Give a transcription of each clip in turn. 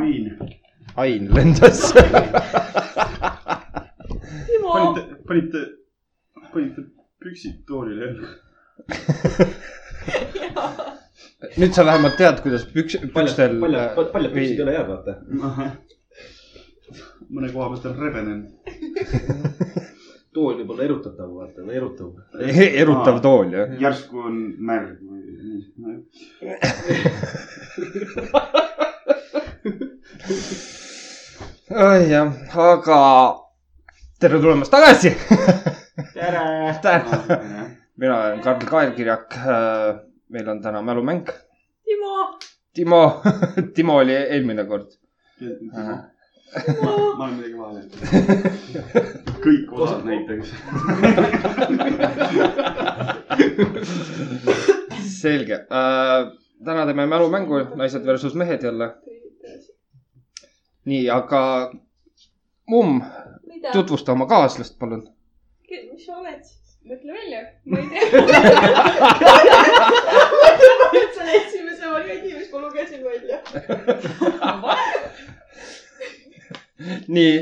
ain . ain lendas . Timo , panite , panite , panite püksid toolile jälle . nüüd sa vähemalt tead , kuidas püks , paljad , pükstel . paljad , paljad püksid üle jäävad , vaata . mõne koha pealt on rebenenud . tool võib olla erutatav , vaata , või erutav . erutav tool , jah . järsku on märg või nii . jah , aga tere tulemast tagasi . tere . mina olen Karl Kaelkirjak . meil on täna mälumäng . Timo , Timo , Timo oli eelmine kord . ma Timo , olen midagi vahele jätnud . kõik osad näiteks . selge . täna teeme mälumängu Naised versus mehed jälle . nii , aga mumm , mida , tutvusta oma kaaslast , palun . mis sa oled siis ? mõtle välja , ma ei tea . see oli esimese variandi , mis ma lugesin välja . nii ,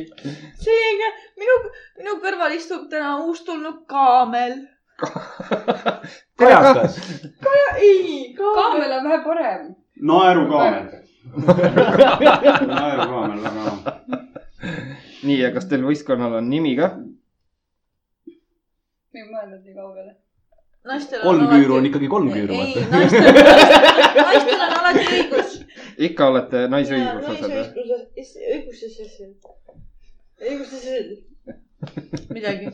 seega minu , minu kõrval istub täna uustulnud kaamel . kajakas . ei , kaamel . kaamel on vähe parem . naerukaamel . naerukaamel , väga . nii ja kas teil võistkonnal on nimi ka ? ma ei mõelnud nii kaugele . naistel on kolm küüru on alati . ikkagi kolm küüru , ei , vaata . naistel , naistel on alati õigus . ikka olete naisõiguse osas või ? naisõiguses , õiguses , õiguses . midagi .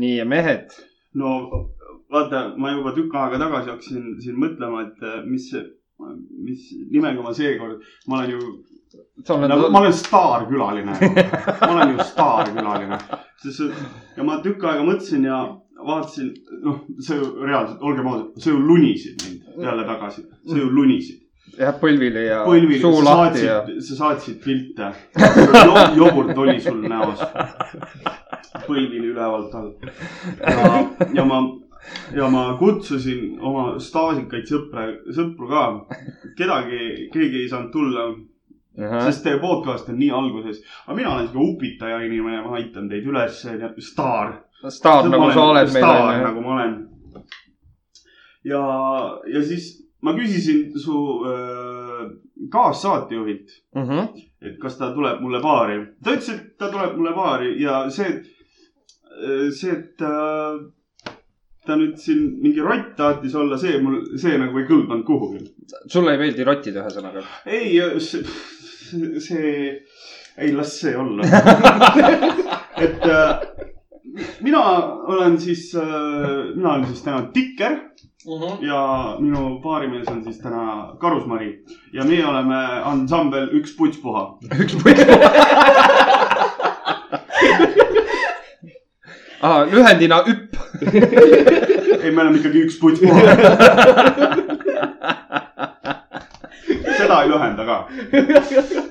nii ja mehed , no vaata , ma juba tükk aega tagasi hakkasin siin mõtlema , et eh, mis , mis nimega ma seekord , ma olen ju sa oled nagu ma olen staarkülaline . ma olen ju staarkülaline . ja ma tükk aega mõtlesin ja vaatasin , noh , sa ju reaalselt , olgem ausad , sa ju lunisid mind peale tagasi , sa ju lunisid . jah põlvili ja põlvil suu sa lahti ja saatsid , sa saatsid pilte . jogurt oli sul näos . põlvili ülevalt all . ja , ja ma , ja ma kutsusin oma staažikaid sõpra , sõpru ka . kedagi , keegi ei saanud tulla Ahah. sest teie podcast on nii alguses , aga mina olen siuke upitaja inimene , ma aitan teid üles , onju , staar . staar nagu sa oled meil staar , on ju . nagu ma olen . ja , ja siis ma küsisin su öö, kaassaatejuhilt , Mhm. et kas ta tuleb mulle baari . ta ütles , et ta tuleb mulle baari ja see , see , et äh, ta nüüd siin mingi rott tahtis olla , see mul , see nagu ei kõlbanud kuhugi . sulle ei meeldi rotid , ühesõnaga . ei , see, see , ei las see olla . et äh, mina olen siis äh, , mina olen siis täna Tikker Mhm. ja minu baarimees on siis täna Karusmari ja meie oleme ansambel Üks puts puha . üks põlv . Ah, lühendina üpp . ei , me oleme ikkagi Üks puts puha . seda ei lühenda ka ,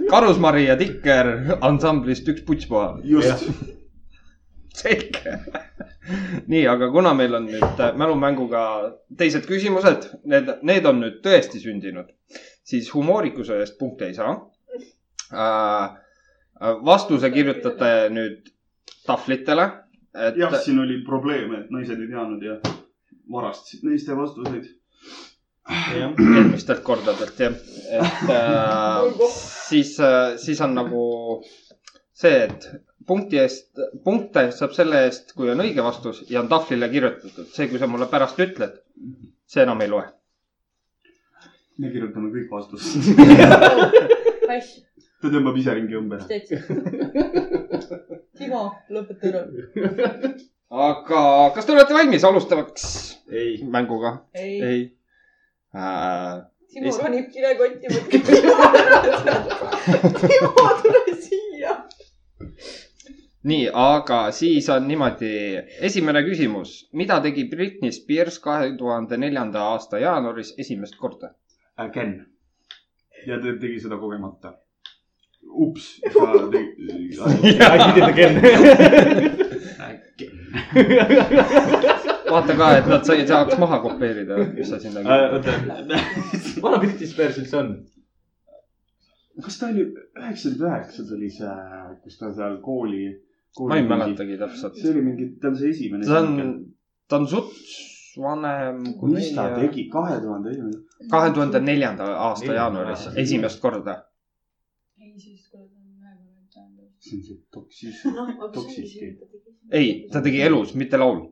Karusmari ja Tikker ansamblist Üks puts puha . just . selge . nii , aga kuna meil on nüüd äh, mälumänguga teised küsimused , need , need on nüüd tõesti sündinud , siis humoorikuse eest punkte ei saa äh, . vastuse kirjutate nüüd tahvlitele , et jah , siin oli probleeme , et naised ei teadnud ja varastasid naiste vastuseid . jah, eelmistelt kordadelt jah , et äh, siis äh, , siis on nagu see , et punkti eest , punkte saab selle eest , kui on õige vastus ja on tahvlile kirjutatud , see , kui sa mulle pärast ütled , see enam ei loe . me kirjutame kõik vastust . hästi , ta tõmbab ise ringi ümber mis . teed ? Timo , lõpeta ära . aga kas te olete valmis alustavaks ei . mänguga ? ei , ei äh, . Timo Ei- ronib . kilekotti mõtle . Timo , ära . Timo , tule siia . nii , aga siis on niimoodi , esimene küsimus , mida tegi Britney Spears kahe tuhande neljanda aasta jaanuaris esimest korda ? Again . Äh, ja ta tegi seda kogemata . ups , ta tegi . Äh, I did it again . vaata ka , et nad sai , saaks maha Äh, nagu. Äh, kopeerida , mis sa sinna . oota , vana Briti Spears üldse on ? kas ta oli , üheksakümmend üheksa tuli see , kus ta seal kooli, kooli . ma ei . mäletagi täpselt . see oli mingi , ta on see esimene . ta on , ta on suts vanem kui mis ta tegi kahe tuhande esimene , kahe tuhande neljanda aasta Neljanda jaanuaris aasta. esimest korda . ei siis , kui ta on ühekordne tähendab . see on see toksis . noh , aga see ongi Toksisti. see , mida ta tegi . ei , ta tegi . elus , mitte laul .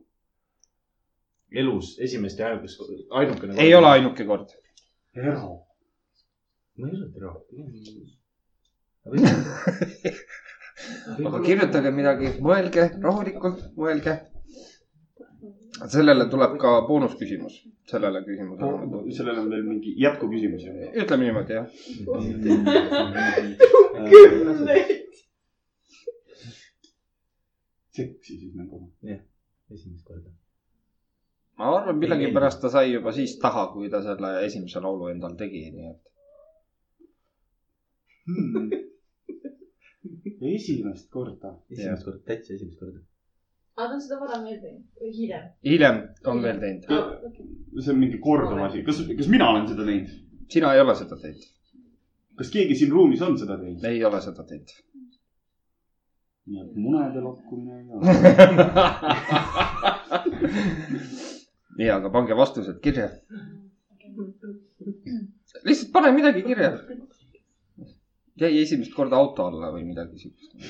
elus esimest ja ainukest , ainukene . ei ole . ainuke kord . Ero . ma ei öelnud ära . aga kirjutage midagi , mõelge rahulikult , mõelge . sellele tuleb ka boonusküsimus , sellele küsimusele . sellel on veel mingi jätkuküsimus ju . ütleme niimoodi , jah . kümneid . seksi siis nagu . esimest korda . ma arvan , millegipärast ta sai juba siis taha , kui ta selle esimese laulu endal tegi , nii et . Hmm. esimest korda . esimest korda , täitsa esimest korda . aga ta on seda varem veel teinud või hiljem ? hiljem on veel teinud . see on mingi korduv asi , kas , kas mina olen seda teinud ? sina ei ole seda teinud . kas keegi siin ruumis on seda teinud ? ei ole seda teinud . nii et munede lakkumine ei ole . nii , aga pange vastused kirja . lihtsalt pane midagi kirja . jäi esimest korda auto alla või midagi siukest .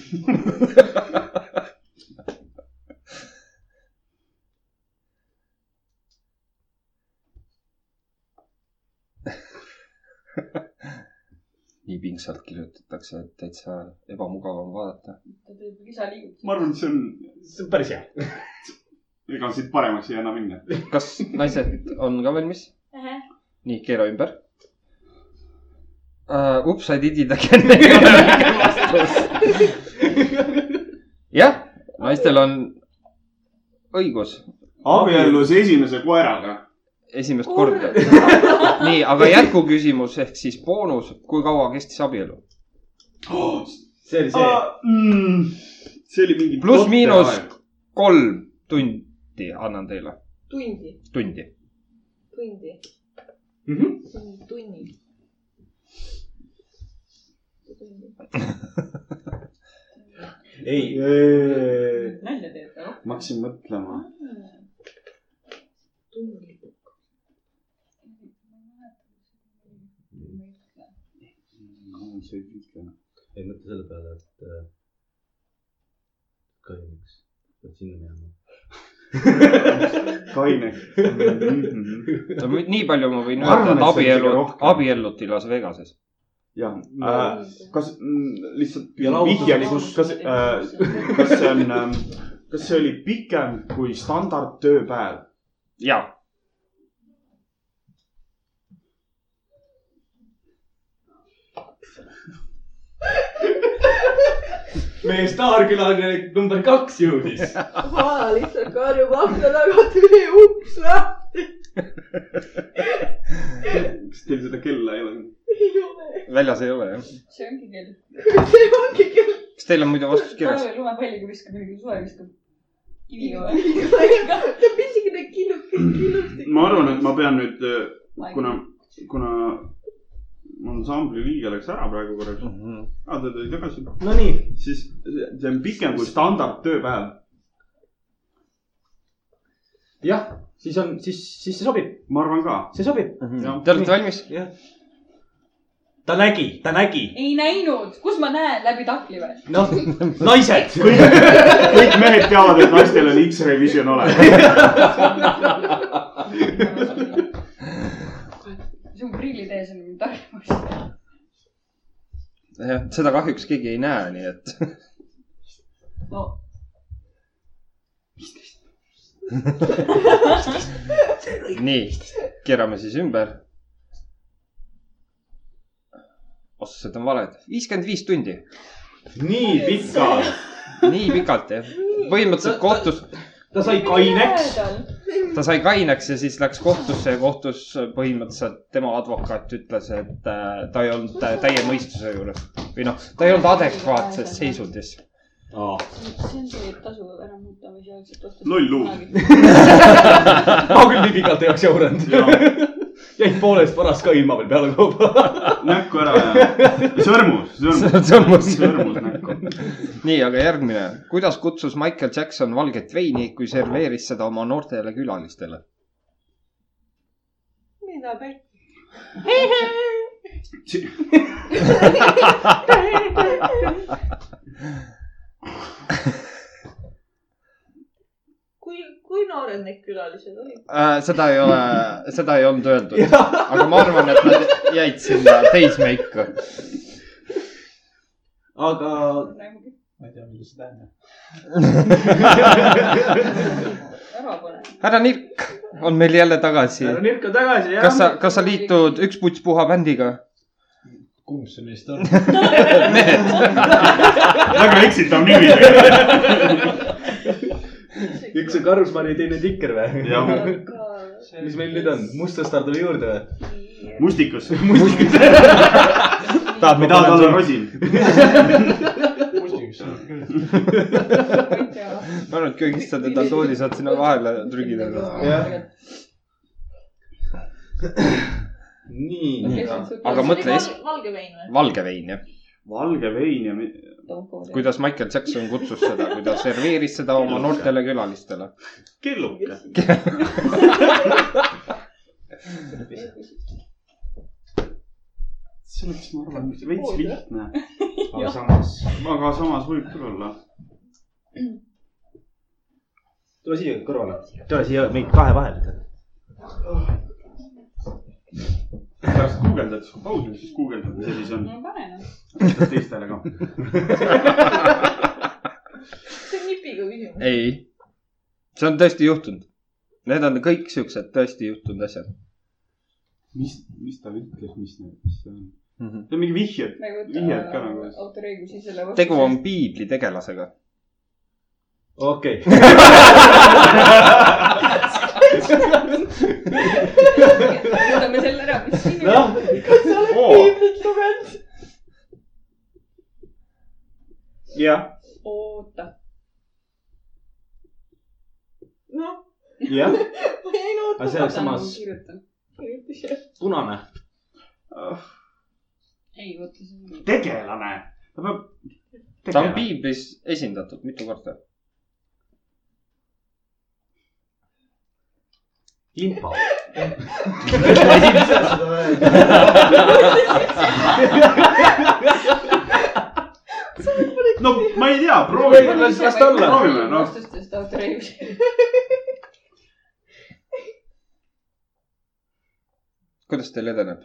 nii pingsalt kirjutatakse , et täitsa ebamugav on vaadata . ta teeb lisaliigutusi . ma arvan , et see on , see on päris hea . ega siit paremaks ei anna minna . kas naised on ka valmis ? nii , keera ümber uh, . Ups , I did it again . jah , naistel on õigus abiellus esimese koeraga . esimest korda . nii , aga jätkuküsimus ehk siis boonus , kui kaua kestis abielu ? Oh, see oli see . Ah, mm. see oli mingi . Pluss-miinus. . kolm tundi annan teile , tundi , tundi . tundi , Mhm. tunni . ei , nalja teed ta rohkem . ma hakkasin mõtlema . tunni . ei mõtle selle peale , et äh, kalliks , pead sinna minema . kaine . nii palju ma võin Ma arvan, et see on öelda , et kõige abiellu , rohkem. abielluti Las Vegases . jah , kas kas mm, lihtsalt Ja laudadel vihjaks , kas äh, , kas see on , kas see oli pikem kui standardtööpäev ? jaa . meie staarkülaline number kaks jõudis . vana lihtsalt karjub akna taga , tühi uks lahti . kas teil seda kella ei ole ? ei ole , väljas ei ole jah . see ongi kell . see ongi kell . kas teil on muidu vastus kirjas ? talvel lumepalliga viskab , mingi suve viskab kiviga eh? või ? ta pisikene killukene , killustik . ma arvan , et ma pean nüüd , äh, kuna , kuna ansambli liige läks ära praegu korraks , Mhm. aa ta tuli tagasi , Nonii , siis see see on pikem kui standardtööpäev . jah , siis on , siis , siis see sobib , ma arvan ka . see sobib . Jah. Te olete valmis ? jah . ta nägi , ta nägi . ei näinud , kus ma näen läbi takli või ? noh , naised . kõik mehed teavad , et naistel on X-ray vision olemas . see on prillid ees on mingi tarkus . jah , seda kahjuks keegi ei näe , nii et no nii , keerame siis ümber . vastused on valed , viiskümmend viis tundi , nii pikka . nii pikalt jah . põhimõtteliselt kohtus , ta sai kaineks .. ta sai kaineks ja siis läks kohtusse ja kohtus põhimõtteliselt tema advokaat ütles , et äh, ta ei olnud äh, täie mõistuse juures või noh , ta ei olnud adekvaatses seisundis . see on see , et tasu ära muuta või sealt . Loll luul. ma küll nii pikalt ei oleks jauranud . jäid poolest varast ka ilma veel pealekauba . näkku ära ja sõrmus , sõrmus , Sõrmus. sõrmus näkku . nii , aga järgmine . kuidas kutsus Michael Jackson valget veini , kui serveeris seda oma noortele külalistele ? mida päik- ? Äh, kui , kui noored need külalised olid ? seda ei ole , seda ei olnud öeldud , aga ma arvan , et nad jäid sinna teismeikka . aga , ma ei tea , mida see tähendab . ära pane . härra Nirk on meil jälle tagasi . nirka tagasi , kas sa , kas sa liitud üks puts puha bändiga ? kumb see neist on ? väga eksitav nimi . üks on Karusmari , teine Tikker või ? jah , mis meil nüüd on , mustastard tuli juurde või ? mustikas . tahad me tahame olla ? rosin . mustiks küll . ma arvan , et köögistad teda tooli , saad sinna vahele trügida . nii . aga mõtle es- , valge vein või ? valge vein jah , valge vein ja mi- kuidas Michael Jackson kutsus seda , kui ta serveeris seda oma noortele külalistele . kelluke . see oleks , ma arvan , veits lihtne . aga samas , aga samas võib küll olla . tule siia kõrvale . tule siia , meid kahe vahele . pärast guugeldad , siis kui paus on , siis guugeldad , mis asi see on . no pane noh . ütled teistele ka . see on nipiga küsimus . ei , see on tõesti juhtunud . Need on kõik siuksed tõesti juhtunud asjad mis , mis ta ütles , mis , mis see on ? mm . -hmm. see on mingi vihje . nagu Vihjed ka nagu. autoriõigusi selle vastu . tegu on piibli tegelasega . okei . võtame selle ära . noh , piiblit lugenud . jah , oota , noh , jah . ma jäin aga see ootama . oleks samas kirjutan . punane . ei , oota , see on . tegelane . ta peab . ta on . piiblis esindatud mitu korda . limpa . no ma ei tea , proovime . las- las ta olla. proovime, noh. vastustest autoriõigusi . kuidas teil edeneb ?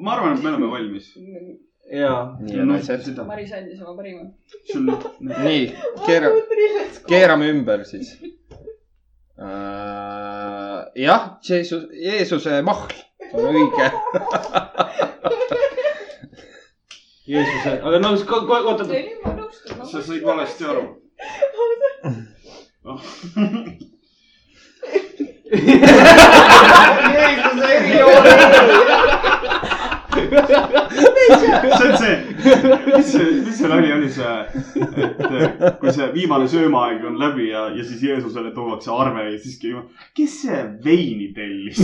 ma arvan , et me oleme valmis . jaa . nii ja naised . Maris andis oma parima . nii , keera , keerame ümber siis . jah , Jeesus , Jeesuse mahl on õige . Jeesuse , aga no kas- kohe , oota , oota . ma nõustun . sa said valesti aru . Jeesuse erijoone . see on see , mis see , mis see nali oli see , et kui see viimane söömaaeg on läbi ja , ja siis Jeesusele tuuakse arve ja siis küsib , kes see veini tellis ?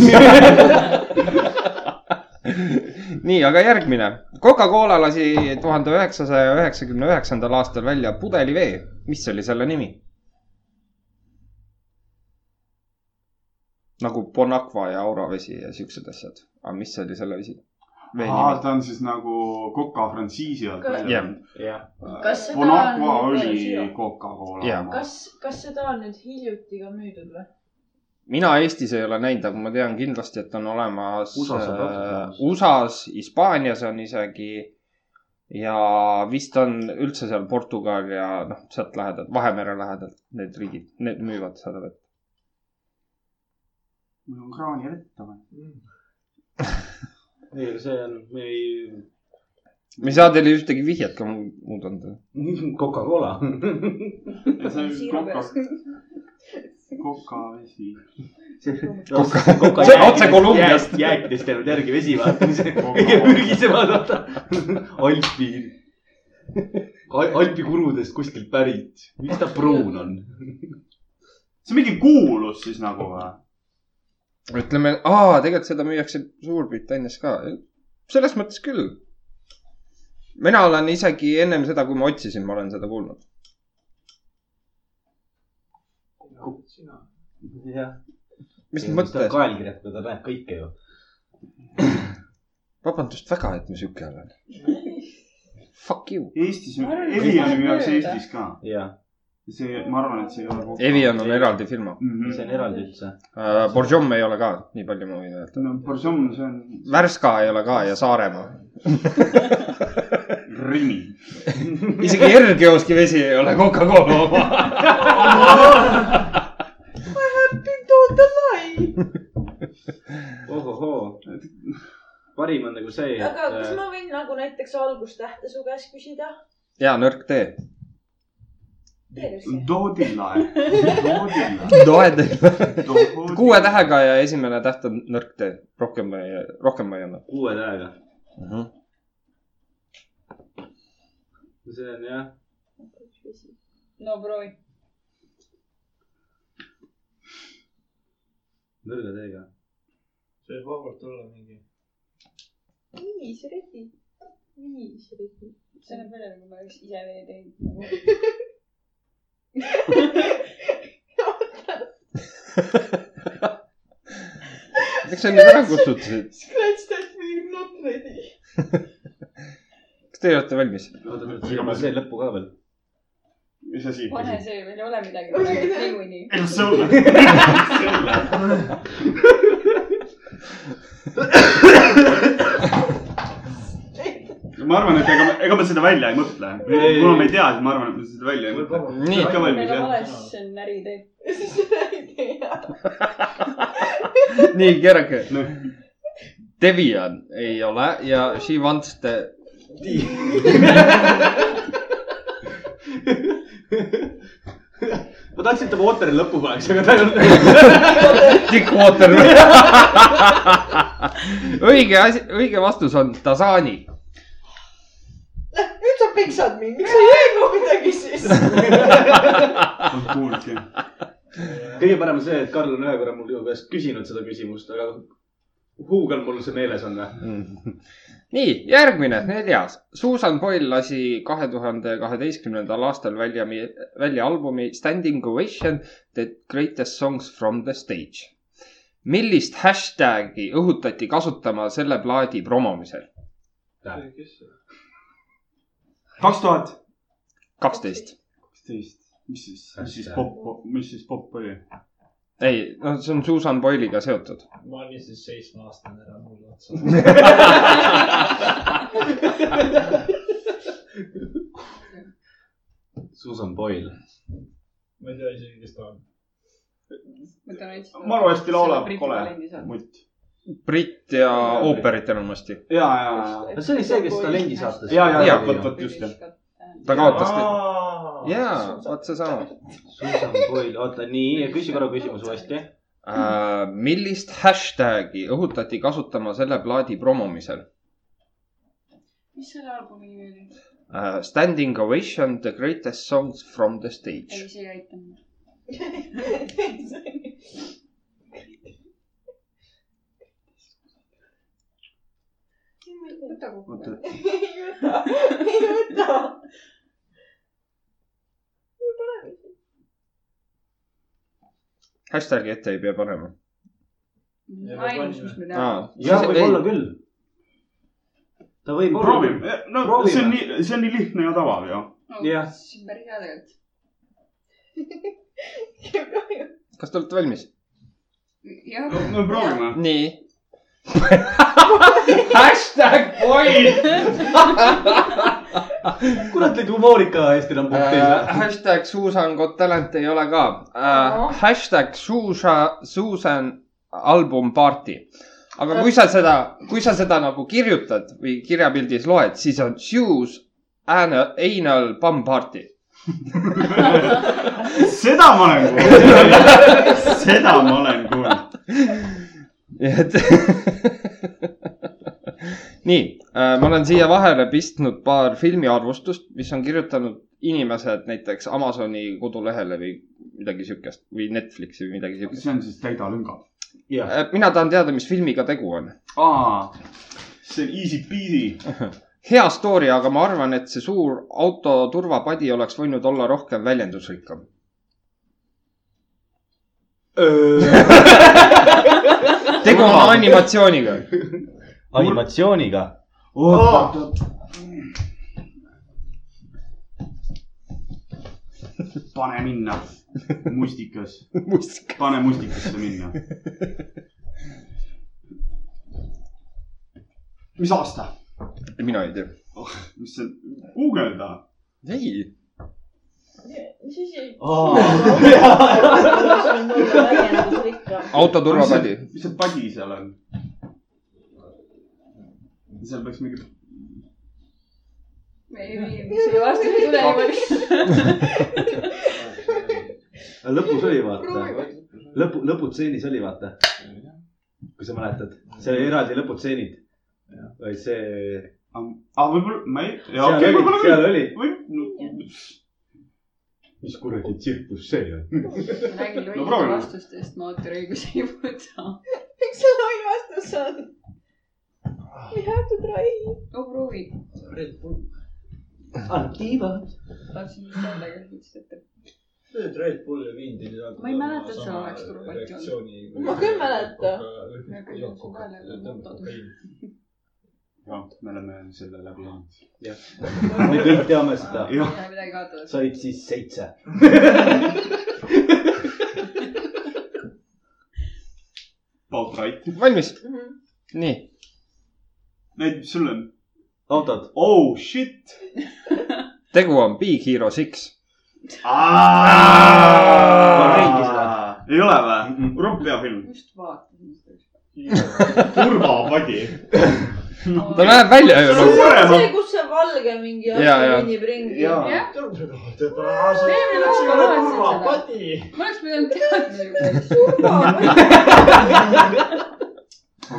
nii , aga järgmine . Coca-Cola lasi tuhande üheksasaja üheksakümne üheksandal aastal välja pudelivee . mis oli selle nimi ? nagu Bon Aqua ja Aura vesi ja siuksed asjad . aga mis oli selle vesi ? vee nimi . ta on siis nagu Coca frantsiisi alt välja Jah. tulnud . jah , Kas seda Bon Aqua on- oli Coca-Cola Jah. oma . kas , kas seda on nüüd hiljuti ka müüdud või ? mina Eestis ei ole näinud , aga ma tean kindlasti , et on olemas . äh, USA-s on raudselt olemas. USA-s , Hispaanias on isegi ja vist on üldse seal Portugal ja noh , sealt lähedalt , Vahemere lähedalt need riigid , need müüvad seda vett . mul on kraani vett või ? ei , aga see on , me ei , me ei saa teile ühtegi vihjet ka mu- muud anda . Coca-Cola . see on Coca , Coca vesi . See on otse Kolumbiast. . jääkidest jäänud järgi vesi vaatamise . kõige mürgisemad , vaata . Alpi , Alpi kurudest kuskilt pärit . miks ta pruun on ? see on mingi kuulus siis nagu või ? ütleme , aa , tegelikult seda müüakse Suurbritannias ka . selles mõttes küll . mina olen isegi ennem seda , kui ma otsisin , ma olen seda kuulnud . jah . mis mõttes ? kael kirjutada , ta näeb kõike ju . vabandust väga , et ma sihuke olen . Fuck you . Eestis Ma , arvan, et Evian seda ei müüakse mööda. Eestis ka . jah , see , ma arvan , et see ei ole kogu Evian on eraldi firma mm . see on -hmm. eraldi üldse . uh, . Borjom ei ole ka , nii palju ma võin öelda . no Borsom , see on Värska ei ole ka ja Saaremaa . Rimi . isegi Ergioski vesi ei ole Coca-Cola oma . ohohoo . parim on nagu see , aga äh, kas et ma võin nagu näiteks algustähte su käest küsida ? ja nõrk tee . Doodilae , Doodilae , toed . Doodilae . kuue . tähega ja esimene täht on nõrk tee , rohkem , rohkem ma ei anna kuue tähega . uh . -huh. see on jah , no proovi . nõrga teega . see võib vabalt olla mingi . viis regi , viis regi . see on palju , kui ma oleks ise veel teinud . miks sa nüüd ära kustutasid , Scratch that we are not ready . kas teie olete valmis ? oota , oota , siin on see lõppu ka veel . mis asi ? pane see , meil ei ole midagi . niikuinii . ma arvan , et ega , ega ma seda välja ei mõtle . Ei. kuna ma ei tea , siis ma arvan , et ma seda välja ei mõtle . Nii. ikka valmis meil on jah ? vales , see on äritee . siis seda ei tea . nii , keerake . No. Devian ei ole ja She Wants the ma tahtsin , et ta Wateri lõppu paneks , aga ta ei olnud . Dick Water . õige asi , õige vastus on Dasani . nüüd sa piksad mind , miks sa ei öelnud midagi siis ? polnud kuulnudki . kõige parem on see , et Karl on ühe korra mul ju käest küsinud seda küsimust , aga huugel mul see meeles on või ? nii , järgmine , neljas . Susan Boyle lasi kahe tuhande kaheteistkümnendal aastal välja , välja albumi Standing Ovation The Greatest Songs from the Stage . millist hashtag'i õhutati kasutama selle plaadi promomisel ? kaks tuhat kaksteist . kaksteist , mis siis , mis siis popp , mis siis popp oli ? ei , no see on Susan Boyle'iga seotud . ma olin siis seitsmeaastane ära mul otsa . Susan Boyle . ma ei tea isegi , kes ta on . Maru hästi laulab , kole . mutt . britt ja ooperit enamasti . ja , ja , see oli see , kes Talendi saates . ja , ja , ja Jaa. , vot , vot just jah . äh, ta kaotas teid . aa . jaa , vot seesama . Susan Boyle , oota nii , küsi korra küsimus uuesti . Äh, millist hashtag'i õhutati kasutama selle plaadi promomisel mis selle albumi nimi oli ? uh, ? Standing ovation , the greatest songs from the ei , stage . see ei aita mind . võta kokku . oota , ei võta , ei võta . Hashtag'i ette ei pea panema . Mm, ainus , mis me teame . jah , võib-olla küll . ta võib olla proovime ., no Proovime. see on nii , see on nii lihtne ja tavav ju . Jah. Oh, see on päris hea tegelikult . kas te olete valmis ? jah , no proovime . nii . Hashtag point kurat , neid humoorika eest enam punkte ei uh, . saa . Hashtag Susan Got Talent ei ole ka uh, Ahah. . Hashtag Suusa , Susan album party . aga kui sa seda , kui sa seda nagu kirjutad või kirjapildis loed , siis on Shoes anal, anal bum party . seda ma olen kuulnud . seda ma olen kuulnud . nii et . nii , ma olen siia vahele pistnud paar filmiarvustust , mis on kirjutanud inimesed näiteks Amazoni kodulehele või midagi siukest või Netflixi või midagi siukest . see on siis Täida lüngad . jah . mina tahan teada , mis filmiga tegu on . aa , see on easy peasy . hea story , aga ma arvan , et see suur auto turvapadi oleks võinud olla rohkem väljendusrikkam . Äh. tegu on animatsiooniga . animatsiooniga . pane minna , mustikas , pane mustikasse minna . mis aasta ? mina ei tea . mis see , guugelda . ei , mis asi ? auto turvapadi . mis see padi seal on ? seal peaks mingi , ei , ei , mis see varsti ei tule niimoodi . lõpus oli vaata , lõpu , lõputseenis oli vaata , kui sa mäletad , see oli eraldi lõputseenid . või see , aa Ah, võib-olla , ma ei , seal okei , oli , võib-olla küll seal . oli . või , mis kuradi tsirkus see on ? räägin No proovime. lollide vastustest , ma autoriõigusi ei võta . miks see loll vastus on ? We have to try . no proovi , Red Bull . Ah, tahtsin just öelda , aga mõtlesin , et Need Red Bulli viin pidi . Ma ei mäleta, et seal oleks turvapatja olnud. olnud Ma küll mäletan. Ma küll jooksin vahele, kui ma autodun. me oleme selle läbi olnud . me kõik teame seda . ei jah , ole midagi kaotada . said siis seitse . about right . valmis , Mhm. nii . näita , mis sul on . autod . oh shit . tegu on Big Hero Six . Ma teengi seda. ei ole või Mhm. ? Ropp hea film . just vaatasin seda . turvapadi . ta näeb välja ju see nagu . on see , kus see valge mingi Ja, asi ja. kõnnib ringi . Jaa. jah , turvapadi . ma oleks pidanud teadma .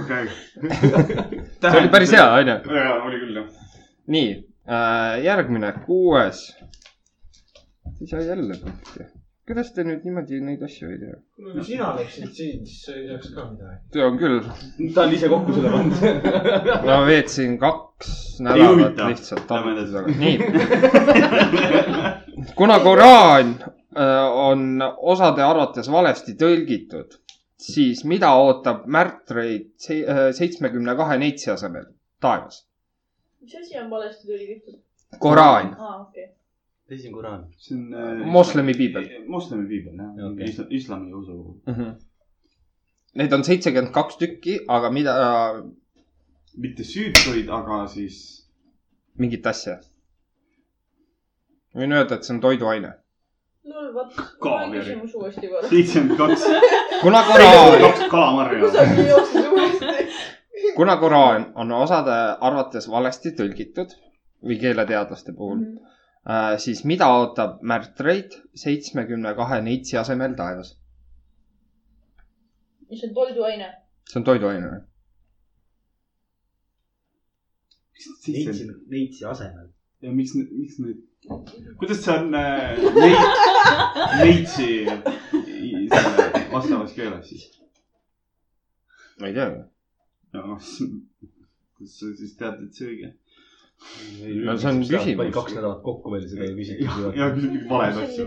okei . see oli päris hea , onju . jaa , oli küll jah . nii , järgmine , kuues . ei saa jälle punkti . kuidas te nüüd niimoodi neid asju ei tea ? kui sina oleksid siin , siis sa ei teaks ka midagi . see on küll , ta on ise kokku selle pannud . ma veetsin kaks nädalat huvita. lihtsalt Lähme edasi. arvutuse taga , nii . kuna Koraan äh, on osade arvates valesti tõlgitud , siis mida ootab märtreid äh, seitsmekümne kahe neitsi asemel taevas ? mis asi on valesti tõlgitud ? Koraan , aa , okei . esimene kuraan . see on äh, moslemi piibel . moslemi piibel jah Okei. okay. , islami usu . Neid on seitsekümmend kaks tükki , aga mida , mitte süütuid , aga siis mingit asja . võin öelda , et see on toiduaine . no vot , Kaameri. loe küsimus uuesti korra . seitsekümmend kaks , kuna Koraan , kaks kalamarja . kusagil jooksis uuesti . kuna Koraan on osade arvates valesti tõlgitud või keeleteadlaste puhul , siis mida ootab märtreid seitsmekümne kahe neitsi asemel taevas ? mis on toiduaine ? see on toiduaine või ? neitsi , neitsi asemel . ja miks , miks need , kuidas see on äh, neid , neitsi i- selle vastavas keeles siis ? ma ei tea . noh , kuidas sa siis tead , et see õige ? No see on küsimus. kaks nädalat kokku veel seda ei ja küsitud . küsib valed asju .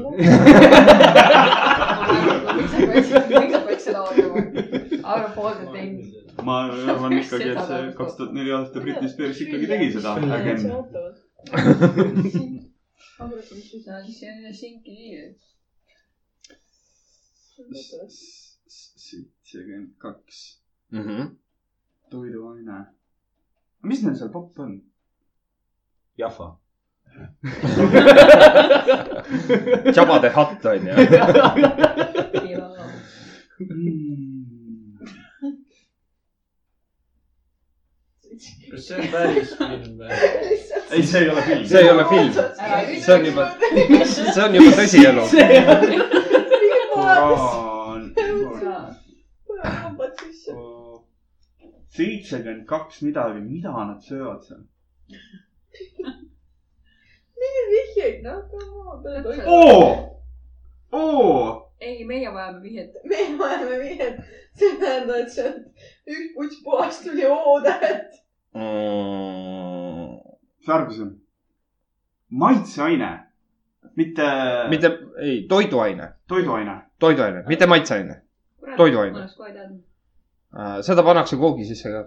miks sa peaks , miks sa peaks seda arvama ? arva poolt , et ei . ma arvan ikkagi , et see kaks tuhat neli aasta Britney Spears ikkagi tegi seda . see on sinki nii . seitsekümmend kaks , Mm -hmm. toiduaine . mis neil seal popp on ? jahva . Jabba the Hutt on ju . kas see on päris film või ? ei , see ei ole film . see ei ole film , see on juba , see on juba tõsielu . kuraan . hambad sisse . seitsekümmend kaks midagi , mida nad söövad seal ? mingeid vihjeid , noh , come on . oo , oo , ei , meie vajame vihjet . me vajame vihjet , see tähendab , et sealt üks puts puhast tuli O-täht . Ferguson , maitseaine , mitte, mitte... mitte , ei , toiduaine , toiduaine . toiduaine , mitte maitseaine . Toiduaine. ma oleks kohe teadnud . seda pannakse koogi sisse ka .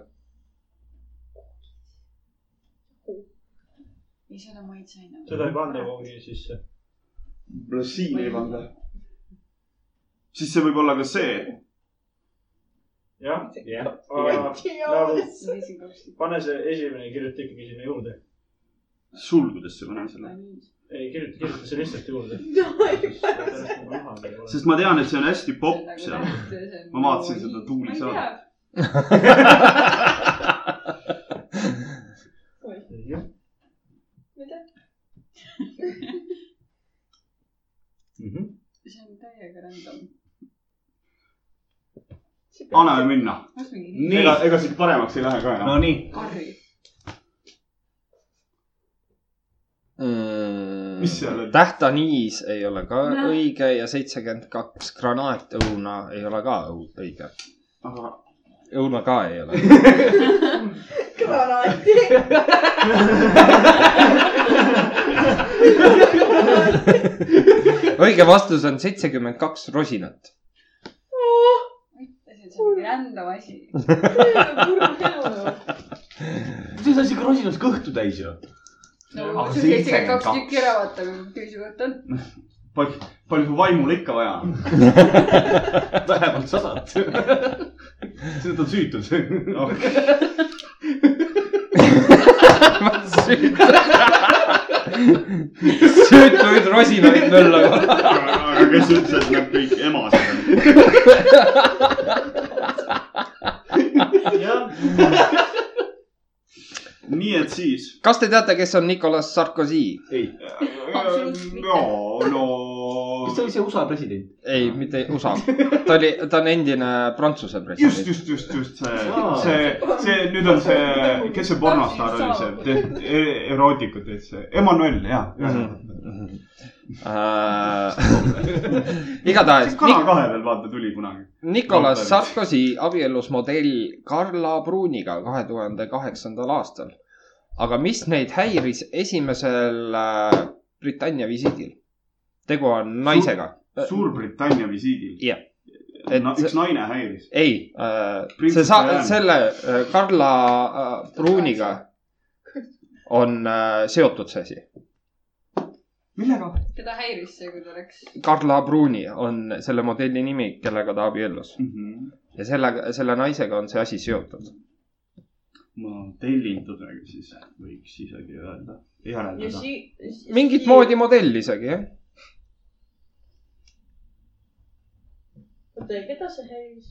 ei , seda ma ei saanud . seda ei panda . koogi sisse . võib-olla siin ei panda . siis see võib olla ka see . jah , jah . aga viisin kaks . pane see esimene , kirjuta ikkagi sinna juurde . sulgudesse panen selle , ei , kirjuta , kirjuta see lihtsalt juurde . sest ma tean , et see on hästi popp seal . ma vaatasin seda Tuuli saadet. . Mhm. see on täiega random . anname minna . kas mingi Nii. ega , ega siit paremaks ei lähe ka enam no. . Nonii , karri ? mis seal on ? tähtaniis ei ole ka Nä. õige ja seitsekümmend kaks granaatõuna ei ole ka õu- õige . aga õuna ka ei ole . granaati . õige vastus on seitsekümmend kaks rosinat . see on mingi random asi . see asi krosinus kõhtu täis ju . no Ah, seitsekümmend kaks 72. tükki ära vaata , kui su kõht on . palju , palju vaimul ikka vaja on ? vähemalt sadat . seda ta on süütud . söötuid rosinaid möllama . aga kes ütles , et nad kõik emased on ? jah , nii et siis . kas te teate , kes on Nicolas Sarkozy ? ei , Absoluutselt mitte. no , no . kas ta oli see USA president ? ei , mitte USA . ta oli , ta on endine Prantsuse just , president . just , just , just see Aa. , see , see nüüd on see , kes see pornostaar oli see , erootikud teed see , Emmanuel , jaa . Mhm. Mm-hmm. Äh, igatahes Kana kahe peal vaata tuli kunagi . Nicolas Notarid. Sarkozy abiellus modell Carla Bruniga kahe tuhande kaheksandal aastal . aga mis neid häiris esimesel äh, Britannia visiidil ? tegu on naisega . Suurbritannia visiidil . jah , Äh, et No, üks naine häiris . ei äh, , Princess see sa- , Diana. selle äh, Carla äh, Bruniga on äh, seotud see asi . millega ? teda häiris see , kui ta läks . Carla Bruni on selle modelli nimi , kellega ta abiellus Mhm. ja sellega , selle naisega on see asi seotud . modellindusega siis võiks isegi öelda , järeldada . mingit moodi modell isegi jah . oota , keda see häiris ?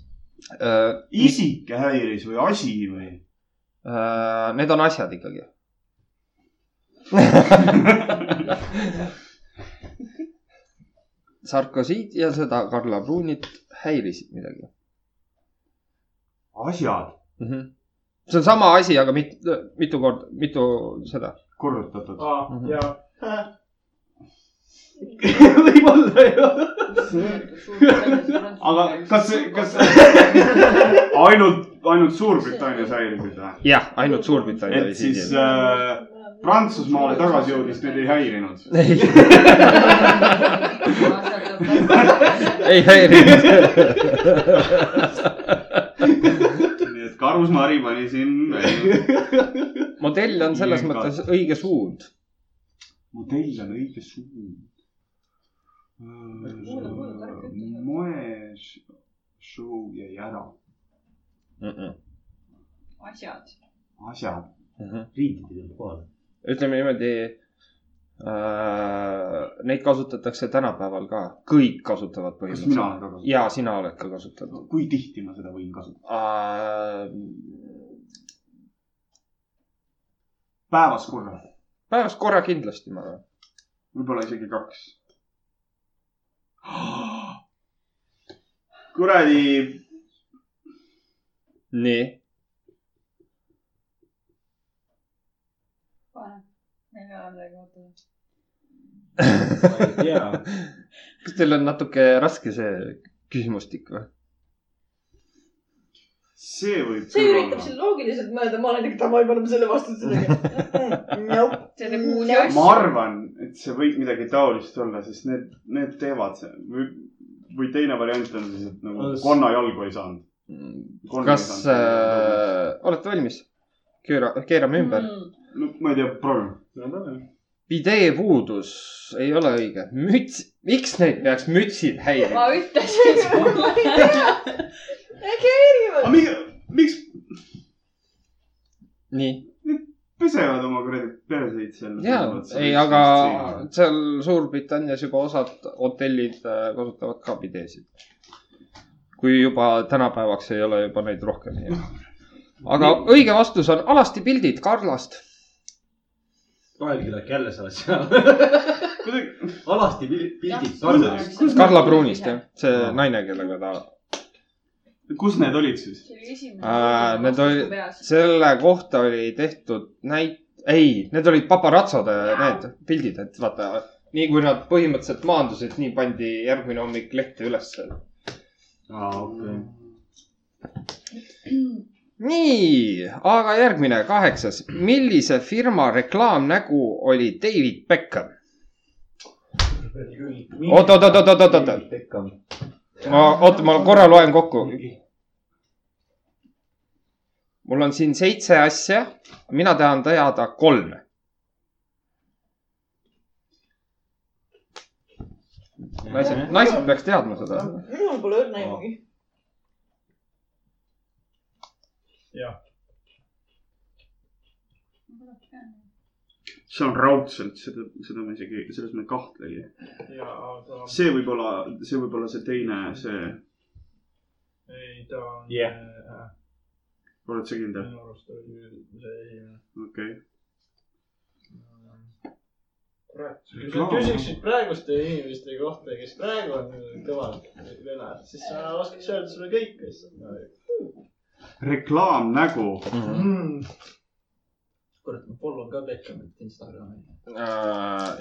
isik häiris või asi või ? Äh, need on asjad ikkagi . Sarkozyd ja seda Carla Brunit häirisid midagi asjad , mm . -hmm. see on sama asi , aga mit, mitu korda , mitu seda . korrutatud . ja võib-olla ju . aga kas , kas ainult , ainult Suurbritannias häirisid või ? jah , ainult Suurbritannia et siis äh, Prantsusmaale tagasi jõudis , need ei häirinud . ei , ei häirinud . nii et karusmari pani siin . modell on selles mõttes õige suund . modell on õige suund . Kuule, kuule, tark ütle. moeshow jäi ära . asjad . asjad . riided ei tulnud kohale . ütleme niimoodi äh, . Neid kasutatakse tänapäeval ka , kõik kasutavad kas mina olen ka põhimõtteliselt . kasutanud ? ja sina oled ka kasutanud kui tihti ma seda võin kasutada ? äh, . päevas korra , päevas korra kindlasti , ma arvan . võib-olla isegi kaks . kuradi , nii , meil ei ole midagi ootada . ma ei tea . kas teil on natuke raske see küsimustik või ? see võib . see üritab siin loogiliselt mõelda , ma olen ikka tama , ei pane ma selle vastuse tegema . see on nagu uus Jah. asi ma . arvan , et see võib midagi taolist olla , sest need , need teevad see või , või teine variant on siis , et nagu Kas- konna jalgu ei saanud . kas äh, olete valmis ? keera , keerame Mm. ümber . no ma ei tea , proovime . idee puudus ei ole õige . müts , miks neid peaks mütsid häirima ma ? ütlesin sulle . äkki erinevad aga . miks , Ah, miks nii . pesevad oma kuradi perseid seal ? ja , ei , aga seal Suurbritannias juba osad hotellid äh, kasutavad ka pidesid . kui juba tänapäevaks ei ole juba neid rohkem . aga õige vastus on alasti pildid Karlast . kahel küljel jälle sa oled seal . kuidagi , alasti pil- pildid Jah. Karlast . Karla Pruunist jah , see naine , kellega ta , kus need olid siis ? see oli Aa, esimene . Äh, need olid- selle kohta oli tehtud näit- , ei , need olid paparatsode need pildid , et vaata , nii kui nad põhimõtteliselt maandusid , nii pandi järgmine hommik lehte ülesse aa , okei . nii , aga järgmine , kaheksas . millise firma reklaamnägu oli David Beckham ? oot , oot , oot , oot , oot , oot , oot , oot , ma korra loen kokku . mul on siin seitse asja , mina tahan teada kolme . naised , naised peaks teadma seda . minul pole õrna aimugi . see on raudselt , seda , seda ma isegi , selles ma ei kahtlegi . ja ta , see võib olla , see võib olla see teine , see , ei ta on . Jah. oled sa kindel ? minu arust oli see esimene . okei okay. . kurat , kui sa Reklaam. küsiksid praeguste inimeste kohta , kes praegu on kõvad venelad , siis sa oskaks öelda sulle kõike lihtsalt . reklaamnägu . Mm. kurat , ma follow'n ka Beckhamit Instagrami .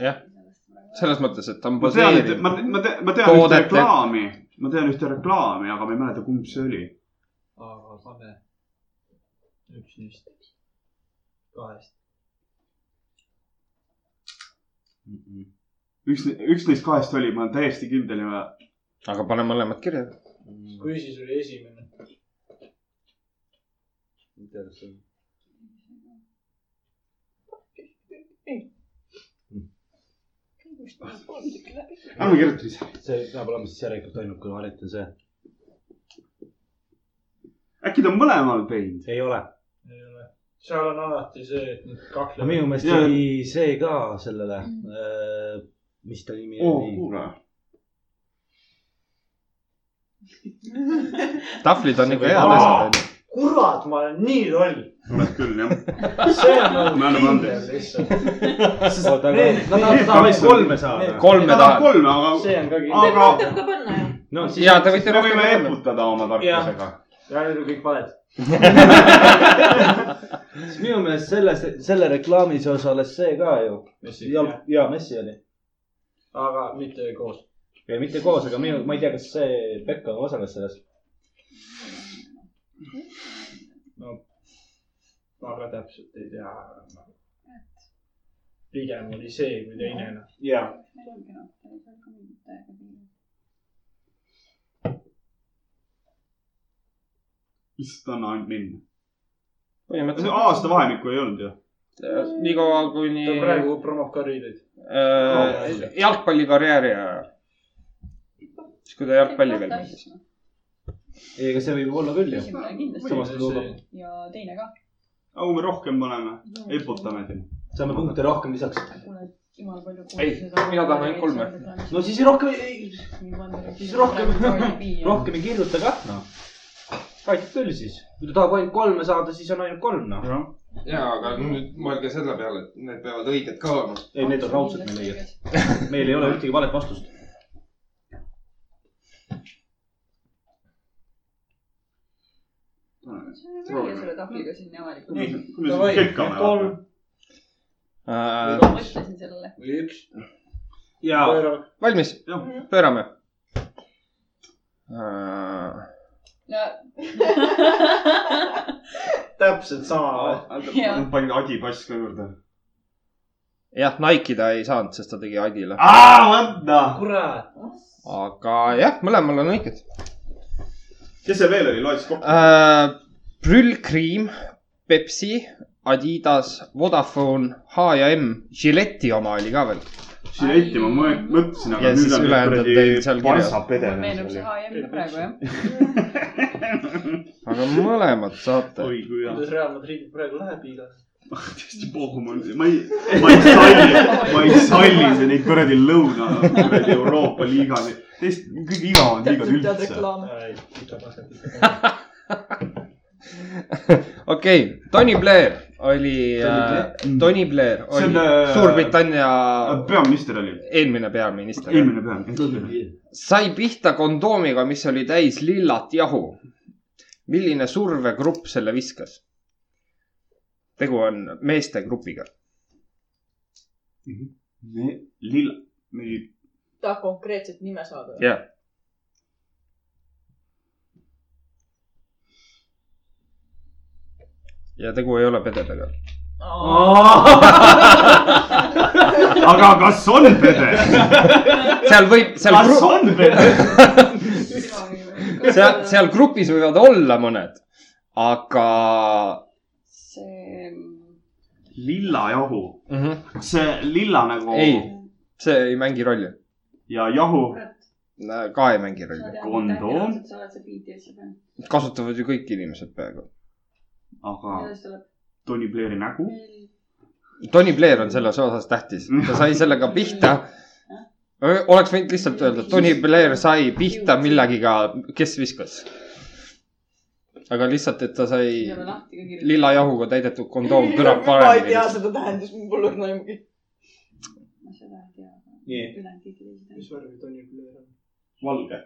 jah , selles mõttes , et ta on Äh, ma tean , et baseeritud ma , ma tean , ma tean ühte Toodete- reklaami , ma tean ühte reklaami , aga ma ei mäleta , kumb see oli . aga pane üks neist kahest . üks , üks neist kahest oli , ma olen täiesti kindel ja ma- aga pane mõlemad kirja . kui siis oli esimene ? ärme kirjuta siis . see peab olema siis järelikult ainuke variant on see . äkki ta on mõlemal teinud ? ei ole . ei ole . seal on alati see , et no need minu kaklevad . meelest Jaa. oli see ka sellele , mis ta nimi oo , oli , Oh, kuule . tahvlid on ikka head Aa! asjad , onju . kurat , ma olen nii loll . oled küll , jah . see on Me anname andeks. lihtsalt . oota , aga Need- nad tahavad- need tahavad kaks on- kolme saada need- . kolme tahan . kolme , aga , see on ka kindel . Te aga võite ka panna ju . no siis ja te me võite võime eputada oma tarkusega . ja need on kõik valed . siis minu meelest selles , selle reklaamis osales see ka ju . jalg , jaa , Messi oli . aga mitte koos . ja mitte koos , aga minu , ma ei tea , kas see Pekka osales selles . ma ka täpselt ei tea . pigem oli see kui teine noh. enam . jaa . lihtsalt anna ainult minna . põhimõtteliselt aastavahemikku ei olnud ju . niikaua kuni ta praegu promob ka riideid . äh, jalgpallikarjääri ajal . siis , kui ta jalgpalli veel mängis . ei , aga see võib olla küll ju . esimene kindlasti Samas lugu. ja teine ka . aga kui me rohkem paneme , eputame siin . saame punkte rohkem lisaks . kuule , jumal palju . Ei, mina tahan ainult kolme. . no siis rohkem , siis rohkem- rohkem ei kirjuta kah , noh . aitab küll siis . kui ta tahab ainult kolme saada , siis on ainult kolm , noh . ja , aga nüüd mõelge selle peale , et need peavad õiged ka olema . ei , need on raudselt meil õiged .. meil ei ole ühtegi valet vastust . müüa selle tahvliga siin avalikult . kui ma me- kui me siin kekkame . kolm Äh, mõtlesin sellele . või üks . ja valmis Jah. , pöörame . Äh, no täpselt sama . Jaa. ma panin Adi pass ka juurde . jah , Nike'i ta ei saanud , sest ta tegi Adile , aa , noh. vanda . kurat . aga jah , mõlemal on õiged kes see veel oli , loe siis kokku . äh, . prüllkriim , Pepsi , Adidas , Vodafone , H ja M , Gilletti oma oli ka veel . Žiletti ma mõ- mõtlesin , Ja aga siis nüüd on ülejäänud on teil seal kirjas. mul meenub see parsapedene . HM ka praegu jah . aga mõlemad saate . oi kui hea . kuidas Real Madridil praegu läheb igas ? tõesti Pohhumann , ma ei , ma ei salli , ma ei salli see neid kuradi lõuna , kuradi Euroopa liigasid . Teist , kõige igavamad liigad täpselt tead üldse . reklaame . okei , Tony Blair oli , Tony Blair Mm. See on, oli äh, Suurbritannia peaminister oli , eelmine peaminister . eelmine peaminister . sai pihta kondoomiga , mis oli täis lillat jahu . milline survegrupp selle viskas ? tegu on meeste grupiga . Mhm. Lill , mingi , tahab konkreetset nime saada . jah , ja tegu ei ole pededega . aga kas on pede ? seal võib , seal kas , on pede ? seal , seal grupis võivad olla mõned , aga see , lilla jahu , mm -hmm. Mhm. kas see lilla nagu ei , see ei mängi rolli . ja jahu , ka ei mängi rolli . Kondoom. sa oled see BTS-i fänn . kasutavad ju kõik inimesed peaaegu . aga kuidas tuleb ? Tony Blairi nägu ? Tony Blair on selles osas tähtis , ta sai sellega pihta . oleks võinud lihtsalt öelda , Tony Blair sai pihta millegiga , kes viskas . aga lihtsalt , et ta sai ei ole lahti ka kirjutatud . lilla jahuga täidetud kondoom kõlab ma ei paremini tea . seda tähendust , mul pole õrna aimugi . ma seda ei tea . nii , ülejäänud kõik teised on . mis värvi Tony Blair on ? valge .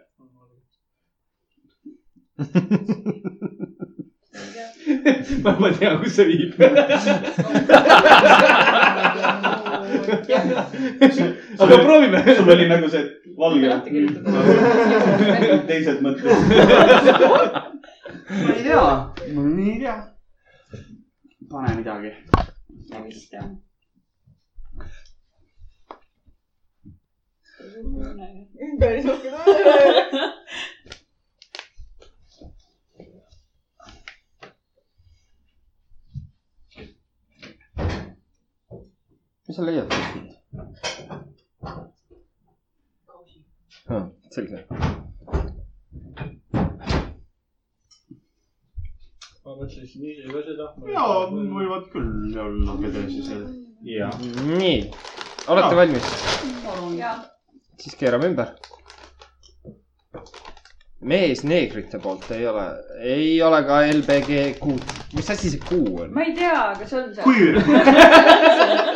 ma , ma tean , kus see viib . aga proovime . sul oli nagu see valge . lahti kirjutatud . teised mõtted . ma ei tea . ma ei tea . pane midagi . ma vist tean . päris oskad . mis sa leiad kuskilt ? selge . ma mõtlesin ise ka seda . ja , võivad küll olla pedesid seal . jaa . nii , olete valmis ? jaa , siis keerame ümber . mees neegrite poolt ei ole , ei ole ka LBGQ-d , mis asi see Q on ? ma ei tea , aga see on see .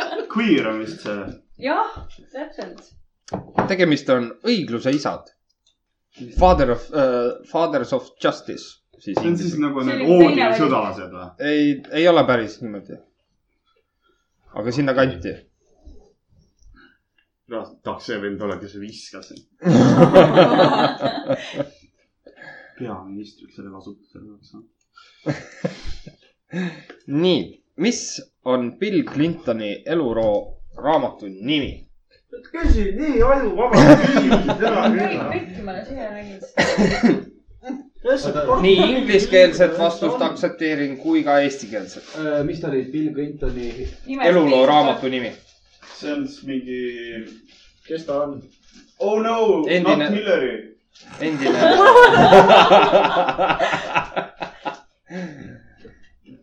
Queer . Queer on vist see . jah , täpselt . tegemist on õigluse isad . Father of uh, , Fathers of Justice , siis see on siis inglise . nagu See need oli teine oodinsõdalased või ? ei , ei ole päris niimoodi . aga sinnakanti . noh , tahaks see vend olla , kes viskas . peaministriks selle kasutusele oleks saanud . nii , mis on Bill Clintoni eluroo raamatu nimi ? küsi nii ajuvabad küsimused ära kõik , kõik ma olen siia näinud . küll . nii ingliskeelset vastust . aktsepteerin kui ka eestikeelset . Äh, mis ta oli , Bill Clintoni ? eluloo . raamatu nimi . see on siis mingi . kes ta on ? Oh no , Endine- not Hillary . endine .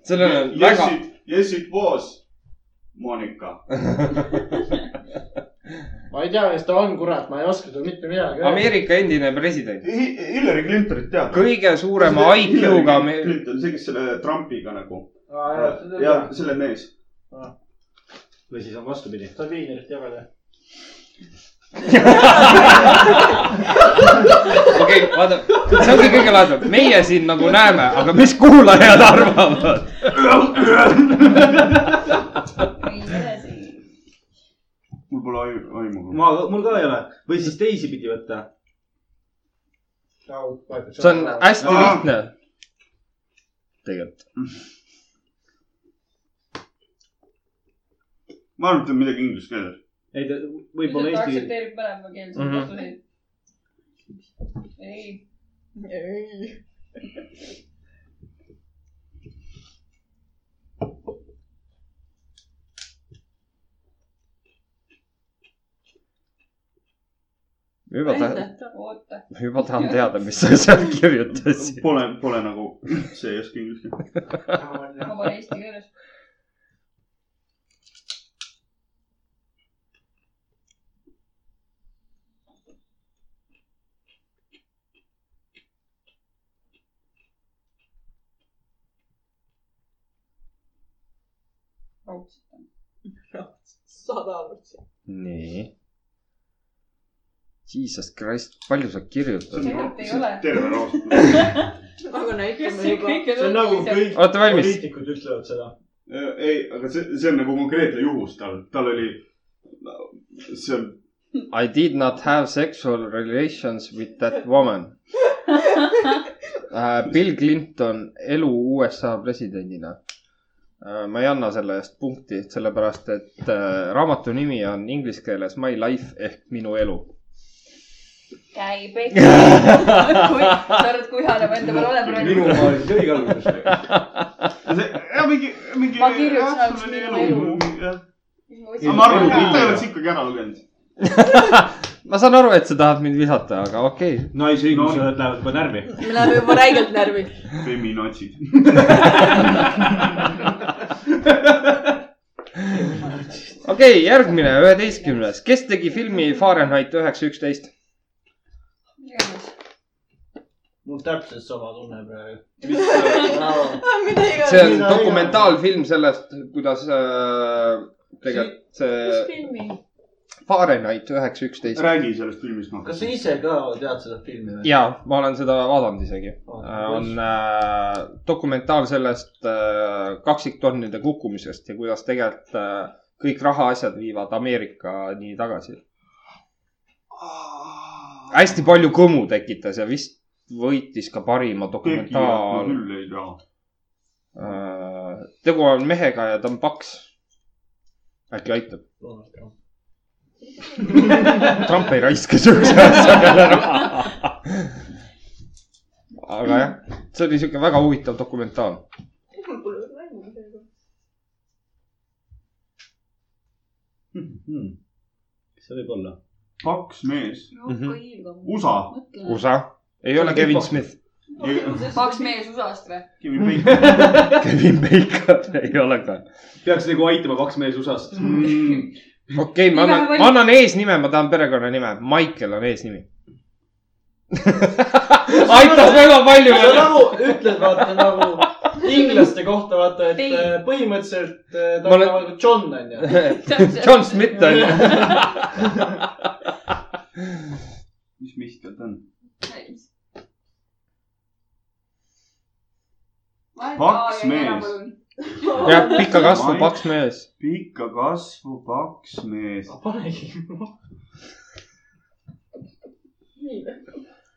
sellel on Yes väga , it , yes it was . Monika . ma ei tea , kes ta on , kurat , ma ei oska seda mitte midagi öelda . Ameerika endine president , Hillary Clintonit tead ? kõige suurema IQ-ga . Clinton , see , kes selle Trumpiga nagu . ja ja , selle mees . või siis on vastupidi . sa viinerit jagad jah ? okei , vaata , see ongi kõige lahedam , meie siin nagu näeme , aga mis kuulajad arvavad ? ei ole see . mul mul pole ai- aimu . ma , mul ka ei ole või siis teisipidi võtta . see on hästi Aa. lihtne . tegelikult . ma arvan , et on midagi inglise keeles . ei , võib-olla eesti , aktsepteerib mõlemakeelseid Mhm. vastuseid . ei , ei , juba tahan , näidata . oota . juba tahan teada , mis sa seal kirjutasid . Pole , pole nagu üldse ei oska inglise keelt . ma pole eesti keeles . raudselt . sada protsenti . nii . Jesus Christ , palju sa kirjutad ? Tegelikult ei ole. terve lause . aga näitame see juba . kõik see on nagu kõik olete valmis ? poliitikud ütlevad seda . Äh, ei , aga see , see on nagu konkreetne juhus tal , tal oli , see on , I did not have sexual relations with that woman uh, . Bill Clinton elu USA presidendina uh, . ma ei anna selle eest punkti , sellepärast et uh, raamatu nimi on inglise keeles My life ehk minu elu . käib ikka . sa arvad , kui hea nagu enda peal olema minu praegu ? oma oli siis õige alguses . see , mingi , mingi . Ma kirjutan minu elu. . aga ma arvan , et kõik oled sa ikkagi ära lugenud . ma saan aru , et sa tahad mind visata , aga okei okay. . naisõigused lähevad juba närvi . me läheme juba räigelt närvi . feminatsid . okei okay, , järgmine , üheteistkümnes . kes tegi filmi Fahrenheit üheksa üksteist ? mul täpselt sama tunne praegu . Ah, mida see iganes . on dokumentaalfilm sellest , kuidas äh, tegelikult see mis filmi ? Fahrenheit üheksa üksteist . räägi sellest filmist noh . kas sa ise ka tead seda filmi või ? ja ma olen seda vaadanud isegi . on äh, dokumentaal sellest äh, kaksiktonnide kukkumisest ja kuidas tegelikult äh, kõik rahaasjad viivad Ameerikani tagasi . hästi palju kõmu tekitas ja vist võitis ka parima ma dokumentaal . küll ei tea . tegu on mehega ja ta on paks . äkki aitab ? Trump ei raiska siukse asja peale raha . aga jah , see oli siuke väga huvitav dokumentaal . mul pole veel aimu sellega . see võib olla . kaks mees , Mhm. USA , USA , ei ole Kevin Smith . kaks mees USA-st või ? Kevin Bacon . Kevin Bacon ei ole ka . peaks nagu aitama kaks mees USA-st . Mm. okei okay, , ma Igaühe annan , valik- ma annan eesnime , ma tahan perekonnanime . Michael on eesnimi . aitas väga palju sa . nagu ütled , vaata nagu inglaste kohta , vaata , et äh, põhimõtteliselt äh, ta Ma on olen- nagu John onju . John Smith on ju . mis Mihkel ta on ? Paks mees. . jah , pika kasvu paks mees . pika kasvu paks mees . panegi . nii või ?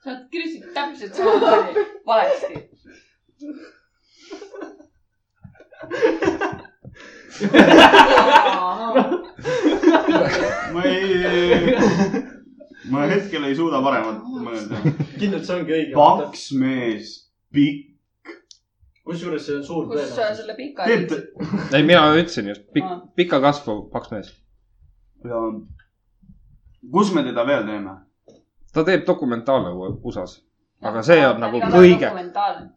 sa oled küsinud täpselt sama palju , valesti . ma ei , ma hetkel ei suuda paremat mõelda . kindlalt see ongi õige . paks mees , pikk . kusjuures see on suur kus sa tõenäosus . selle pika teeb ta , ei , mina ütlesin just , Aa. pikk , pika kasvu paks mees . ja kus me teda veel teeme ? ta teeb dokumentaale U- USA-s , aga see Ah, on nagu kõige ,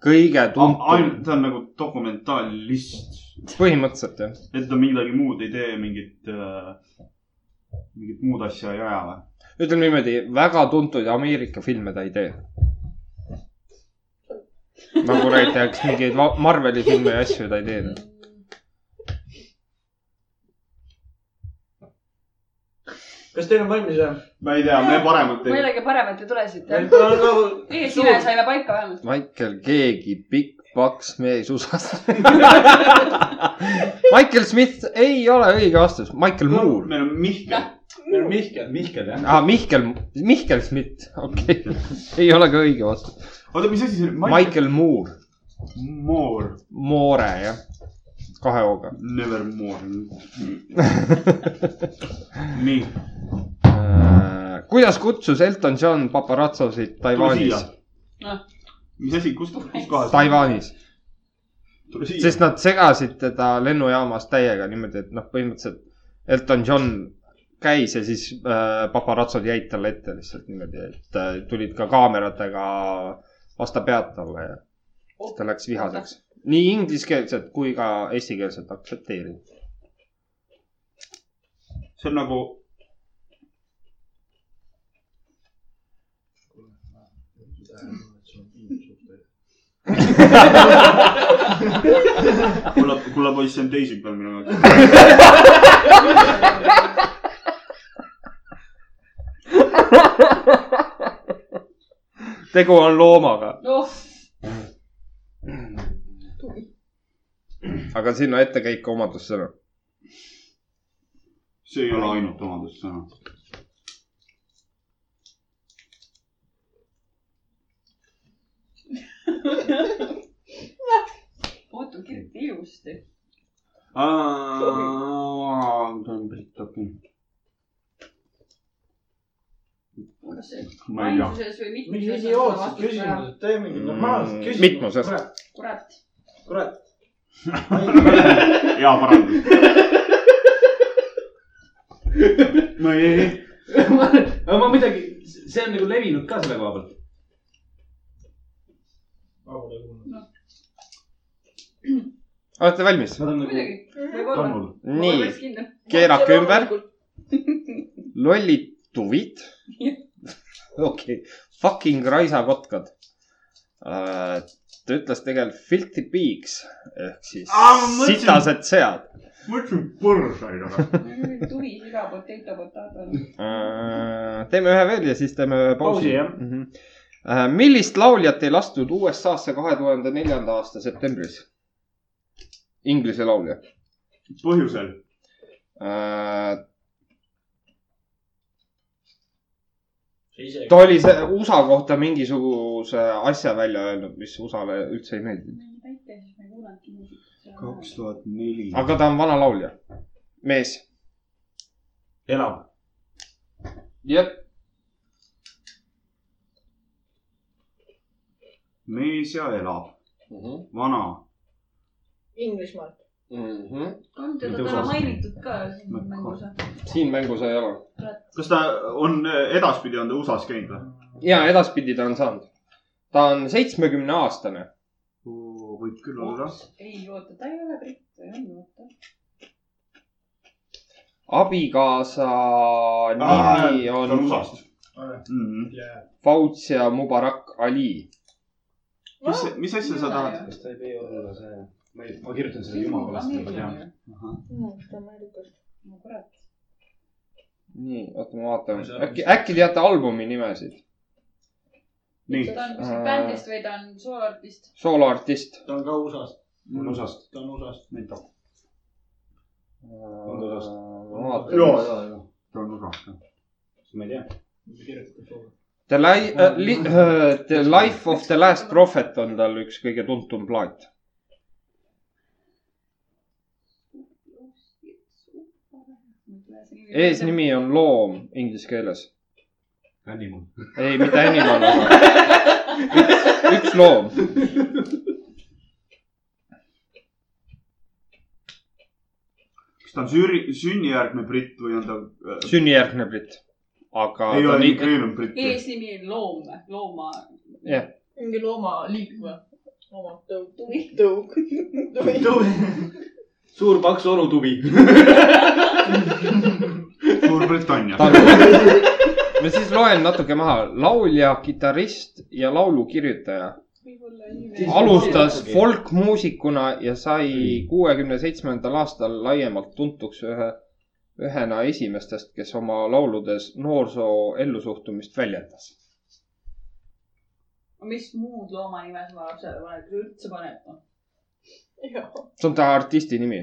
kõige tuntum , ainult , ta on nagu dokumentaalist , põhimõtteliselt jah . et ta midagi muud ei tee , mingit , mingit muud asja ei aja või ? ütleme niimoodi , väga tuntud Ameerika filme ta ei tee . nagu näiteks mingeid va- Marveli filme ja asju ta ei tee . kas teil on valmis või ? ma ei tea , me paremat ei . millegi paremat ei tule siit jah ? ta on nagu eesnime saime paika vähemalt . Michael keegi pikk paks mees USA-st . Michael Smith ei ole õige vastus , Michael Moore . meil on Mihkel . meil on Mihkel . Mihkel jah . ah, . Mihkel , Mihkel Schmidt , okei okay. . ei ole ka õige vastus . oota , mis asi see oli ? Michael Moore , Moore , Moore jah , kahe hooga . never more . nii , Äh, kuidas kutsus Elton John paparatsosid tule siia Taiwanis ?. mis asi , kus , kus kohas ? Taiwanis , tule siia sest . nad segasid teda lennujaamas täiega niimoodi , et noh , põhimõtteliselt Elton John käis ja siis äh, paparatsod jäid talle ette lihtsalt niimoodi , et äh, tulid ka kaameratega vastu pead talle ja Oh. siis ta läks vihaseks . nii ingliskeelset kui ka eestikeelset aktsepteerib . see on nagu . kulla , kulla poiss , see on teisipäev minu jaoks . tegu on loomaga , noh , aga siin on ettekäik omadussõna . see ei ole ainult omadussõna . puutu kirjuta ilusti . ta on pärit , okei . kas see ma ei tea . ainsuses või mis mitmuses idiootsed küsimused , tee mingi normaalse Mm, küsimuse . mitmuses. kurat . kurat . hea parandus . no ei , ei , aga ma midagi , see on nagu levinud ka selle koha pealt . olete valmis ? Nad on nagu muidugi , võib-olla . kannul . nii ,. keerake ümber ,. lollid tuvid . okei okay. , fucking raisakotkad uh, . ta ütles tegelikult filthy pigs ehk siis Aa, ma mõtlesin- sitased sead ma ütlesin põrsaid , aga . tuvi , siga , potato , potato . uh, . teeme ühe veel ja siis teeme ühe pausi, Pausi, jah. pausi . Mm -hmm. millist lauljat ei lastud USA-sse kahe tuhande neljanda aasta septembris ? Inglise laulja . põhjusel . ta oli see USA kohta mingisuguse asja välja öelnud , mis USA-le üldse ei meeldinud . väike , siis ma ei kuulanudki muusikat . kaks tuhat neli . aga ta on vana laulja , mees . elab . jah . mees ja elab , vana . Inglismaal . Mhm. on Mitte teda täna USA-s. mainitud ka siin mängus . siin mängu sai ära . kas ta on , edaspidi on ta USA-s käinud või ? ja edaspidi ta on saanud . ta on seitsmekümne aastane . võib küll olla . ei oota , ta ei ole britt , ta ei ole oota . abikaasa nimi ta on on Mm-hmm. USA-st . Fauzia Mubarak Ali . mis , mis asja sa tahad ?? kas ta ei või olla see ? ma ei , ma kirjutan selle jumala pärast , ma tean . no kurat . nii , oota , ma vaatan . äkki , äkki teate albumi nimesid ? nii , ta on Äh. kuskilt bändist või ta on sooloartist . sooloartist . ta on ka USA-st , mul on osast . ta on USA-st . näita . ma USA-st. vaatan . Jaa. ta on USA-st . ma ei tea . The li- äh, , li- äh, The Life of the Last Prophet on tal üks kõige tuntum plaat . eesnimi on loom inglise keeles . Animal . ei , mitte animal , aga üks, üks loom . kas ta on süüri- , sünnijärgne britt või on ta äh, , sünnijärgne britt . aga . ei ole migreerunud britt või ? eesnimi on loom , looma . mingi loomaliik või ? looma tõug . tuvi . tõug . suur paks olutuvi . Suurbritannia . ma siis loen natuke maha . laulja , kitarrist ja laulukirjutaja . alustas folkmuusikuna ja sai kuuekümne seitsmendal aastal laiemalt tuntuks ühe , ühena esimestest , kes oma lauludes noorsoo ellusuhtumist väljendas . mis muud looma nime sa lapsele paned , kui üldse paned no. ? see on ta artisti nimi .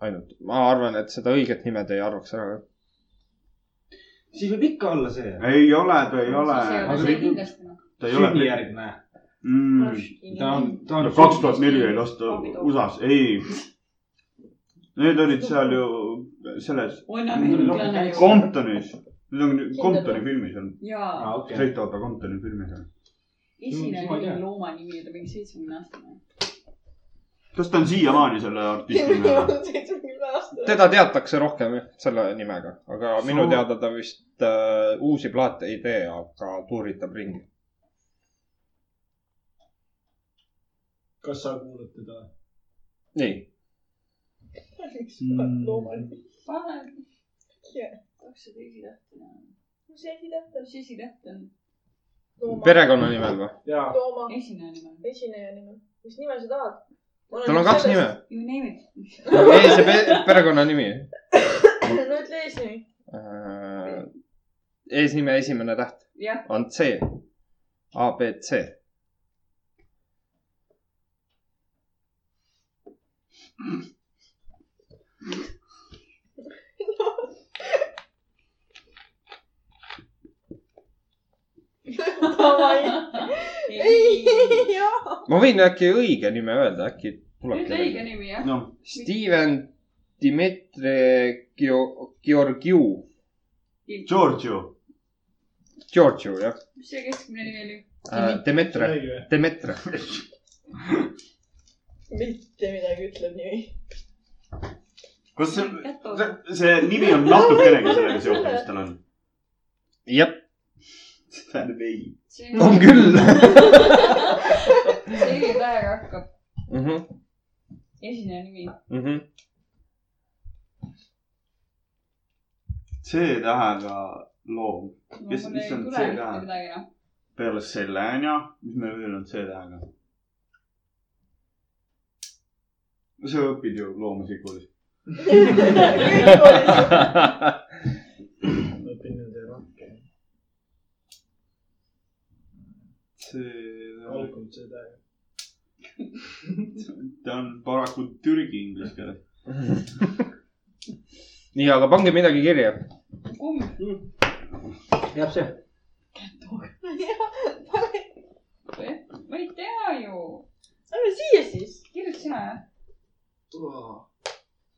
ainult , ma arvan , et seda õiget nimed ei arvaks ära . siis võib ikka olla see . ei ole , ta ei ole . ole see kindlasti noh . ta ei ole . sünnijärgne . ta ta on , ta on . kaks tuhat neli ei lasta USA-s , ei . Need olid seal ju selles on ameeriklane ju . Comptonis , need on Comptoni filmis on , jaa , aa , Ah, okei . sõita auto Comptoni filmis on . esine ma ei tea. mingi looma nimi oli mingi seitsmekümne aastane . kas ta on siiamaani selle artisti nimi või ? seitsmekümne aastane . teda teatakse rohkem jah, selle nimega , aga Soo- minu teada ta vist äh, uusi plaate ei tee , aga tuuritab ringi . kas sa kuulad teda ? nii , loomulikult . pane , kakssada esitähtne . mis mis Mm. esitähtne ? esitäht on ? perekonnanimel või ? jaa , looma esineja nimi on . esineja nime . mis nime sa tahad ? tal on kaks nime . You name it . ei , see pe- perekonnanimi no ütle eesnimi . äh, . eesnime esimene täht jah , on C , A , B , C . ei . jah . ma võin äkki õige nime öelda , äkki ütle tuleb õige . nimi jah . noh , Steven Dmitri Geo- Georgiou , Giorgio , Georgiou jah mis see keskmine nimi oli ? äh, , Demetre , räägi või ? Demetre . mitte midagi ütleb nimi . kas see , see nimi on natukenegi sellega seotud , mis tal on ? jah , tähendab ei . on küll . selge tähega hakkab , mhmh , esineja nimi . mhmh . C tähega loom , Kes- mis on see ka? midagi enam . peale selle on ju , mis meil veel on C tähega ? no sa õpid ju loomusikul . ülikoolis . ma õpin nende rakke . C tähega , algab seda . ta on paraku türgi inglise keeles . nii , aga pange midagi kirja . kumb ? jääb see . ma ei tea ju . lähme siia siis . kirjuta sina jah .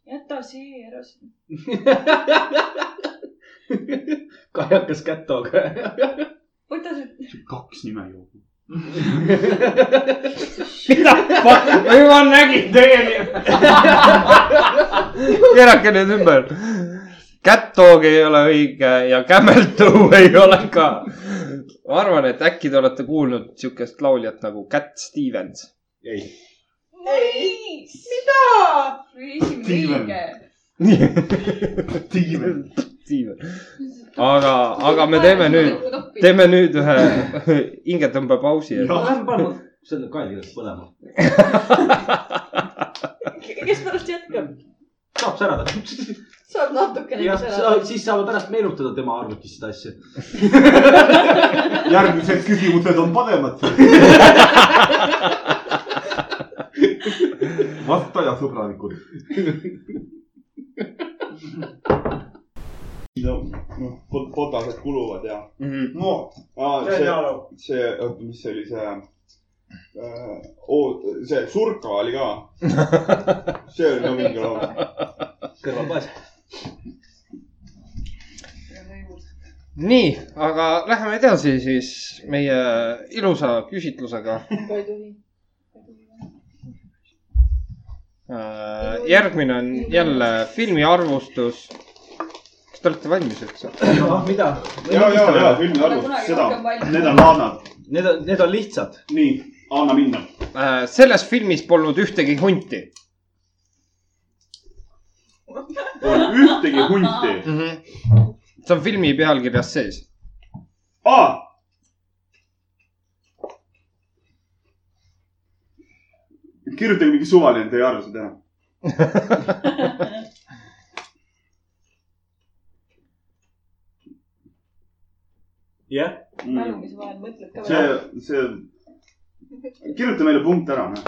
jäta see ära . kajakas kätoga . võta see . kaks nime joob . ma juba nägin teie nime . keerake nüüd ümber . Catdog ei ole õige ja Camel Toe ei ole ka . ma arvan , et äkki te olete kuulnud siukest lauljat nagu Cat Stevens . ei . Nice . mida ? esimene Steven. õige . Steven . aga , aga me teeme nüüd ,. teeme nüüd ühe hingetõmbepausi . Lähme paneme selle kaelkirjast põlema . kes pärast jätkab ? saab särada . saab natukene jah , ära . siis saame pärast meenutada tema arvutis seda asja . järgmised küsimused on paremad . vastaja sõbralikud . no , noh , potased kuluvad ja . Mhm. no , see on see , Jaalo . see , oota , mis see oli , see äh, , see Surka oli ka . see oli ka mingi laul . kõrvalpoes . nii , aga läheme edasi siis meie ilusa küsitlusega ka ei tohi . Äh, järgmine on jälle filmi arvustus . kas te olete valmis üldse ? Noh, mida ? ja , ja , ja filmi alguses seda , need on laadad . Need on , need on lihtsad . nii , anna minna . selles filmis polnud ühtegi hunti on ühtegi hunti . mm . -hmm. see on filmi pealkirjas sees . aa , kirjutage mingi suvaline teie arvuse teha . jah . mälumise vahel mõtled ka Mm. see veel ., see , kirjuta meile punkt ära . noh.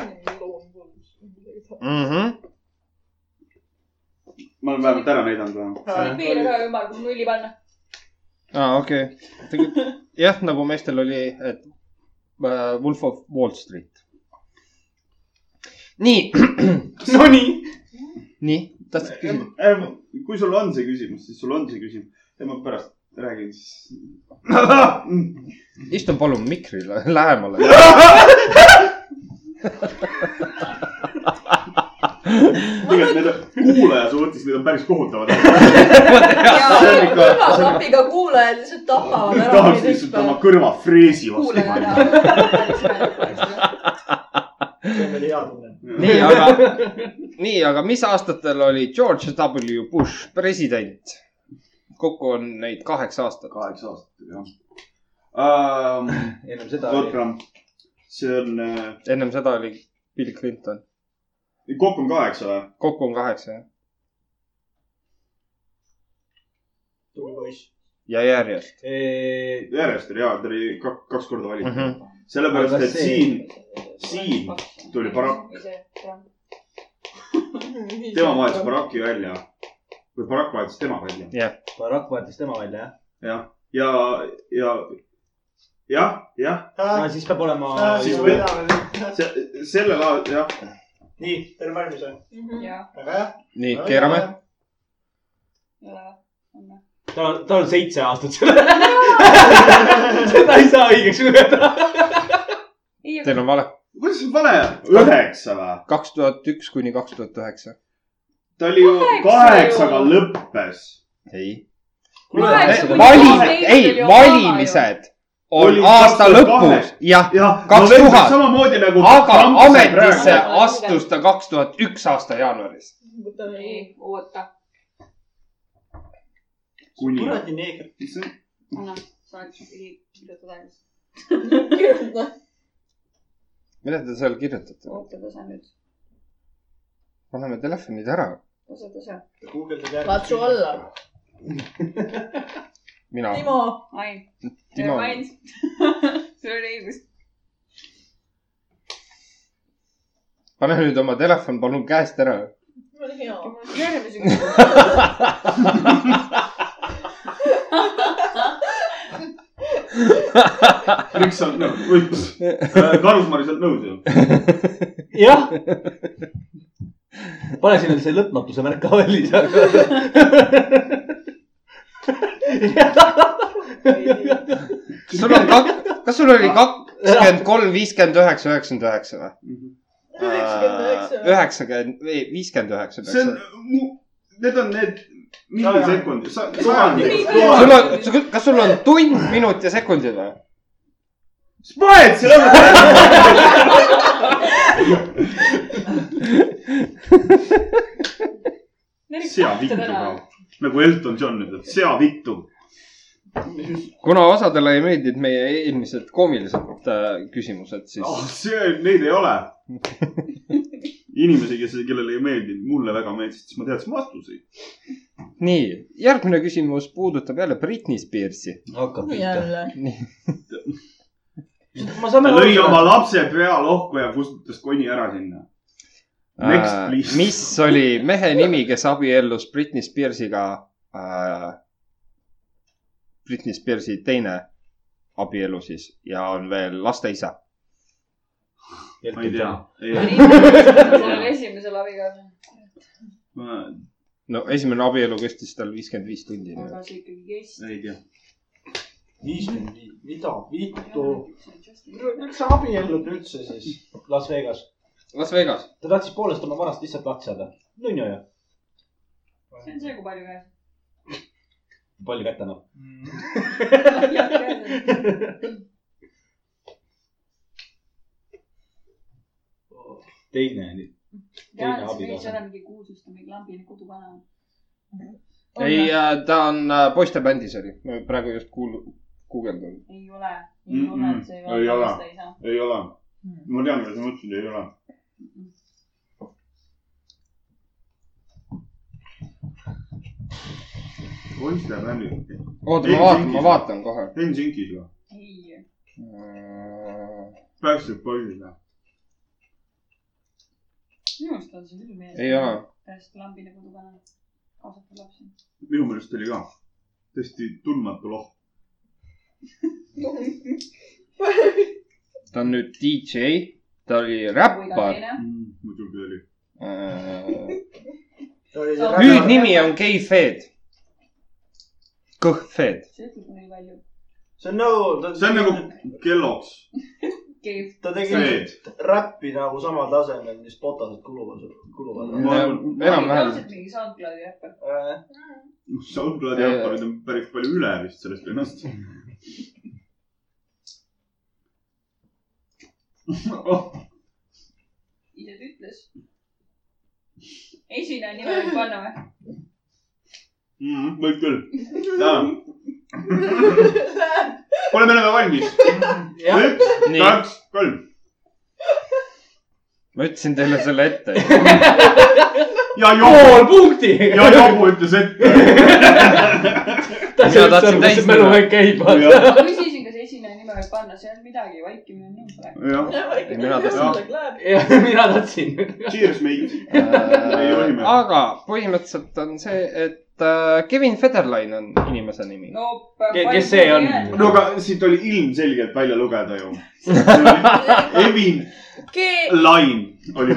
ma olen vähemalt ära näidanud . piir ühe ümar , kui nulli panna . aa , okei okay. . jah , nagu meestel oli , et äh, Wolf of Wall Street . nii , Nonii . nii , tahtsid küsida ? kui sul on see küsimus , siis sul on see küsimus ja ma pärast räägin siis . istun palun mikrile lähemale . tegelikult need on- kuulaja suhtes , need on päris kohutavad . See on ja ikka- kõrvaklapiga kuulajad lihtsalt tapavad ära . tahaks lihtsalt oma kõrva freesi vastu panna . see on veel hea tunne . nii , aga , nii , aga mis aastatel oli George W Bush president ? kokku on neid kaheksa aastat . kaheksa aastat oli jah um, . ennem seda oli . Wolfram , see on äh, , ennem seda oli Bill Clinton . kokku on kaheksa või ? kokku on kaheksa , jah . tubli poiss . ja järjest . järjest oli jaa , ta oli ka- kaks korda valitud mm . Mhm. -hmm. sellepärast , Aga et see- siin Siin tuli Barack. . tema vahetas . Baracki välja või Barack vahetas tema välja . Barack vahetas tema välja , jah ? jah , ja , ja , jah , jah , aa , Ah, siis peab olema . siis Ah. siis või- võidame . sellel aastal , jah . nii , teil on valmis või ? Mhm. jah , väga hea . nii , keerame .. tal on , tal on seitse aastat seda . seda ei saa õigeks lugeda . Teil on vale . kuidas see vale , üheksa või ? kaks tuhat üks kuni kaks tuhat üheksa . ta oli ju Kaheksa kaheksaga ju. lõppes . ei . Valimised valimised , ei , oli valimised on Oli aasta 2002. lõpus , jah . jah , Kaks tuhat. samamoodi nagu . aga ametisse praegu. astus ta kaks tuhat üks aasta jaanuaris . ei , oota , kuni . kuradi neeger . anna , sa oled ei kirjuta tagasi . mida te seal kirjutate ? oota , tase nüüd , paneme telefonid ära . tase , tase . guugeldad järgi . katsu . alla . mina , Timo , Ain , Timo , Ain , sul oli õigus . pane nüüd oma telefon palun käest ära . mul on hea . järgmise miks sa oled nõus , või Äh, Karusmari , sa oled nõus ju ? jah . pane sinna see lõpmatuse märk ka veel lisaks . kas sul on kak- , kas sul oli kakskümmend kolm , viiskümmend üheksa , üheksakümmend üheksa või ? Äh, üheksakümmend , ei , viiskümmend üheksa see peaks on olema ., need on need millisekundid , sa , sajandid . sul on , kas sul on tund , minut ja sekundid või ? sa paned selle ära . sea vittu ka . nagu Elton John ütleb , sea vittu . kuna osadele ei meeldinud meie eelmised koomilised äh, küsimused , siis oh. Ah, see , neid ei ole . inimesi , kes , kellele ei meeldinud , mulle väga meeldis , siis ma teadsin vastuseid . nii , järgmine küsimus puudutab jälle Britney Spearsi . hakkab pihta . jälle . ma saan ta aru lõi . oma lapse pea lohku ja kustutas koni ära sinna . Next, please. Äh, mis oli mehe nimi , kes abiellus Britney Spearsiga äh, ? Britney Spearsi teine abielu siis ja on veel laste isa . ma ei tea . sellel esimesel abikaasal . ma no esimene abielu kestis tal viiskümmend viis tundi . aga see ikkagi kestis . ei tea . viiskümmend viis , mida vittu ? miks sa abiellud üldse siis ? Las Vegas . Las Vegas . ta tahtis poolest oma varast lihtsalt lahti saada . nunnu ju . see on see , kui palju käes . palju kätte noh. annab ? teine oli . tean , Teine et see mees abikaasa. ei ole mingi kuulsus , ta on mingi lambine koduvana . ei , ta on äh, poistebändis oli , ma praegu just kuul- , guugeldan . ei ole , ei ole , Mm-mm. et see Ei ei ole. ole lasteisa . ei ole . ma tean , mida sa mõtlesid , ei ole . poiste bändid . oota , Ei, ma vaatan , mingis- ma vaatan kohe . Helsingis või ? ei , Äh, Backstreet Boysid või ? minu arust on see küll mees . ei ole . täiesti lambine koduvana . kasvatab lapsi . minu meelest oli ka . tõesti tundmatu loht . ta on nüüd DJ , ta oli räppar . Hmm. Äh, muidugi oli . hüüdnimi on Keifed . Kõhfed . see on nagu , ta see on nagu kelloks . ta see tegi , räppi nagu samal tasemel , mis botased kuluvad , kuluvad . Ma arvan- enam-vähem . mingi SoundCloudi räppar . SoundCloudi jalgpallurid Noh, on päris palju üle vist sellest vennast . Oh. ise ta ütles . esineja nime võib panna või ? Hmm, võib küll . kuule , me oleme valmis . üks , Nii. kaks , kolm . ma ütlesin teile selle ette . ja pool Jobu , punkti . ja Jobu ütles , et . Mina tahtsin täis minna. mälu käib . jah , ma küsisin , kas esineja nime võib panna , see ei olnud midagi , vaikimine on nõus . jah . mina tahtsin . mina tahtsin . Cheers , mate . Ei, olime. aga põhimõtteliselt on see , et äh, Kevin Federline on inimese nimi . no . Ke- kes see on? no aga siit oli ilmselgelt välja lugeda ju . Evin Lain oli .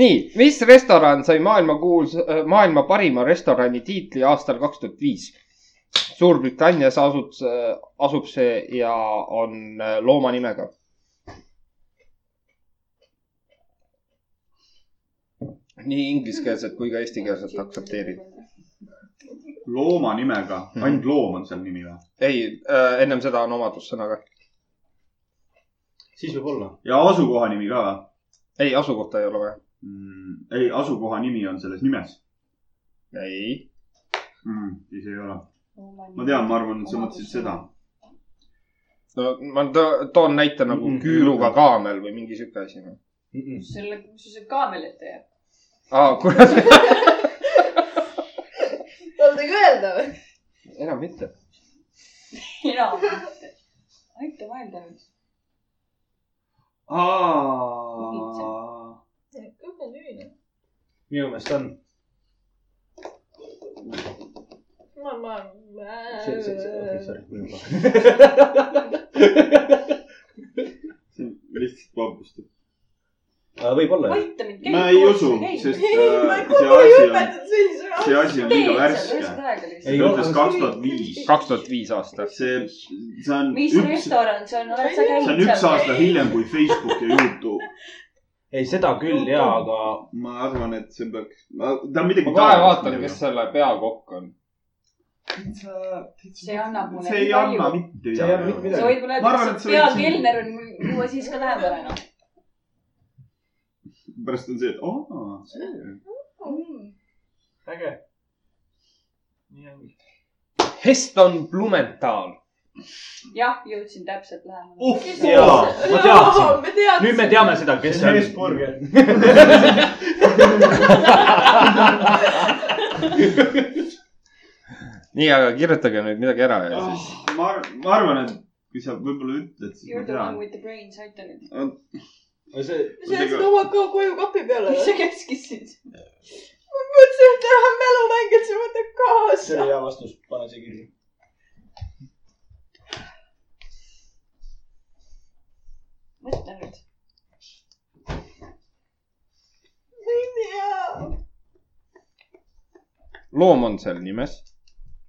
nii , mis restoran sai maailmakuuls- , maailma parima restorani tiitli aastal kaks tuhat viis ? Suurbritannias asub , asub see ja on äh, looma nimega . nii ingliskeelset kui ka eestikeelset aktsepteerid . looma nimega , ainult loom on seal nimi või ? ei , ennem seda on omadussõna ka . siis võib-olla . ja asukoha nimi ka või ei , asukohta ei ole vaja . mm, ? ei , asukoha nimi on selles nimes ei . mm, . siis ei ole . ma tean , ma arvan , et sa mõtlesid seda . no ma to- toon näite nagu mm Mhm. -hmm. küüruga kaamel või mingi sihuke asi . noh. selle , kus see kaamel ette jääb . aa , kurat , tal midagi öelda või ? enam mitte . enam . aita mõelda nüüd . kõige lüüne . minu meelest on . ma , ma , ma . Äh. lihtsalt vabandust . võib-olla jah . aita mind . ma ei usu , sest ma äh, see kogu aeg asi on , õpetan sellise see asi on liiga värske . värske ta Ei ütles ole. kaks tuhat viis . kaks tuhat viis aasta . see , see on mis üks , see restoran see on , oled sa käinud on üks aasta hiljem kui Facebook ja Youtube . ei , seda küll ja , aga ma arvan , et see peaks , ta on midagi . ma kohe vaatan , kes selle peakokk on . See annab mulle see ei nii anna palju. mitte See ei anna midagi . mitte midagi. sa võid mulle Ma arvan, öelda , et kas sa see võid siin- peakelner on , juua siis ka lähedale noh . pärast on see , et aa , see . äge . nii ongi . Heston Blumenthal . jah , jõudsin täpselt lähemale . oh jaa , ma teadsin . me teadsime . nüüd me teame seda , kes see on see on . Hesburger . nii , aga kirjutage nüüd midagi ära ja siis . Ah, ma , ma arvan , et kui sa võib-olla ütled , siis You ma are the one tean . with the brains , aita nüüd . sa jätsid oma ka koju kapi peale mis või sa ? keskisid ? mõtlesin , et ära mälumäng , et sa võtad kaasa see . oli hea vastus , pane see kirja . mõtle nüüd . ei tea . loom on seal nimes .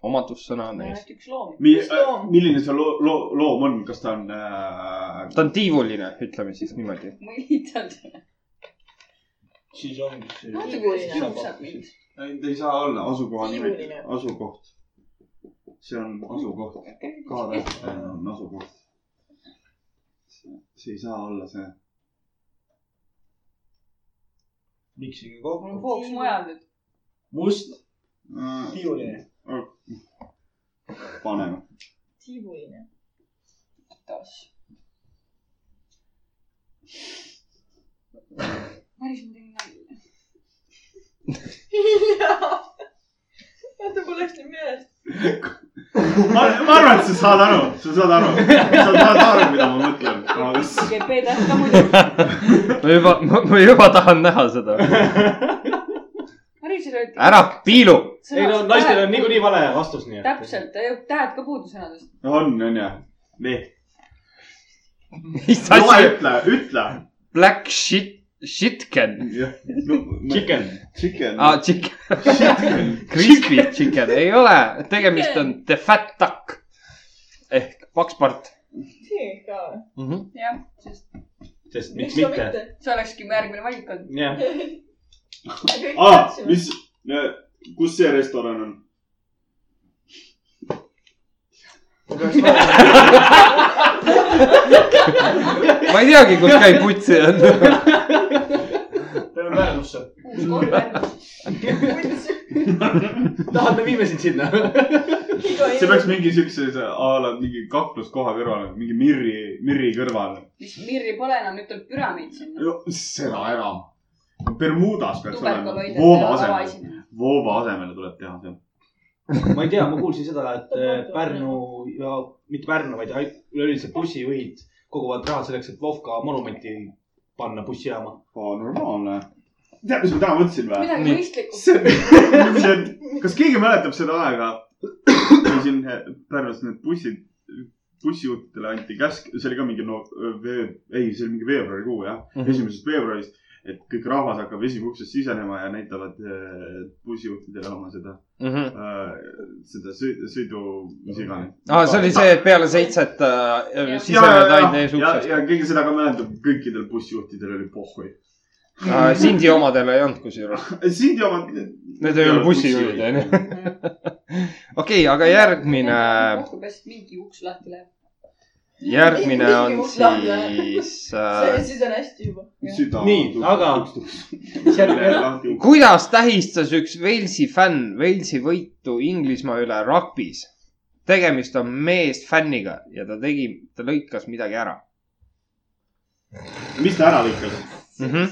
omadussõna on mul on ees . ainult üks loom . Mi- äh, Mis loom? , milline see loo- , loo- , loom on , kas ta on äh, , ta on tiivuline , ütleme siis niimoodi . mõnitad . siis ongi see . Tiivuline. kiusab mind . ei , ta ei saa olla asukoha nimi Tiivuline. , asukoht . see on asukoht , KV Äh, on asukoht . see ei saa olla see . miksige mul on kokku . fookus mujal nüüd . must , tiiuline . äh, paneme . tiibuline . taas . Maris , ma tegin nalja . jaa . vaata , mul läks nüüd meelest . ma , ma arvan , et sa saad aru , sa saad aru , sa saad aru , mida ma mõtlen . KP täht ka muidugi . ma juba , ma juba tahan näha seda . Maris , teisel olid . ära piilu . ei no naistel on . niikuinii vale vastus nii . täpselt , tähed ka puudu sõnadest . on , on ju ? nii . mis no asi ? ütle , ütle . Black shit , shitken . Chicken . Chicken aa , chicken , Chicken . crispy chicken , ei ole , tegemist on the fat duck ehk pakspart see ka . mm . -hmm. jah , sest sest miks mitte ?? see olekski mu järgmine valik olnud . jah , aa , mis , kus see restoran on ? ma ei teagi , kus käib putsi Mhm. on . peame Pärnusse . uus kord Pärnus . tahad , me viime sind sinna . see peaks mingi siukse see- a la mingi kakluskoha kõrval , mingi mirri , mirri kõrval . mis Mirri pole enam , nüüd tuleb püramiid sinna . seda enam . Bermudas peaks olema . tuberkuloidide vooba asemele , avaesimene . vooba asemele tuleb teha see . ma ei tea , ma kuulsin seda , et eh, Pärnu ja mitte Pärnu , vaid ai- üleüldiselt bussijuhid koguvad raha selleks , et Vovka monumenti panna bussijaama . aa , normaalne . tead , mis ma täna mõtlesin või ? midagi Nii. mõistlikku . see , kas keegi mäletab seda aega , kui siin eh, Pärnus need bussid , bussijuhtidele anti käsk , see oli ka mingi no , ei , see oli mingi veebruarikuu jah , Mhm. esimesest veebruarist , et kõik rahvas hakkab esimesest sisenema ja näitavad eh, bussijuhtidele oma seda Mhm. äh, seda sü- , sõidu , mis iganes . aa , see oli see , et peale seitset äh, sisened ainult ees ja , ja uksest . keegi seda ka mäletab , kõikidel bussijuhtidel oli pohhui . Sindi omadel ei olnud kusjuures . siin jõuavad . Need ei ole bussijuhid , onju . okei , aga järgmine , kokku peast mingi uks lahti läheb . järgmine on siis äh, . siis on hästi juba . süda . Nii, aga- järgmine lahti . kuidas tähistas üks Walesi fänn Walesi võitu Inglismaa üle ragbis ? tegemist on meest fänniga ja ta tegi , ta lõikas midagi ära mis ta ära lõikas ? mm . -hmm.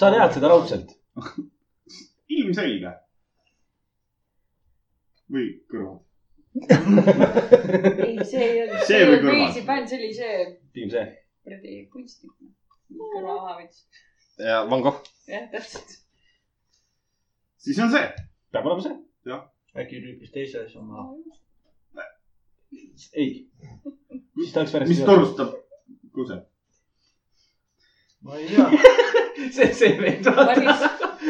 sa tead seda raudselt ? ilmselge . või kõrval . ei , see ei olnud . see või kõrval . bänd , see oli see pigem see . kuradi kunstnik . kõrvahaavits . ja Van Gogh . jah , täpselt . siis on see . peab olema see . äkki lükkis teise asja maha . ei . siis ta oleks mis ? torustab kuse ? ma ei tea . see , see ei meeldi . Maris ,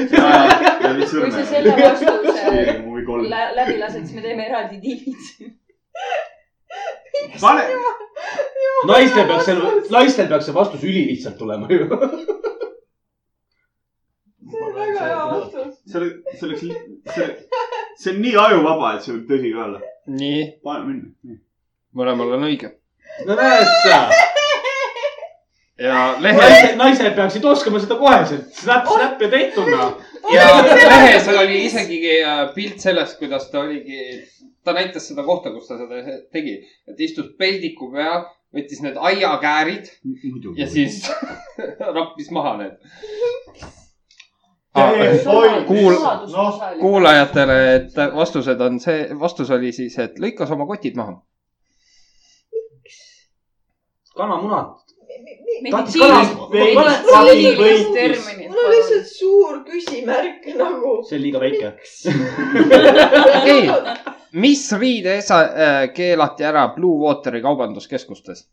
ja mis kui sa sõrme ? selle vastuse või kolm . lä- läbi lased , siis me teeme eraldi tiimid . pane , naistel peaks see , naistel peaks see vastus ülilihtsalt tulema ju . see on väga hea . vastus . see oli , see oleks , see , see on nii ajuvaba , et see võib tõsi ka olla . nii , pane minna . mõlemal on õige . no näed sa , ja lehes , naised , naised peaksid oskama seda koheselt . Snap , snap ja tehtud noh . ja lehes oli isegi äh, pilt sellest , kuidas ta oligi , ta näitas seda kohta , kus ta seda tegi , et istus peldiku peal , võttis need aiakäärid ja muidugi . siis rappis maha need . Ah. oi , Ah, kuul- noh , kuulajatele , et vastused on see , vastus oli siis , et lõikas oma kotid maha . kanamunad . mingid Veits, tiimid veits. . mul on lihtsalt suur küsimärk nagu . see on liiga väike . okei , mis riideesa äh, keelati ära Blue Wateri kaubanduskeskustes ?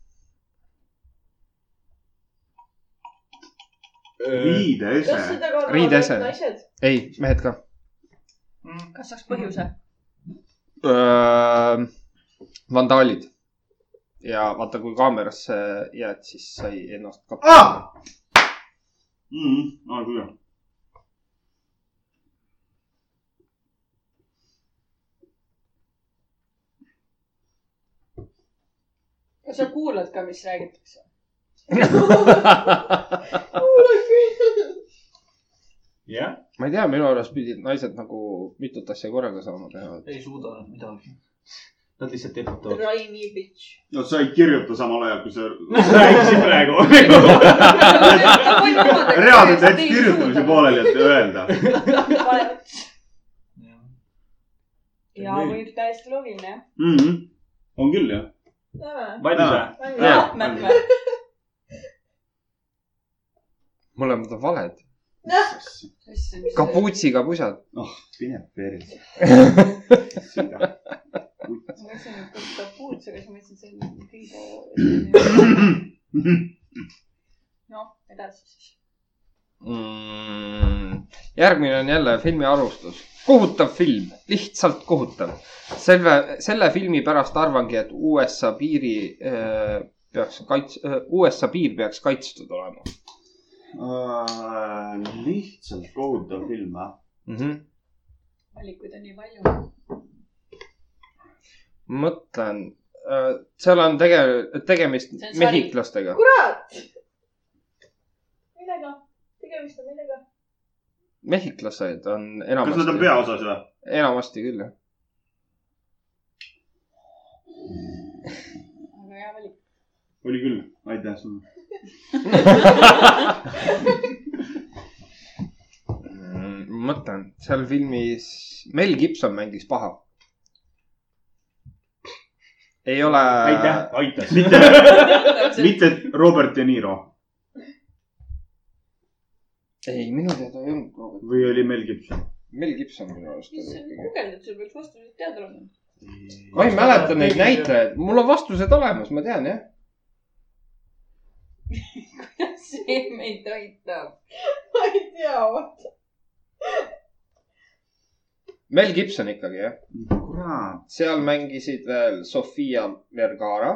riide ese kas . seda kannavad Riide ese. ainult naised ? ei , mehed ka . kas saaks põhjuse ? vandaalid . ja vaata , kui kaamerasse jääd , siis sai ennast ka ah! . Mm -hmm. ah, kuule . kas sa kuulad ka , mis räägitakse ? jah . ma ei tea , minu arust pidid naised nagu mitut asja korraga saama teha . ei suuda nad midagi . Nad lihtsalt tekitavad . Raimi bitch . no sa ei kirjuta samal ajal , kui sa rääkisid praegu . reaalselt jäid kirjutamise . pooleli , et öelda . ja võib täiesti loogiline jah . Mhm. on küll jah . näeme . valmis või ? Jaa. mähkme . mõlemad on valed . issand , mis see , kapuutsiga pusad . mine perse . ma mõtlesin , et kas ta puudus , aga siis ma mõtlesin , et see on kõige . noh , edasi siis . Mm, järgmine on jälle filmi alustus . kohutav film , lihtsalt kohutav . selle , selle filmi pärast arvangi , et USA piiri äh, peaks kaits- , USA piir peaks kaitstud olema Äh, lihtsalt kohutav film , jah . mm . -hmm. valikuid on nii palju . mõtlen äh, , seal on tege- , tegemist See on sari. mehhiklastega . kurat . millega ? tegemist on millega ? mehhiklased on kas nad on enamasti , peaosas või ? enamasti küll jah . aga hea valik . oli küll , aitäh sulle . mõtlen , seal filmis Mel Gibson mängis paha . ei ole . aitäh , aitas . mitte , mitte Robert De Niro ei , minu teada ei olnud Robert . või oli Mel Gibson . Mel Gibson minu arust mis oli sa nüüd ikkagi . guugeldad , sul peaks vastused teada olema . ma ei mäleta neid näitajaid , mul on vastused olemas , ma tean jah . see meid toitab . ma ei tea , vaata . Mel Gibson ikkagi jah . kurat , seal mängisid veel Sofia Vergara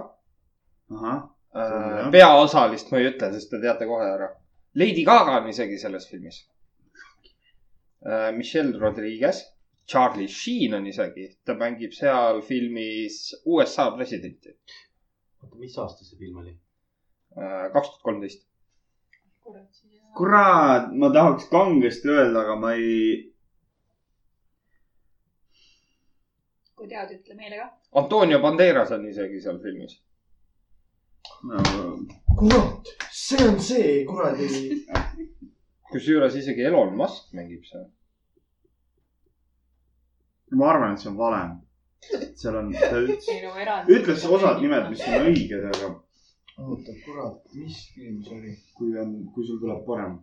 ahah , äh, jah. . peaosalist ma ei ütle , sest te teate kohe ära . Lady Gaga on isegi selles filmis äh, . Michelle Rodriguez , Charlie Sheen on isegi , ta mängib seal filmis USA presidenti oota , mis aasta see film oli ? äh, kaks tuhat kolmteist . kurat , siia . kurat , ma tahaks kangesti öelda , aga ma ei . kui tead , ütle meile ka . Antonio Banderas on isegi seal filmis . kurat , see on see kuradi . kusjuures isegi Elon Musk mängib seal . ma arvan , et see on vale . seal on , ta ütles , ei no nagu erand . ütles osad nimed , mis on õiged , aga oota , kurat , mis film see oli ? kui on , kui sul tuleb parem .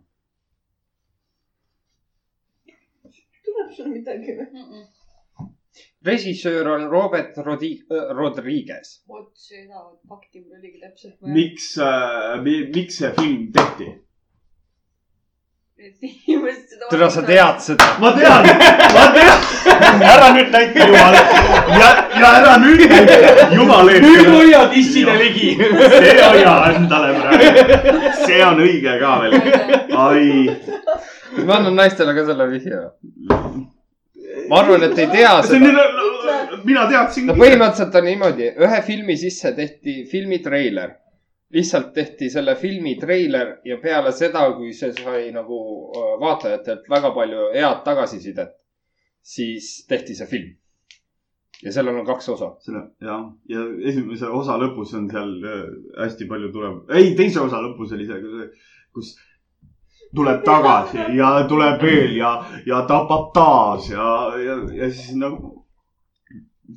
tuleb sul midagi või ? mm . -mm. režissöör on Robert Rodi- , Rodriguez . vot seda fakti mul oligi täpselt vaja . miks äh, , miks see film tehti ? tere , sa tead . seda . ma tean , ma tean . ära nüüd näita jumala , ja , ja ära nüüd näita jumala nüüd eest . hoia dissile ligi . see hoia endale praegu , see on õige ka veel . ai , ma annan naistele ka selle vihje . ma arvan , et ei tea see on seda . nii , mina teadsin no . põhimõtteliselt on niimoodi , ühe filmi sisse tehti filmitreiler . lihtsalt tehti selle filmi treiler ja peale seda , kui see sai nagu äh, vaatajatelt väga palju head tagasisidet , siis tehti see film . ja sellel on kaks osa . selle , jah , ja esimese osa lõpus on seal äh, hästi palju tuleb , ei , teise osa lõpus oli see , kus tuleb tagasi ja tuleb veel ja , ja tapab taas ja , ja , ja siis nagu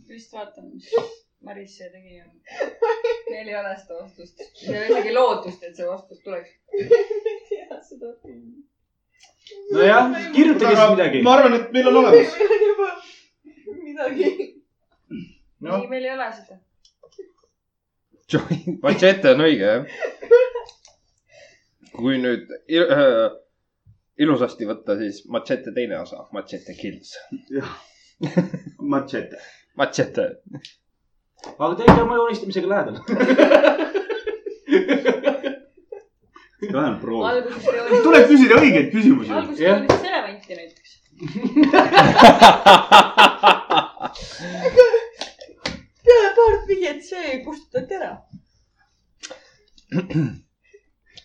just vaatan , mis Maris see tegi . Neil ei ole seda vastust . Neil ei ole isegi lootust , et see vastus tuleks . ma ei tea seda filmi . nojah , kirjutage siis midagi . ma arvan , et meil on olemas . meil on juba midagi . Noh. ei , meil ei ole seda . Johnny Machete on õige , jah . kui nüüd il- äh, ilusasti võtta , siis Machete teine osa , Machete Kills , Machete . Machete . aga ta ei tea , ma olen unistamisega lähedal . vähemalt proovi . alguses ei olnud . tuleb küsida õigeid küsimusi . alguses ei olnud vist elevanti näiteks . peale paart vihjet see kustutati ära .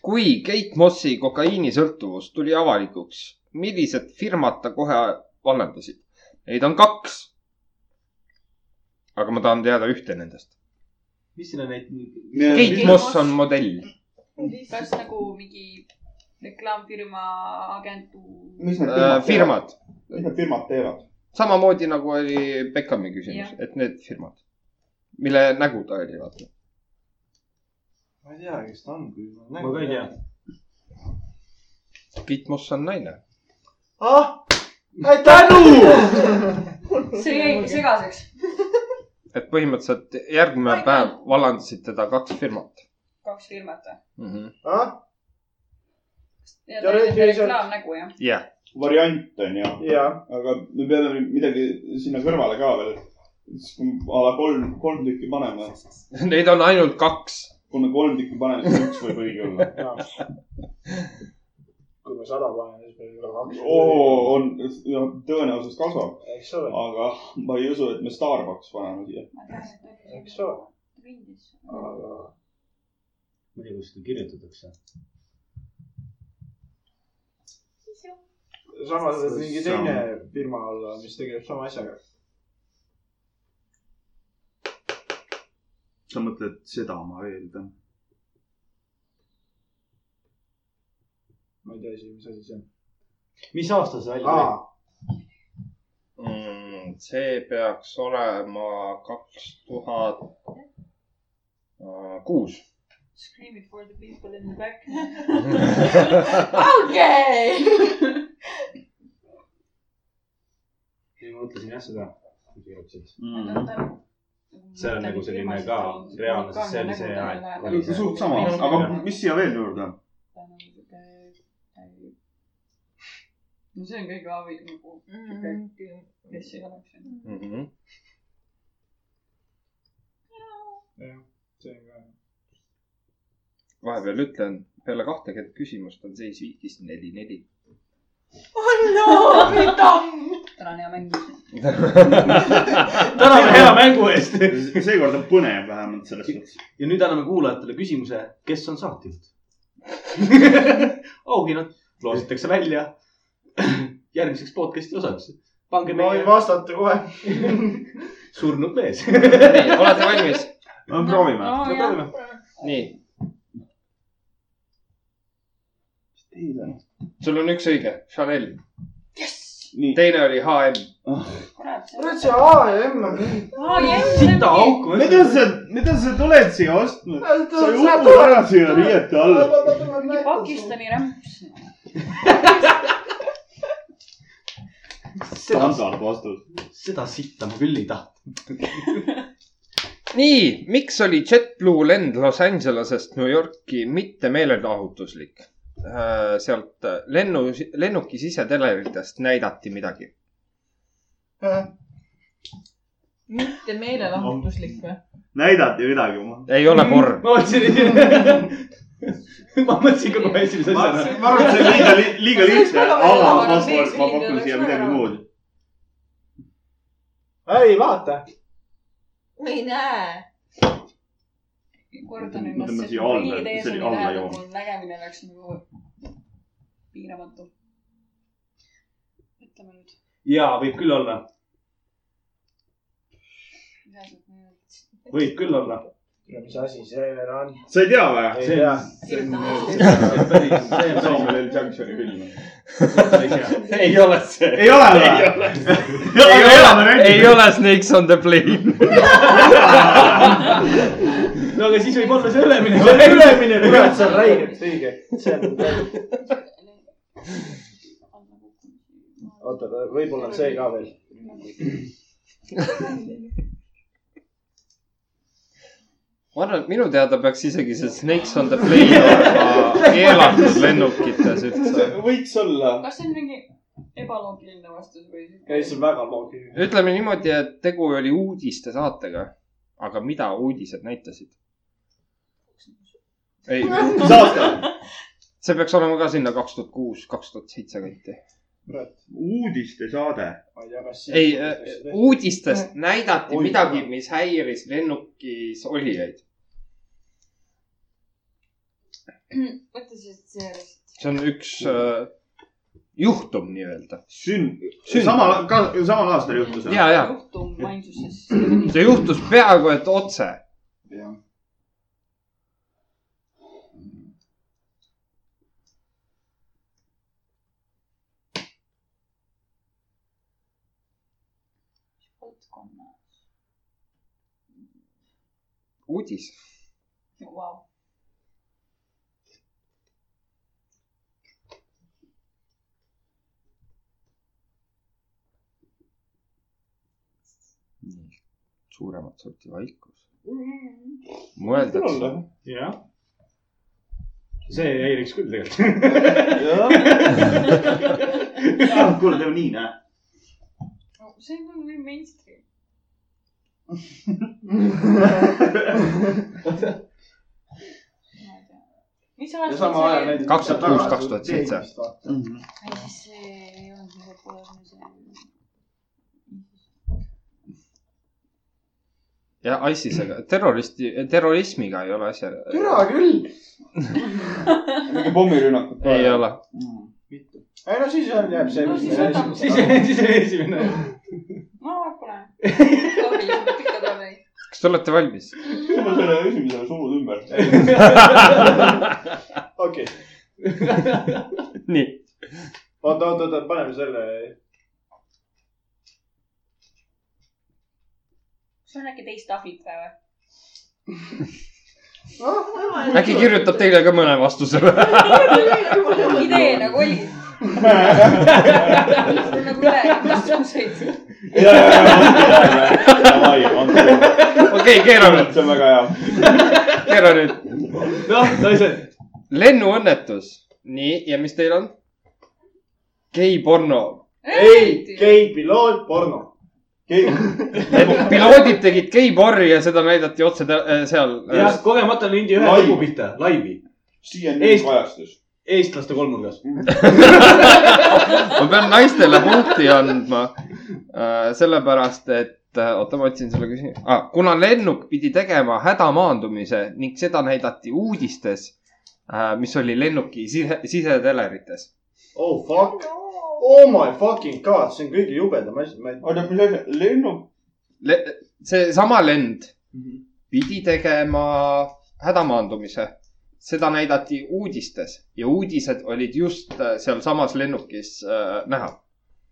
kui Keit Mossi kokaiinisõltuvus tuli avalikuks , millised firmad ta kohe vallandasid ? Neid on kaks . aga ma tahan teada ühte nendest . mis selle neid , Keit Moss on modell . Äh, kas nagu mingi reklaamfirma agentuur ? mis need Äh, firmad , mis need firmad teevad ? samamoodi nagu oli Beckhami küsimus , et need firmad , mille nägu ta oli , vaata . ma ei tea , kes ta on . ma ka ei tea . Tiit Moss on naine . ah , tänu . see jäi segaseks . et põhimõtteliselt järgmine Ma ei päev vallandasid teda kaks firmat kaks firmat või ? mm . -hmm. ah , ja Ja ta reedel- oli reklaamnägu jah . Yeah. variant on ju , jaa . aga me peame nüüd midagi sinna kõrvale ka veel . a la kolm , kolm tükki paneme . Neid on ainult kaks . kui me kolm tükki paneme , siis üks võib õige olla . kui me sada paneme , siis meil on kaks oo , on , tõenäosus kasvab , eks ole , aga ma ei usu , et me Starbucks paneme siia . ma tean , et ta oli eks ole . nagu Rindis . aga ma ei tea , kuidas seda kirjutatakse . samas on mingi teine firma alla , mis tegeleb sama asjaga . sa mõtled seda , ma eeldan . ma ei tea isegi , mis asi see on . mis aastal see välja tuli ? aa , mm, . see peaks olema kaks tuhat kuus . Scream it for the people in the back . okei . ei , ma mõtlesin jah seda , kui sa kirjutasid . Mm. Mm. seal on nagu selline ka reaalne, sest see oli see aeg, oli see- suht sama , aga mis siia veel juurde on ? no see on kõige abi nagu sihuke , kes ei oleks . mm . -hmm. see on ka . vahepeal ütlen , peale kahtekümmet küsimust on seis viigis neli , neli . no , mida ? tänan hea mängu eest . täname hea mängu eest . seekord on põnev vähemalt selles suhtes . ja nüüd anname kuulajatele küsimuse , kes on saatejuht ? auhinnad loositakse välja järgmiseks podcast'i osaks . pange ma võin meie vastata kohe . surnud mees . nii , olete valmis ? no proovime . proovime . nii . sul on üks õige , Chanel . nii , teine oli HM . kurat , see kurat , see A ja M on nii . sita . auku . mida sa , mida sa tuled siia ostma ? sa ei upu Sa- ära siia riiete alla . mingi Pakistani rämps . seda , standard vastus . seda sitta ma küll ei tahtnud . nii , miks oli JetBlue lend Los Angelesest New Yorki mitte meelelahutuslik ? sealt lennu , lennuki siseteleritest näidati midagi . mitte meelelahutuslik või ? näidati midagi . ei ole porn . ma mõtlesin , ma mõtlesin ka kohe esimese ma asjana . ma arvan , et see on liiga , liiga See lihtne , oleks väga aga väga ma väga pakun , ma pakun mees- siia mees- midagi mees- muud . ei vaata . ma ei näe . kordan Ma ennast , tõmban sest siia alla, prillid ees see oli on alla lähedal , joon. mul nägemine läks nagu piiramatu . ütleme nüüd , ja võib küll olla , mida sealt nüüd . võib küll olla . mis asi see veel on ? sa ei tea või ? ei tea . see on päris , see on Samuel L Jacksoni film . päris hea . ei ole see . ei ole või ? aga elame ei nüüd . ole Snakes on the plane . no aga siis võib olla see ülemine . see on ülemine , kurat , see on räigelt õige . see on räigelt . oota , võib-olla on see ka veel . ma arvan , et minu teada peaks isegi see Snakes on the plane olema keelatud lennukites üldse . võiks olla . kas see on mingi ebaloogiline vastus või ? ei , see on väga loogiline . ütleme niimoodi , et tegu oli uudistesaatega . aga mida uudised näitasid ? ei , mis aasta ? see peaks olema ka sinna kaks tuhat kuus , kaks tuhat seitse kanti . uudistesaade . ma ei tea , kas ei , äh, uudistest näidati midagi , mis häiris lennukis olijaid . mõtle siis , et see oli see on üks äh, juhtum nii-öelda . sünn- , Sünn- samal , ka samal aastal juhtus . ja , ja juhtum vaimsuses . see juhtus peaaegu et otse . valdkonna . uudis . Vau , suuremat sorti vaikus . mõeldakse , jah . see häiriks küll tegelikult . kuule , teeme nii , näe . see on nagu nii mainstream . ma ei tea . mis ja aasta samal see ajal oli ? näiteks . 2006, 2007. . ei , siis see ei olnud nii populaarne , see ja ISISega , terroristi , terrorismiga ei ole asja . türa küll . mingi pommirünnakut ei . ole . ei no siis on , jääb see . No siis võtame. siis , siis oli esimene . ma pole . loogiline , ikka pole . kas te olete valmis ? ma selle esimese surud ümber . okei , nii , oota , oota , oota , paneme selle . see on äkki teist Aafrika või ? äkki kirjutab teile ka mõne vastuse või ? idee nagu oli . see on nagu ülejäänud vastuseid . ja , ja , ja , davai , andke mulle . okei , keera nüüd , see on väga hea . keera nüüd . noh , naised . lennuõnnetus . nii , ja mis teil on ? geiporno . ei , gei piloot , porno . gei , piloodid tegid geiporri ja seda näidati otse tä- äh, seal . jah , kogemata lindi ühe Laivi. lõbu pihta , laivi . CNN Eest- kajastus . eestlaste kolmnurgas . ma pean naistele punkti andma . sellepärast , et äh, oota , ma otsin selle küsimuse ah, . kuna lennuk pidi tegema hädamaandumise ning seda näidati uudistes , mis oli lennuki sise , sisetelerites . oh fuck , oh my fucking god , see on kõige jubedam asi , ma ei . oota , mis asja , lennuk ? seesama lend pidi tegema hädamaandumise . seda näidati uudistes ja uudised olid just äh, sealsamas lennukis äh, näha ,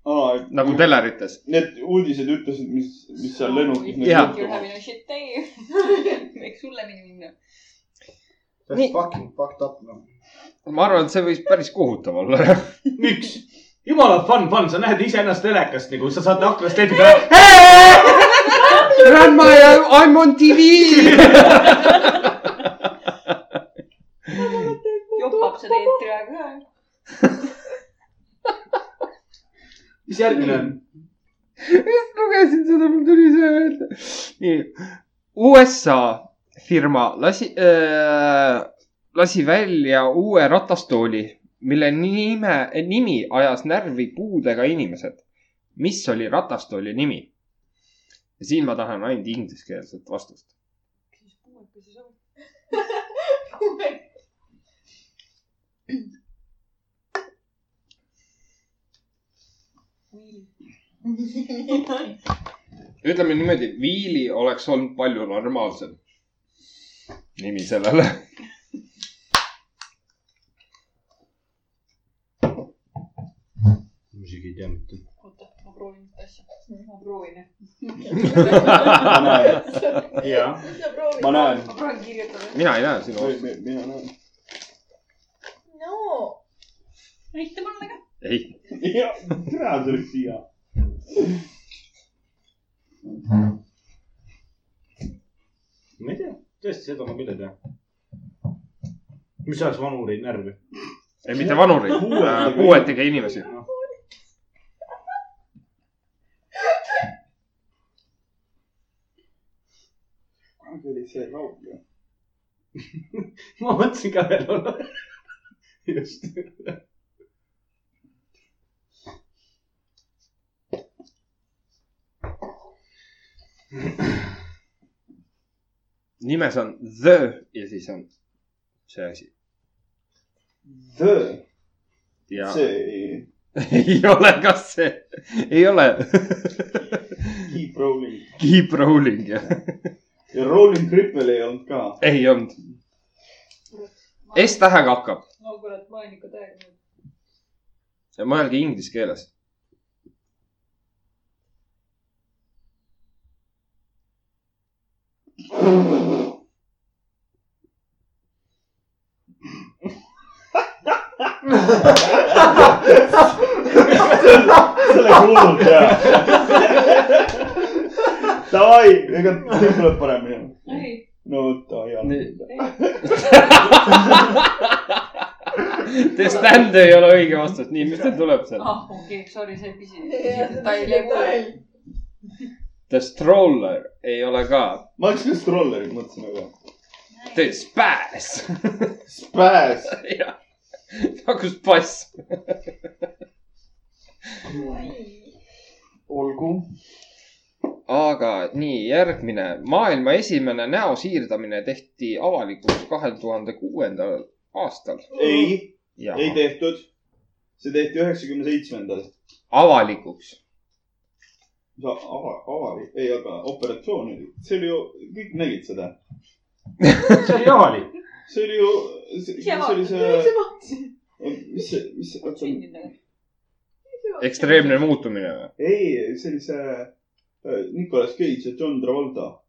aa , et nagu telerites . need uudised ütlesid , mis , mis seal lennukis nüüd Jah. You are juhtuma . having a shit day . võiks hullemini minna . That's Nii. fucking fucked up noh . ma arvan , et see võis päris kohutav olla . miks ? jumala fun , fun , sa näed iseennast telekast nagu , sa saad aknast ette ka . Grandma , I m on TV . jopab seda eetri aega ka . mis järgmine on ? just lugesin seda , mul tuli see meelde . nii , USA firma lasi äh, , lasi välja uue ratastooli , mille nime , nimi ajas närvi puudega inimesed . mis oli ratastooli nimi ? ja siin ma tahan ainult ingliskeelset vastust . ütleme niimoodi , Viili oleks olnud palju normaalsem nimi sellele . ma isegi ei tea mitte . oota , ma proovin seda asja . ma proovin jah . ma näen , jaa . ma näen . ma proovin kirjutada . mina ei näe sinu vastust . mina näen . no , näita mulle ka . ei , jah , tere , see oleks siia . ma ei tea , tõesti , seda ma küll ei tea . mis ajaks vanureid närvi ? ei mitte vanureid , puuetega inimesi . kunagi oli see laulja . ma mõtlesin ka veel . just . nimes on The ja siis on see asi . The , ja see. see ei- ei ole ka see , ei ole Keep Rolling Keep rolling jah , ja Rolling Cripple ei olnud ka . ei olnud . S tähega hakkab no kurat , ma olen ikka täiega . ja mõelge inglise keeles . see oli hullult hea . ta ai , ega teil tuleb paremini . ei , no vot , ai , ai . The stand ei ole õige vastus , nii , mis teil tuleb seal ? ah okei , sorry , see pisi . ei ole . The stroller ei ole ka . ma oleks ka strollerit mõtlesin , aga . The spas . Späs . jah , nagu spass . olgu . aga nii , järgmine . maailma esimene näo siirdamine tehti avalikuks kahe tuhande kuuendal aastal . ei , ja ei tehtud . see tehti üheksakümne seitsmendal . avalikuks . ava , avalik , ei , aga operatsioon oli , see oli ju , kõik nägid seda . see oli avalik . see oli ju , see oli see , mis see , mis see , oota , ekstreemne muutumine või ? ei , see oli see äh, Nicolas Cage ja John Travolta .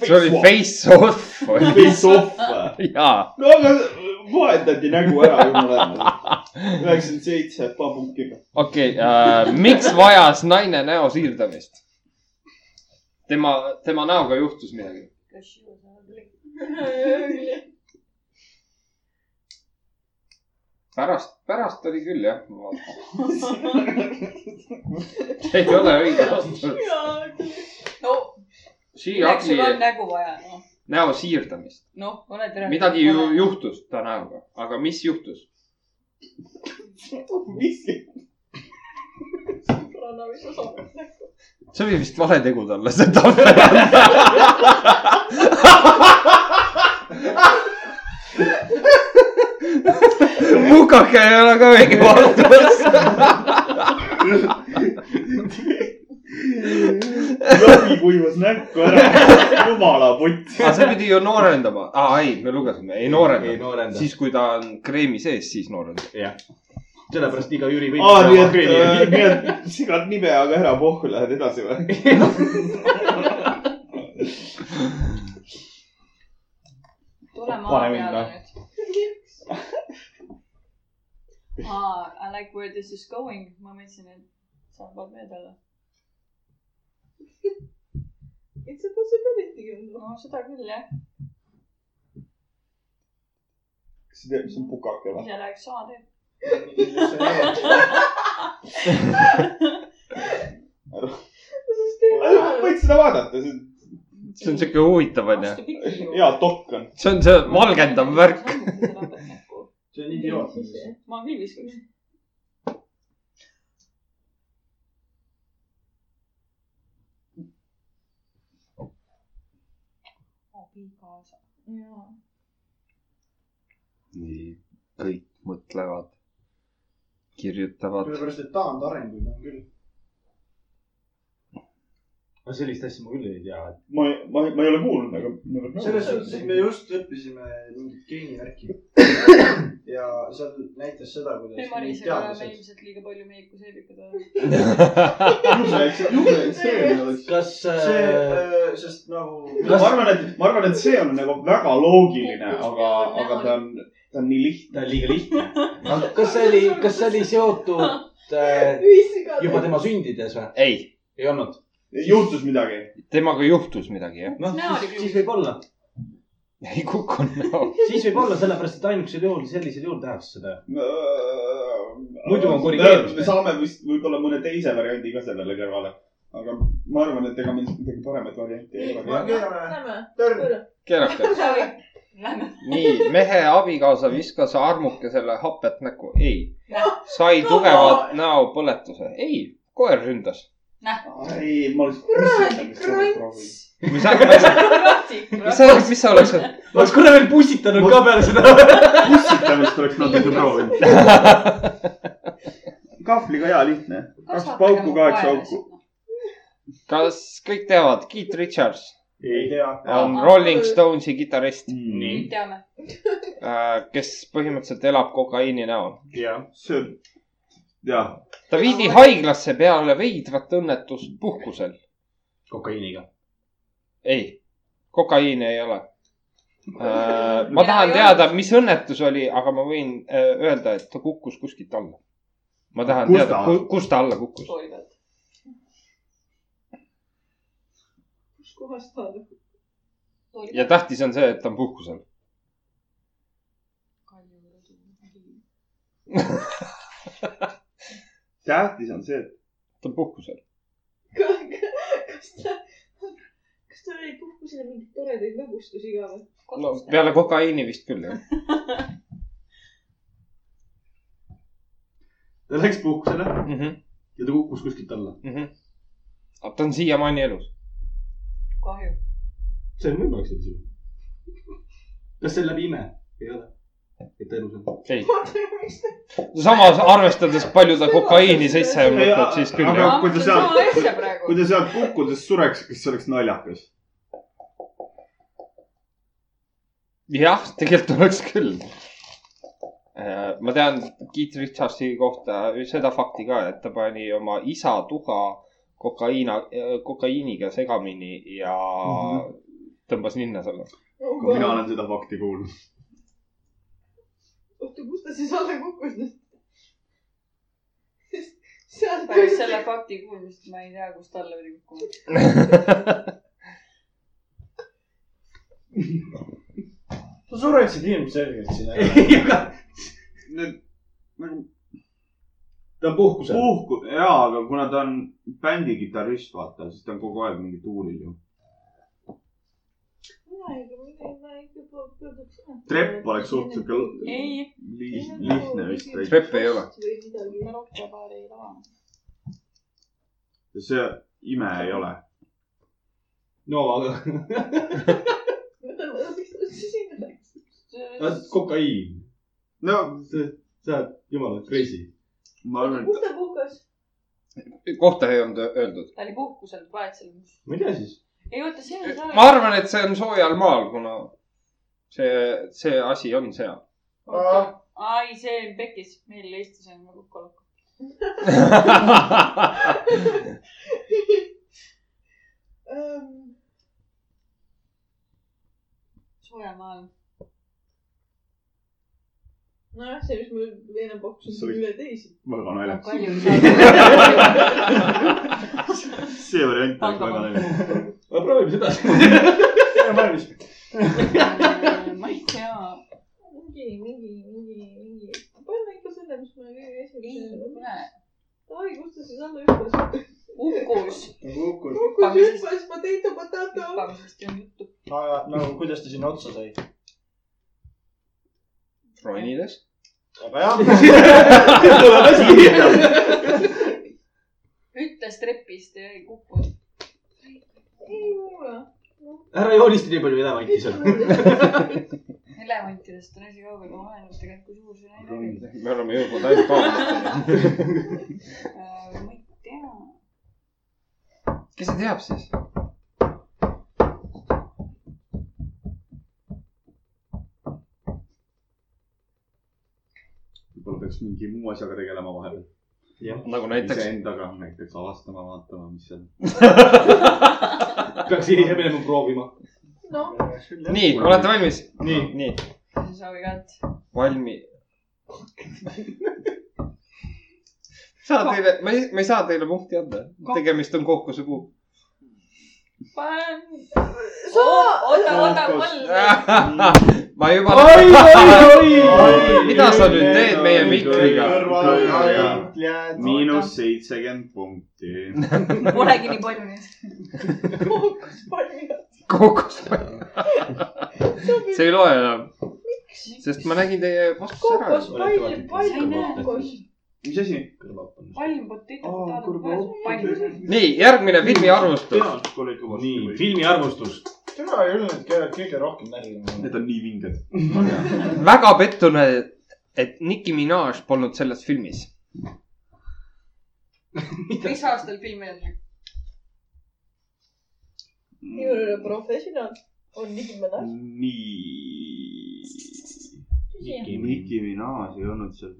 see oli . face off oli . Face off või ? jaa , no aga äh, vahetati nägu ära , jumala eest . üheksakümmend seitse , pabuki . okei äh, . miks vajas naine näo siirdamist ? tema , tema näoga juhtus midagi . pärast , pärast oli küll jah . ei ole õige vastus . no , She eks sul ugly on nägu vaja , noh . näo siirdamist . noh , oled rääkinud . midagi ju . juhtus ta näoga , aga mis juhtus ? mis see , see oli vist vale tegu talle , see talle . mukake ei ole ka õige vastus . jahi kuivas näkku ära , jumala putt . aga see pidi ju noorendama ah, . ei , me lugesime , ei ei noorenda . noorenda . siis , kui ta on kreemi sees , siis noorendab . sellepärast iga Jüri võib . aa , nii et , äh, nii et sigad nime , aga ära pohhu , lähed edasi või ? tule maa Pane mind, peale noh. nüüd . aa , I like where this is going . ma mõtlesin , et saab mööda olla . It's a possibility . no seda küll , jah . kas sa tead , mis on pukake või ? ise läheks sama teed . võid seda vaadata , see on see on siuke huvitav onju . hea dokk on . see on see valgendav värk . see on idioot . ma küll viskaks . abikaasa . jaa . nii , kõik mõtlevad , kirjutavad . sellepärast , et taandarenguid on küll . no sellist asja ma küll ei tea . ma , ma , ma ei ole kuulnud , aga . selles suhtes , et me just õppisime mingit geenivärki . ja seal näitas seda , ei , kuidas mingid Marisega oleme teadlased . ilmselt liiga palju meelikuseelikud olnud . kas see äh, ,, sest nagu . ma arvan , et , ma arvan , et see on nagu väga loogiline , aga , aga ta on , ta on nii lihtne . ta on liiga lihtne . kas see oli , kas see oli seotud äh, juba tema sündides või ? ei , ei olnud ? juhtus midagi ? temaga juhtus midagi jah . noh Näo , oli siis, küll. siis võib olla , ei kukkunud näo . siis võib olla sellepärast , et ainukesel juhul , sellisel juhul tehakse seda . muidu Muidu on korrigeerimine. Äh, me saame vist võib-olla mõne teise variandi ka sellele kõrvale , aga ma arvan , et ega meil midagi paremat varianti ei ole . törn . keerakas . Lähme . nii , mehe abikaasa viskas armukesele hapet näkku . ei . sai tugevat näopõletuse . ei , koer ründas . ei , ma oleks . kuradi krants . mis sa , mis sa , mis sa , mis sa oleks , ma oleks korra veel pussitanud ka peale seda . pussitamist oleks natuke proovinud . kahvliga hea lihtne . kaks pauku , kaheksa auku .. kas kõik teavad , Keith Richards ei tea . on Rolling Stonesi kitarrist , nii . teame . kes põhimõtteliselt elab kokaiini näol . jah . sööb , jah , ta viidi haiglasse peale veidrat õnnetust puhkusel . kokaiiniga . ei , kokaiini ei ole . ma tahan teada , mis õnnetus oli , aga ma võin äh, öelda , et ta kukkus kuskilt alla . ma tahan Kus teada ta- , kus ta alla kukkus . kooli pealt . puhas tahad . ja tähtis on see , et ta on puhkusel . tähtis on see , et ta on puhkusel . kas ta , kas tal oli puhkusele mingeid toredaid lõbustusi ka või ? no peale kokaiini vist küll jah . ta läks puhkusele aga ja ta kukkus kuskilt alla . Mhm, ta on siiamaani elus . kahju . see on võimalik sellisel juhul . kas see on läbi ime ? ei ole . et ta elus on . ei , miks ta , samas arvestades palju ta kokaiini sisse on võtnud , siis küll jah . Aga kui ta seal- sama asja praegu kui . ta sealt kukkudes sureks , kas see oleks naljakas ? jah , tegelikult oleks küll . ma tean Keith Richardsi kohta seda fakti ka , et ta pani oma isa tuha kokaiina , kokaiiniga segamini ja Mhm. tõmbas ninna selle . ka mina olen seda fakti kuulnud . oota , kus ta siis alla kukkus nüüd ? seal päris selle fakti kuulmist ma ei tea , kust alla oli kukkunud . sa sureksid ilmselgelt siin ära . ei , aga nagu ta on puhkusel . puhku , jaa , aga kuna ta on bändi kitarrist , vaata , siis ta on kogu aeg mingi tuuril ju . mina ikka , mina , ma ikka pöörduks . trepp oleks suht sihuke li- ei , nagu lihtne vist . Trepp ei ole. . või midagi . ma rohkem paari ei taha . see ime ei ole . no aga , miks ta siis sinna läks ? kokaiin . no sa oled jumala crazy . ma arvan , kus ta puhkas ? kohta ei olnud öeldud . ta oli puhkusel , paned selle . ma ei tea siis . ei oota , see oli ma . arvan , et see on soojal maal , kuna see , see asi on seal . ai , see on pekis , meil Eestis on nagu kokku . soojamaal . nojah , see , mis mul enam pakkus , See oli oli- üle teisi . väga naljakas . palju seal . see variant on väga naljakas . aga proovime seda . ole valmis . ma ei tea . mingi , mingi , mingi , mingi . panna ikka selle , mis ma kõige ei , esimesena . kuule , oi , kus ta siis alla hüppas ? Ukus kukkus . kukkus hüppas , potato , potato . hüppamisest ei olnud juttu . aga nagu , kuidas ta sinna otsa sai ? ronides . väga hea . tuleb hästi lihtsalt . hüppas trepist ja ei kukkunud . ei ole . ära joonista nii palju elevanti seal . elevantidest on asi kaugel , ma olen tegelikult , kui suur see Äh, naine oli . me oleme jõudnud ainult kaamerasse . ma ei tea . kes see teab siis ? võib-olla peaks mingi muu asjaga tegelema vahepeal . nagu näiteks . iseendaga näiteks avastama , vaatama , mis seal . peaks ise minema proovima . noh , nii , olete valmis ? nii, nii. , soovi ka , et valmi . saa teile , ma ei , ma ei saa teile punkti anda . tegemist on kookusepuu . panen . Sa- oota , oota , Ah. kolm . ma juba . Mida sa nüüd teed meie mikriga? miinus seitsekümmend punkti . Polegi nii palju neid . kukkus palju . kookus . see ei loe enam , sest ma nägin teie vastuse ära kukkus . palju , palju kukkus . mis asi ? palm Aa, potato potato kurb oh, , palju see on ? nii , järgmine filmi arvustus . nii , nii . filmi arvustus . tema ei olnud kõige- kõige rohkem närviline . Need on nii vinged . väga pettune , et Nicki Minaj polnud selles filmis . mis aastal film jälle ? minul ei ole professionaal . on nii mõnes . nii . Nicki Minaj ei olnud seal .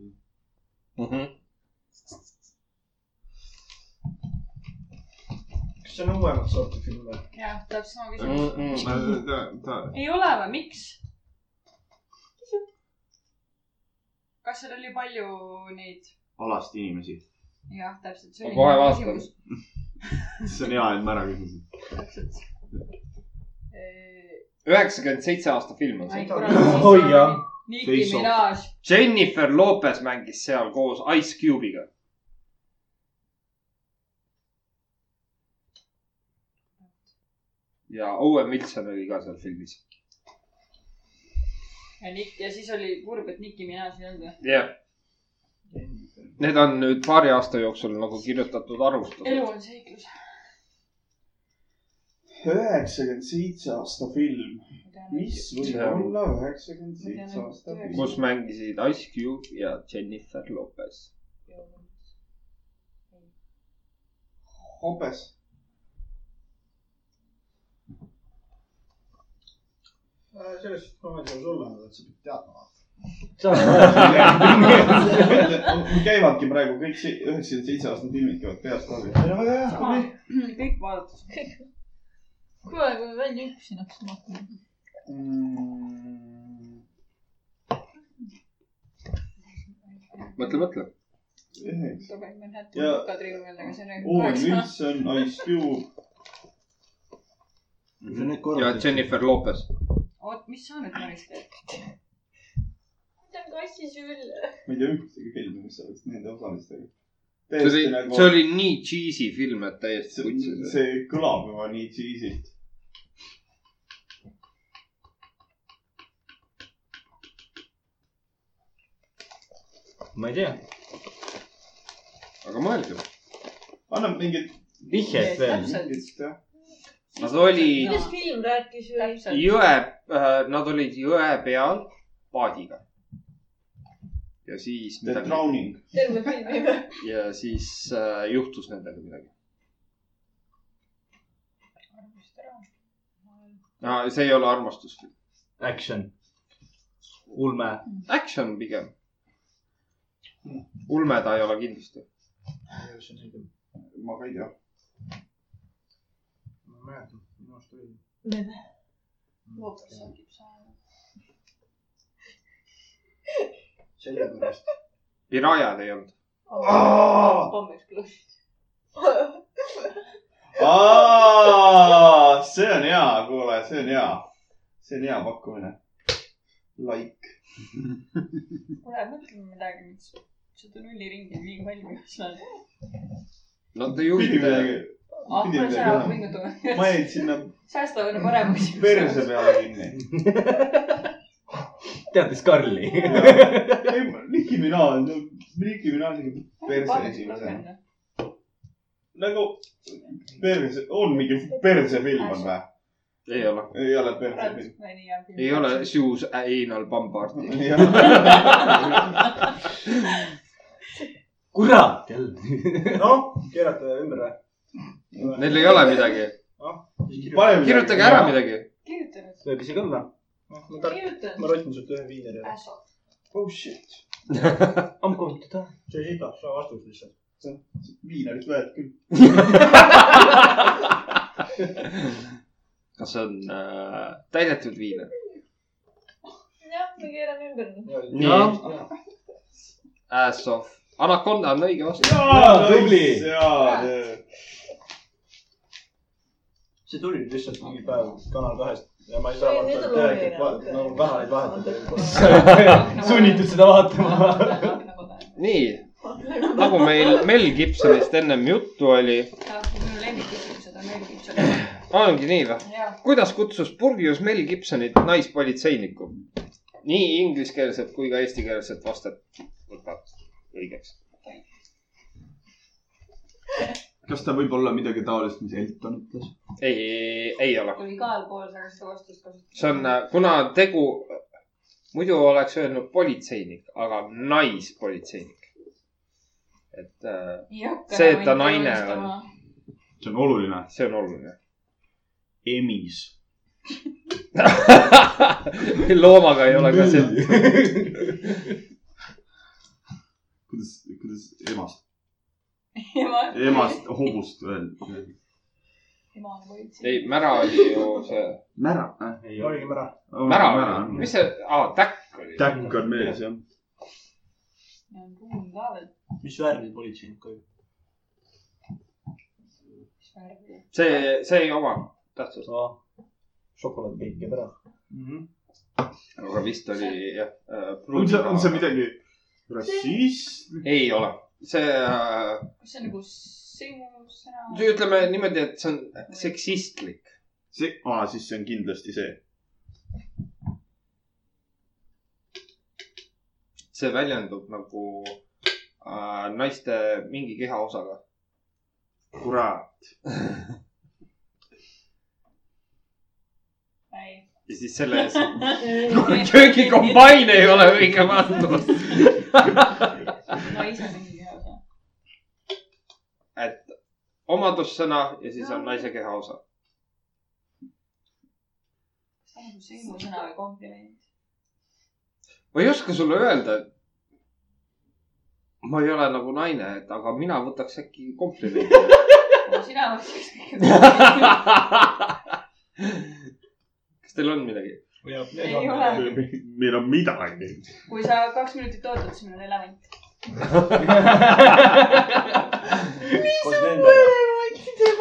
kas see on uuemat sorti film või ? jah , täpselt sama küsimus . see ta , ta , ei ole või , miks ? kas seal oli palju neid ? alasti inimesi . jah , täpselt . nagu Ma kohe vaatan. . see on hea , et ma ära küsisin . täpselt . üheksakümmend seitse aasta film on see . Oi, jah. Nicki Face off. Minaj , Jennifer Lopez mängis seal koos Ice Cube'iga . ja Owen Wilson oli ka seal filmis . ja Nick ja siis oli kurb , et Nicki Minaj ei olnud või ? jah yeah. . Need on nüüd paari aasta jooksul nagu kirjutatud elu arvustused . on seiklus . üheksakümmend seitse aasta film , mis võib See on- olla üheksakümmend seitse aasta film ? kus mängisid Ice Cube ja Jennifer Lopez . hobes . selles suhtes Äh, ma mõtlen sulle , et sa pead teadma . mul käivadki praegu kõik see- üheksakümmend seitse aastat filmid käivad peast läbi . väga hea , tubli . kõik vaadatud . kuule , kui me välja üksin hakkasime hakkama . mõtle , mõtle . Dubai Manhattan Ja- ja... Kadri Jõel , aga see on nagu Owen kaheksa aastat . Wilson , Ice Cube , ja Jennifer Lopez . oot , mis sa nüüd Maris teed ? võtan kassi sülle . ma ei tea ühtegi filmi , mis oleks nende osalistega . see oli , see oli nii cheesy film , et täiesti see, kutsus . see kõlab juba nii cheesy't . ma ei tea . aga mõelge , annab mingit , vihjed veel . mingit jah . nad olid Jaa. millest film rääkis või ? täpselt . jõe , nad olid jõe peal paadiga . ja siis The midagi , Drowning . terve filmi või ? ja siis äh, juhtus nendega midagi . no see ei ole armastusfilm , Action . ulme . action pigem . ulme ta ei ole kindlasti . ma ka ei tea . ma ei mäleta , minu arust oli . lootus saabib saama . sellepärast . Pirajad ei olnud . hommikul klossid . see on hea , kuule , see on hea . see on hea pakkumine . Like . kuule , mõtleme midagi nüüd . seda nulliringi on liiga palju üles laadnud . no te pidi juhite , midagi , ah , Pidi ma ei midagi saa olema. ma pingutama . jäin sinna säästame enne paremaks . perse peale kinni . teadis Karli . ei , Nicki Minaj , no Nicki Minaj tegi perse esimesena . nagu perse , on mingi persefilm on või ? ei ole . ei ole persefilm . Prantsusmaa nii hea film . ei ole . Shoes Anal Bombardi . kurat , jälle . noh , keerata ümber või ? Neil ei ole midagi . kirjutage ära . midagi . kirjuta nüüd . võib isegi olla . kirjuta . ma rotin sult ühe viineri ära . äsot . oh shit , ammu kohtuda . see oli sita , saa vastus lihtsalt . viinarit vajad küll . kas see on äh, täidetud viin ? jah , me keerame ümber . Nii. . Ass off . Anaconda on õige vastus . jaa , tubli. jaa , see tuli lihtsalt mingi päev Kanal kahest ja ma ei saa Ei, vaata nüüd on loogiline. telekat vaadata , nagu kanaleid vahetada . sunnitud seda vaatama . nii , nagu meil Mel Gibsonist ennem juttu oli , minu lemmiküsimused on Mel Gibson . ongi nii või ? jah , kuidas kutsus purjus Mel Gibsonit naispolitseinikku ? nii ingliskeelset kui ka eestikeelset vastet võtad õigeks . kas ta võib olla midagi taolist , mis Elton ütles ? ei , ei ole . oli igal pool , aga seda vastust kasutati . see on , kuna tegu , muidu oleks öelnud politseinik , aga naispolitseinik . et äh, see, et ta naine on. . see on oluline . see on oluline . emis . loomaga ei ole ka see . kuidas , kuidas emast , ema . emast hobust öelda ? ema on politsei . ei , mära oli ju see , mära . Oh, olgem ära . mära oli , mis see , aa , täkk oli . mm. täkk on mees , jah . ja on ruum ka veel . mis värvi politseinik oli ? mis värvi . see , see ei oma tähtsust . šokolaad peitub ära . aga vist oli jah . äh, on see , on see ? midagi rassism ? ei ole , see äh, kas see on nagu sinus sõna ? ütleme niimoodi , et see on seksistlik . see , aa , siis see on kindlasti see . see väljendub nagu äh, naiste mingi kehaosaga . kurat . ei . ja siis selle ees köögikombain ei ole õige pandud . ma ise mingi kehaosa . et omadussõna ja siis on naise kehaosa . kas ta on nagu sinus sõna või kompliment ? ma ei oska sulle öelda . ma ei ole nagu naine , et aga mina võtaks äkki komplimendi . sina mõtlesid kõigepealt . kas teil on midagi ? ei ole . meil on midagi . kui sa kaks minutit ootad , siis meil on element . koos nendega .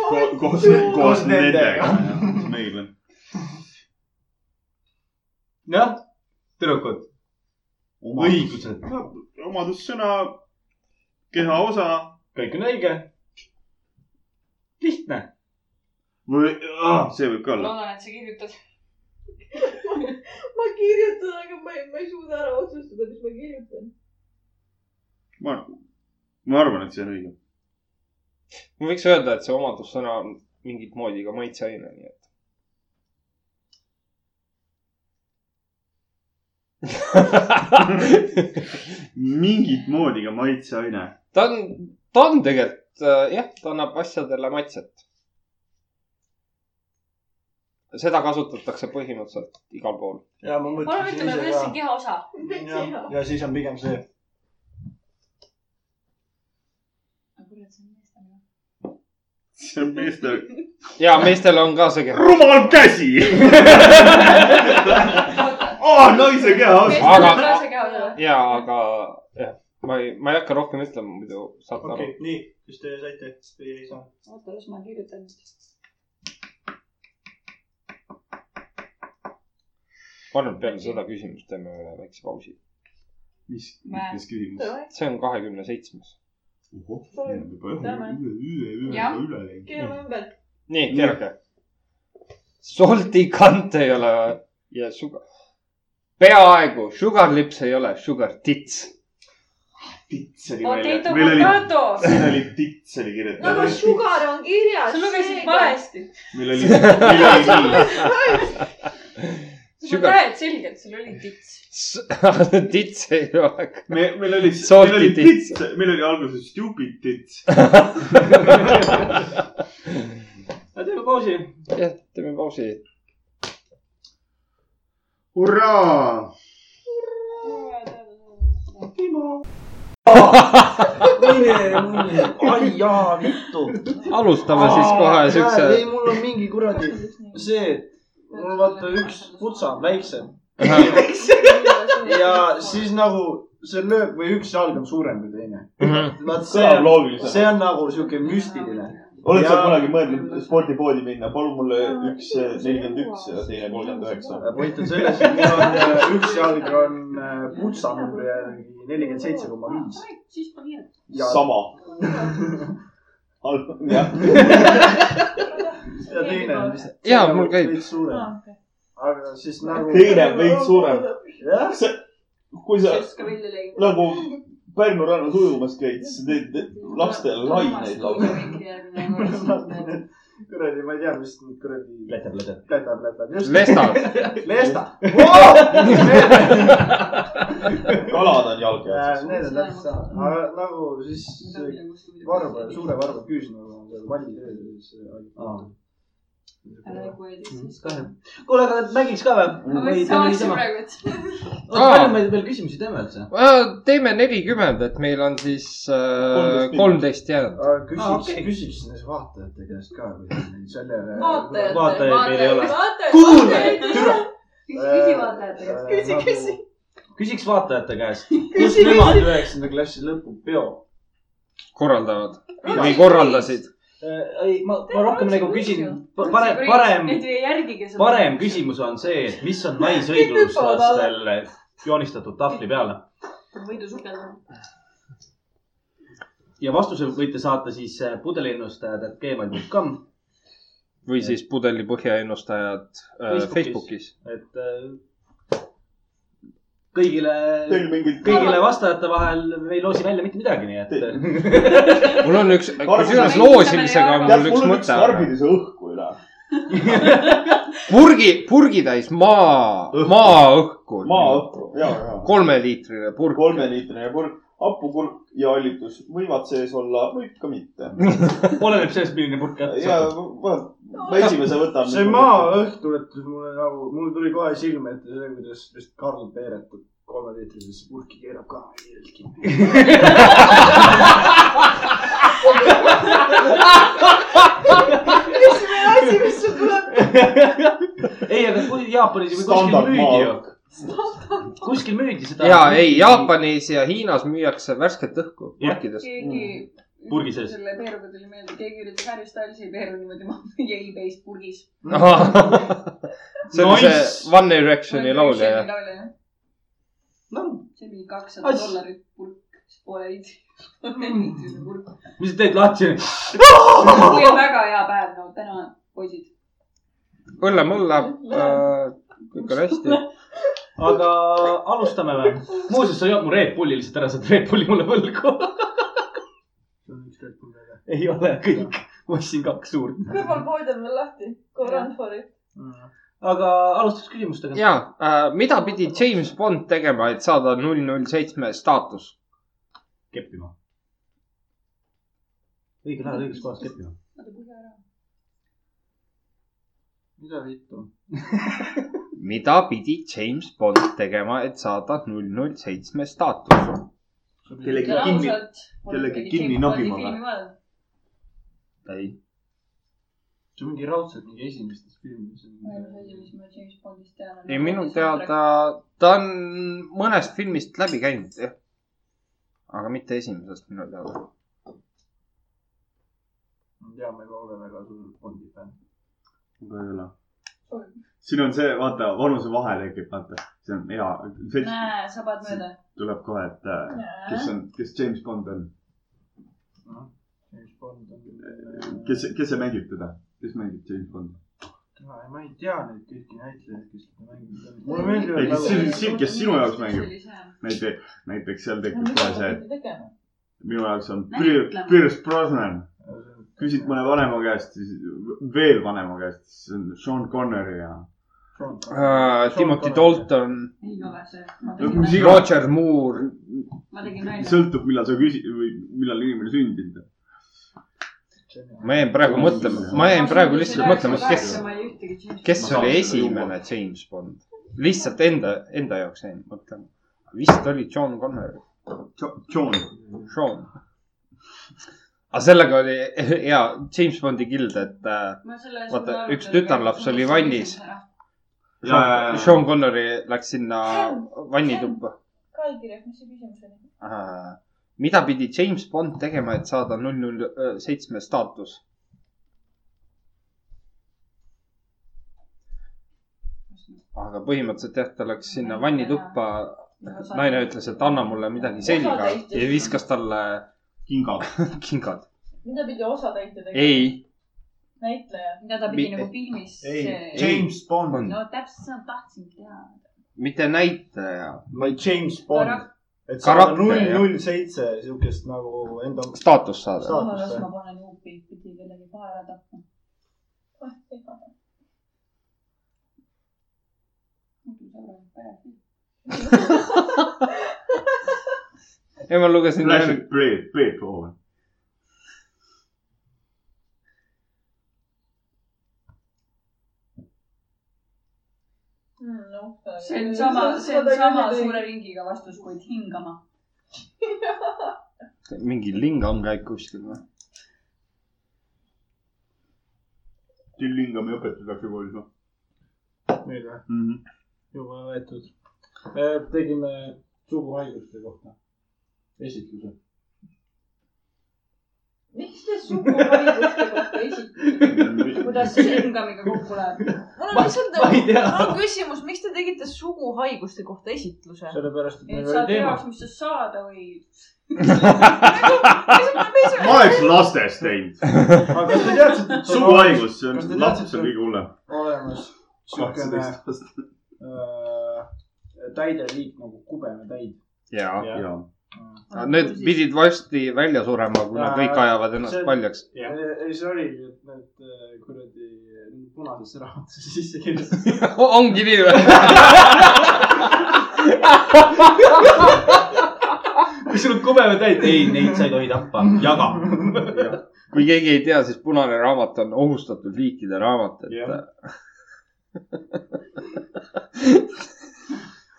koos , koos Koos nendega. nendega . meil on . Noh, jah , tüdrukud , õigused , omadussõna , kehaosa kõik on õige . lihtne . või , see võib ka olla . loodan , et sa kirjutad . ma kirjutan , aga ma ei , ma ei suuda ära otsustada , mis ma kirjutan . ma , ma arvan , et see on õige . ma võiks öelda , et see omadussõna on mingit moodi ka maitseaine , nii et . mingit moodi ka maitseaine . ta on , ta on tegelikult äh, jah , ta annab asjadele maitset . seda kasutatakse põhimõtteliselt igal pool . ja ma palun ütleme , kuidas see . kehaosa ? ja siis on pigem see . Ah, kurat , see see on meestele . on meeste ja meestel on ka see keha . rumal käsi . aa , naise kehaosa . Aga- meestel on ka see kehaosa . ja , aga jah , ma ei , ma ei hakka rohkem ütlema , muidu saate okay. okei , nii , kas te saite või ei saa ? oota , las ma kirjutan nüüd . aru . ma arvan , et peale seda küsimust teeme ühe väikse pausi . mis , Mä. mis küsimus ? see on kahekümne seitsmes . Tämä. Jah. keerame ümber . Mm. nii , kerge . soltikant ei ole ja sugar , peaaegu sugar lips ei ole sugar tits . tits oli välja . Potato , meil oli , potato . meil oli tits oli no aga kirjutatud . sugar on kirjas . sa lugesid . valesti . meil oli , meil oli nii . sa Sugar- näed selgelt , sul oli tits . tits ei ole ka . me , meil oli , Salty meil oli tits. tits , meil oli alguses stupid tits . teeme pausi . jah , teeme pausi . hurraa . ai jaa , vittu . alustame siis kohe ei , siukse . mul on mingi kuradi see , mul vaata üks putsa on väiksem ja siis nagu see lööb või üks jalg on suurem kui teine . Mhm, vaat see Kõlab , loogiliselt. see on nagu siuke müstiline . oled sa Ja- kunagi mõelnud spordipoodi minna , palun mulle üks nelikümmend üks ja teine kolmkümmend üheksa . point on selles , et mul on äh, üks jalg on äh, putsa mul järgi nelikümmend seitse koma viis . siis ma kirjutan . ja , sama . jah , ja teine on vist . Jaa, mul käib. Ah, suurem , aga siis nagu . teine on veits suurem . jah , kui sa siis ka välja lõi . nagu Pärnu rannas ujumas käid , siis sa teed lastele laineid lausa . lausa . kuradi , ma ei tea , mis nüüd kuradi . plätab , plätab . plätab , plätab , just . Lestad . lesta . kalad on jalge Äh, otsas . Need on täpselt sama , aga nagu siis see varba , suure . varba küüs nagu on seal valmis ööl ja siis ära aa . kohe tee siis . kahju. kuule , aga mängiks ka ma ei saaks ju . praegu , et palju me veel küsimusi teeme üldse ? Äh, teeme nelikümmend , et meil on siis äh, Kolmteist kolmteist jäänud . küsiks , okay. küsiks nende vaatajate käest ka või sellele . Vaatajate- vaatajaid meil ei ole . kuule , türa . küsivad läheb tegelikult . Küsi, Nagu- küsi. . küsiks vaatajate käest , kus Küsi, nemad üheksanda klassi lõpupeo korraldavad või korraldasid . Äh, ei , ma , ma rohkem nagu küsin , parem , parem , Need ei järgigi seda . parem . küsimus on see , et mis on naisõiguslastel joonistatud tahvli peale võidusukeldama . ja vastuse võite saata siis äh, pudeliennustajad.gmail.com , või siis pudeli põhjaennustajad äh, Facebookis . et äh, kõigile , Teil mingid kõigile vastajate vahel me ei loosi välja mitte midagi , nii et äh, mul on üks , Karbi- kusjuures loosimisega on tead , mul mul üks on üks mõte . karbiduse õhku üle . purgi , purgitäis maa , maaõhku . maaõhku , ja , ja . kolmeliitrine purk . kolmeliitrine purk , hapukurk ja hallitus võivad sees olla , võib ka mitte . oleneb sellest , milline purk kätte ja saab . ma, ma esimese võtan . nagu see maaõhk tuletas mulle nagu , mul tuli kohe silme ette see , kuidas vist Karl Peeretud kolmeliitrisesse purki keerab ka . esimene asi , mis sul tuleb . ei , aga kui Jaapanis või kuskil standard müüdi ju , maaõhk . kuskil müüdi seda . ja ei ,. Jaapanis ja Hiinas müüakse värsket õhku Jah. purkides . keegi . Purgi sees. selle peeruga tuli meelde , keegi üritas Harry Stylesi peeru niimoodi maha ja e-base purgis . see on nice. Nice. see One Directioni laulja , jah . jah ? no , see oli kakssada As- dollarit purk , spoilid . Mm. kolmeliitrine purk . mis sa teed lahti ? kui on väga hea päev , no täna poisid . õlle-mõlle äh, , kõik on hästi . aga alustame või ? muuseas , sa ei olnud mu Red Bulli lihtsalt ära , sa oled Red Bulli mulle võlgu . ei ole kõik , ma ostsin kaks suurt . kõrvalpood on veel lahti , Coranfori . aga alustuseks küsimustega . ja äh, , mida pidi James Bond tegema , et saada null null seitsme staatus ? keppima . õigel ajal õiges kohas keppima . oota , kuule ära . mida vittu ? mida pidi James Bond tegema , et saada null null seitsme staatus ? kellegi kinni , kellegi kinni nabima või? või ? ei , see on mingi raudselt mingi esimestes filmides . ma ei mäleta , mis ma James Bondist tean . ei minu teada ta on mõnest filmist läbi käinud , jah . aga mitte esimesest minu teada . ma tean , ma ei ole väga suur Bondi fänn . ka ei ole . siin on see , vaata , vanusevahe tekib , vaata . see on hea , see näe , sabad mööda . tuleb kohe , et äh, kes on , kes James Bond on , James Bond on . kes , kes see mängib teda , kes mängib James Bondi ? ma ei tea neid kõiki näitlejaid , kes seda mängivad . mulle meeldivad Ei, kes siin- siin- kes sinu jaoks mängib? ? näiteks , näiteks seal tekib kohe see , et minu jaoks on Pier- Pierce Brosnan . küsid mõne vanema käest , siis veel vanema käest , siis on Sean Connery ja . Äh, Timothy . Dalton , ei ole see . ma No kui tegin siga- , Roger Moore , ma tegin nalja . sõltub , millal sa küsid või millal inimene sündinud on . ma jäin praegu mõtlema , ma jäin praegu lihtsalt mõtlema , kes , ma ei ühtegi James kes oli esimene James Bond . lihtsalt enda , enda jaoks jäin mõtlema . vist oli John Connery , John . Sean . aga Ah, sellega oli hea James Bondi kild , et äh, Vaata, üks tütarlaps oli vannis. . Sean, Sean Connery läks sinna vannituppa . Kai kirjas , mis see küsimus oli ? mida pidi James Bond tegema , et saada null null seitsme staatus ? aga põhimõtteliselt jah , ta läks sinna vannituppa , naine ütles , et anna mulle midagi selga ja viskas talle kinga . kingad . mida pidi osatäitja tegema ? ei , näitleja . mida ta pidi Mi- nagu filmis . ei , James Bond . no täpselt seda tahtsingi teha . mitte näitleja , ma ei , James Bond . et saada Karakter, null jah. null seitse siukest nagu enda . staatus saada . kohe , las staatust . ma panen juupi , pidi kellegi kaela tapma . Ah, muidu sõbrad pärast . ei , ma lugesin . Classic Brave , Brave Owen . see on sama , see on sama suure ringiga vastus , kuid hingama . mingi lingam käib kuskil noh. või ? Tillingami õpetatakse koolis , noh . nüüd või ? Mhm. juba võetud . tegime suguhaiguste kohta esitluse . miks kuidas suguvaidluste kohta esitada , kuidas see hingamiga kokku läheb ? mul on lihtsalt ma nagu , ei tea. mul on küsimus , miks te tegite suguhaiguste kohta esitluse ? sellepärast , et et meil sa oli teema . teaks , mis sest saada või ? ma oleks lastest teinud . aga kas te teadsite , et on olemas- suguhaigus , see kas te on , teadsite- laps on kõige hullem . olemas siukene kaheksateist aastat . äh, täideliik nagu kubemetäid ? Ah, jaa . Jah. jaa . Need pidid varsti välja surema , kui nad kõik ajavad ennast See- paljaks . ei , see oligi , et need äh, kuradi punasesse raamatusse sisse kirjutatud . ongi nii või ? kui sul on kubeme täit , ei , neid sa ei tohi tappa , jaga . kui keegi ei tea , siis punane raamat on ohustatud liikide raamat , et Jah.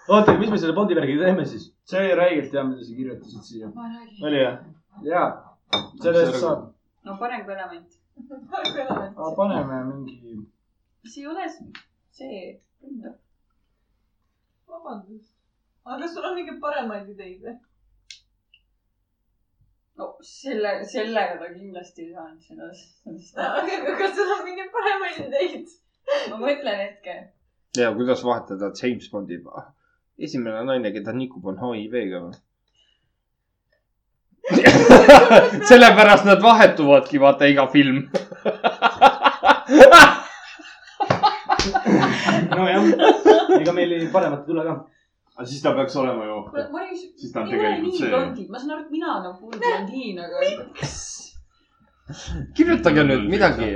oota , mis me selle Bondi värgi teeme siis ? see oli räigelt hea , mida sa kirjutasid siia . ma ei räägi . oli jah ? jaa , selle eest saab . no parem kui element . aga paneme mingi , see ei ole see . vabandust . aga kas sul on mingeid paremaid ideid või ? no selle , sellega ta kindlasti ei saanud seda- seda . Ah, aga kas sul on mingeid paremaid ideid ? ma mõtlen hetke . ja kuidas vahetada James Bondi . esimene naine , keda nikub , on HIV-ga või ? sellepärast nad vahetuvadki , vaata iga film . nojah , ega meil ei- paremat ei tule ka . aga siis ta peaks olema ju . kuule , Maris , Siis ta on ei ole tegelikult nii see. blondid , ma saan aru , et mina olen full blondiin , aga . kirjutage nüüd midagi .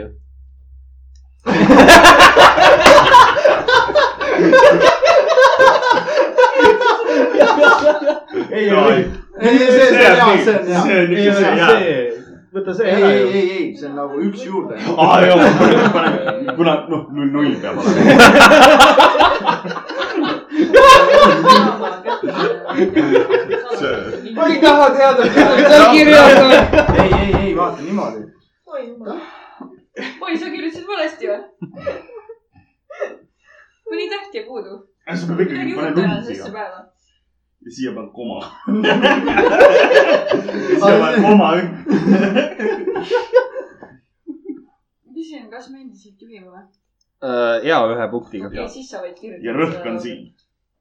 ei , ei , ei , see , see on hea , see on hea . ei , see on see , võta see ei , ära ei , ju . ei , ei , see on nagu üks juurde . aa jaa , kuna noh , null null peab olema . See- ma ei taha . ei , ei , ei vaata niimoodi . oi jumal . oi , sa kirjutasid valesti või ? mõni täht jäi puudu . siis peab ikkagi midagi uut panema null tänasesse siia . päeva . ja siia paneb koma . ja siia paneb koma üks . ma küsin , kas me endiselt juhime või ? ja ühe punktiga . okei , siis sa võid kirjutada . ja rõhk on . siin .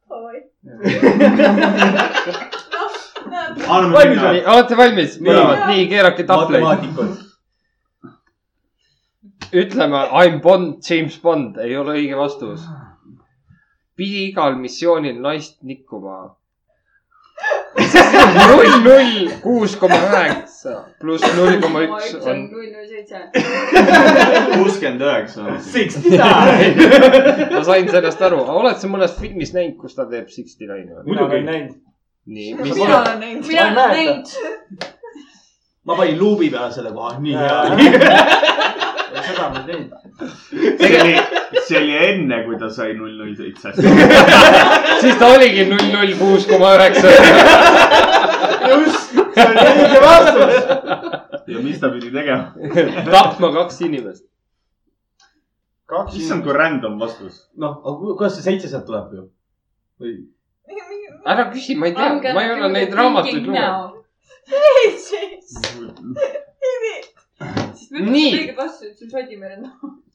oi . noh , näed . anname valmis minna või ?. olete valmis ? Nii. nii , keerake tahvleid . matemaatikud . ütleme I m Bond , James Bond ei ole õige vastus . pidi igal missioonil naist nikkuma . null , null , kuus koma üheksa pluss null koma üks on . null null seitse . kuuskümmend üheksa . Sixty ma sain sellest aru , oled sa mõnest filmist näinud , kus ta teeb sixty nine'i või ? muidugi . nii , mis mina olen näinud . mina Ma ei olen näinud . ma panin luubi peale selle koha , nii hea . seda ma teen . see oli , see oli enne , kui ta sai null null seitse . siis ta oligi null , null , kuus koma üheksa . just , see oli õige vastus . ja mis ta pidi tegema ? tapma kaks inimest . kaks issand , kui random vastus . noh , aga ku- kuidas see seitse sealt tuleb ju ? ära küsi , ma ei tea , ma ei ole neid raamatuid lugenud . ei , see , ei nii . Nii. õiged vastused , sul Šotimerel .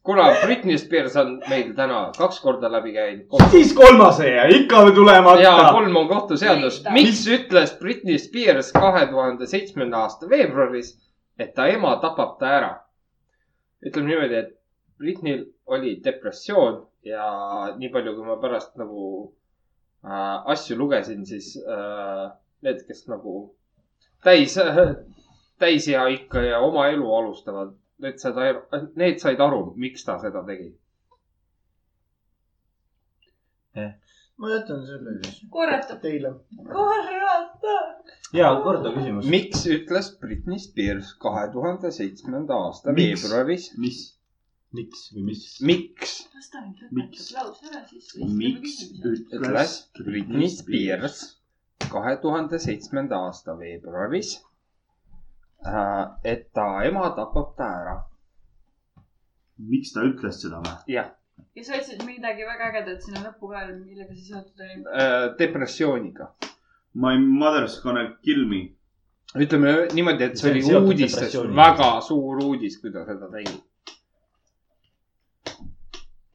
kuna Britney Spears on meil täna kaks korda läbi käinud . siis kolmas ei jää , ikka ja tulemata . kolm on kohtuseadus . Liita. miks ütles Britney Spears kahe tuhande seitsmenda aasta veebruaris , et ta ema tapab ta ära ? ütleme niimoodi , et Britneyl oli depressioon ja nii palju , kui ma pärast nagu äh, asju lugesin , siis äh, need , kes nagu täis äh, , täisea ikka ja oma elu alustavad , need said , need said aru , miks ta seda tegi . ma jätan selle siis korrata . teile . korrata . ja , korda küsimus . miks ütles Britney Spears kahe tuhande seitsmenda aasta Miks? veebruaris , mis , miks või mis ? miks las ta nüüd Miks? lõpetab lause ära siis . miks ütles ütles Britney Spears kahe tuhande seitsmenda aasta veebruaris , et ta ema tapab ta ära . miks ta ütles seda või ? ja sa ütlesid midagi väga ägedat sinna lõppu ka , millega see seotud oli . Äh, depressiooniga . My mother's gonna kill me . ütleme niimoodi , et see See on oli seotud uudistes depressiooniga. väga suur uudis , kui ta seda tegi .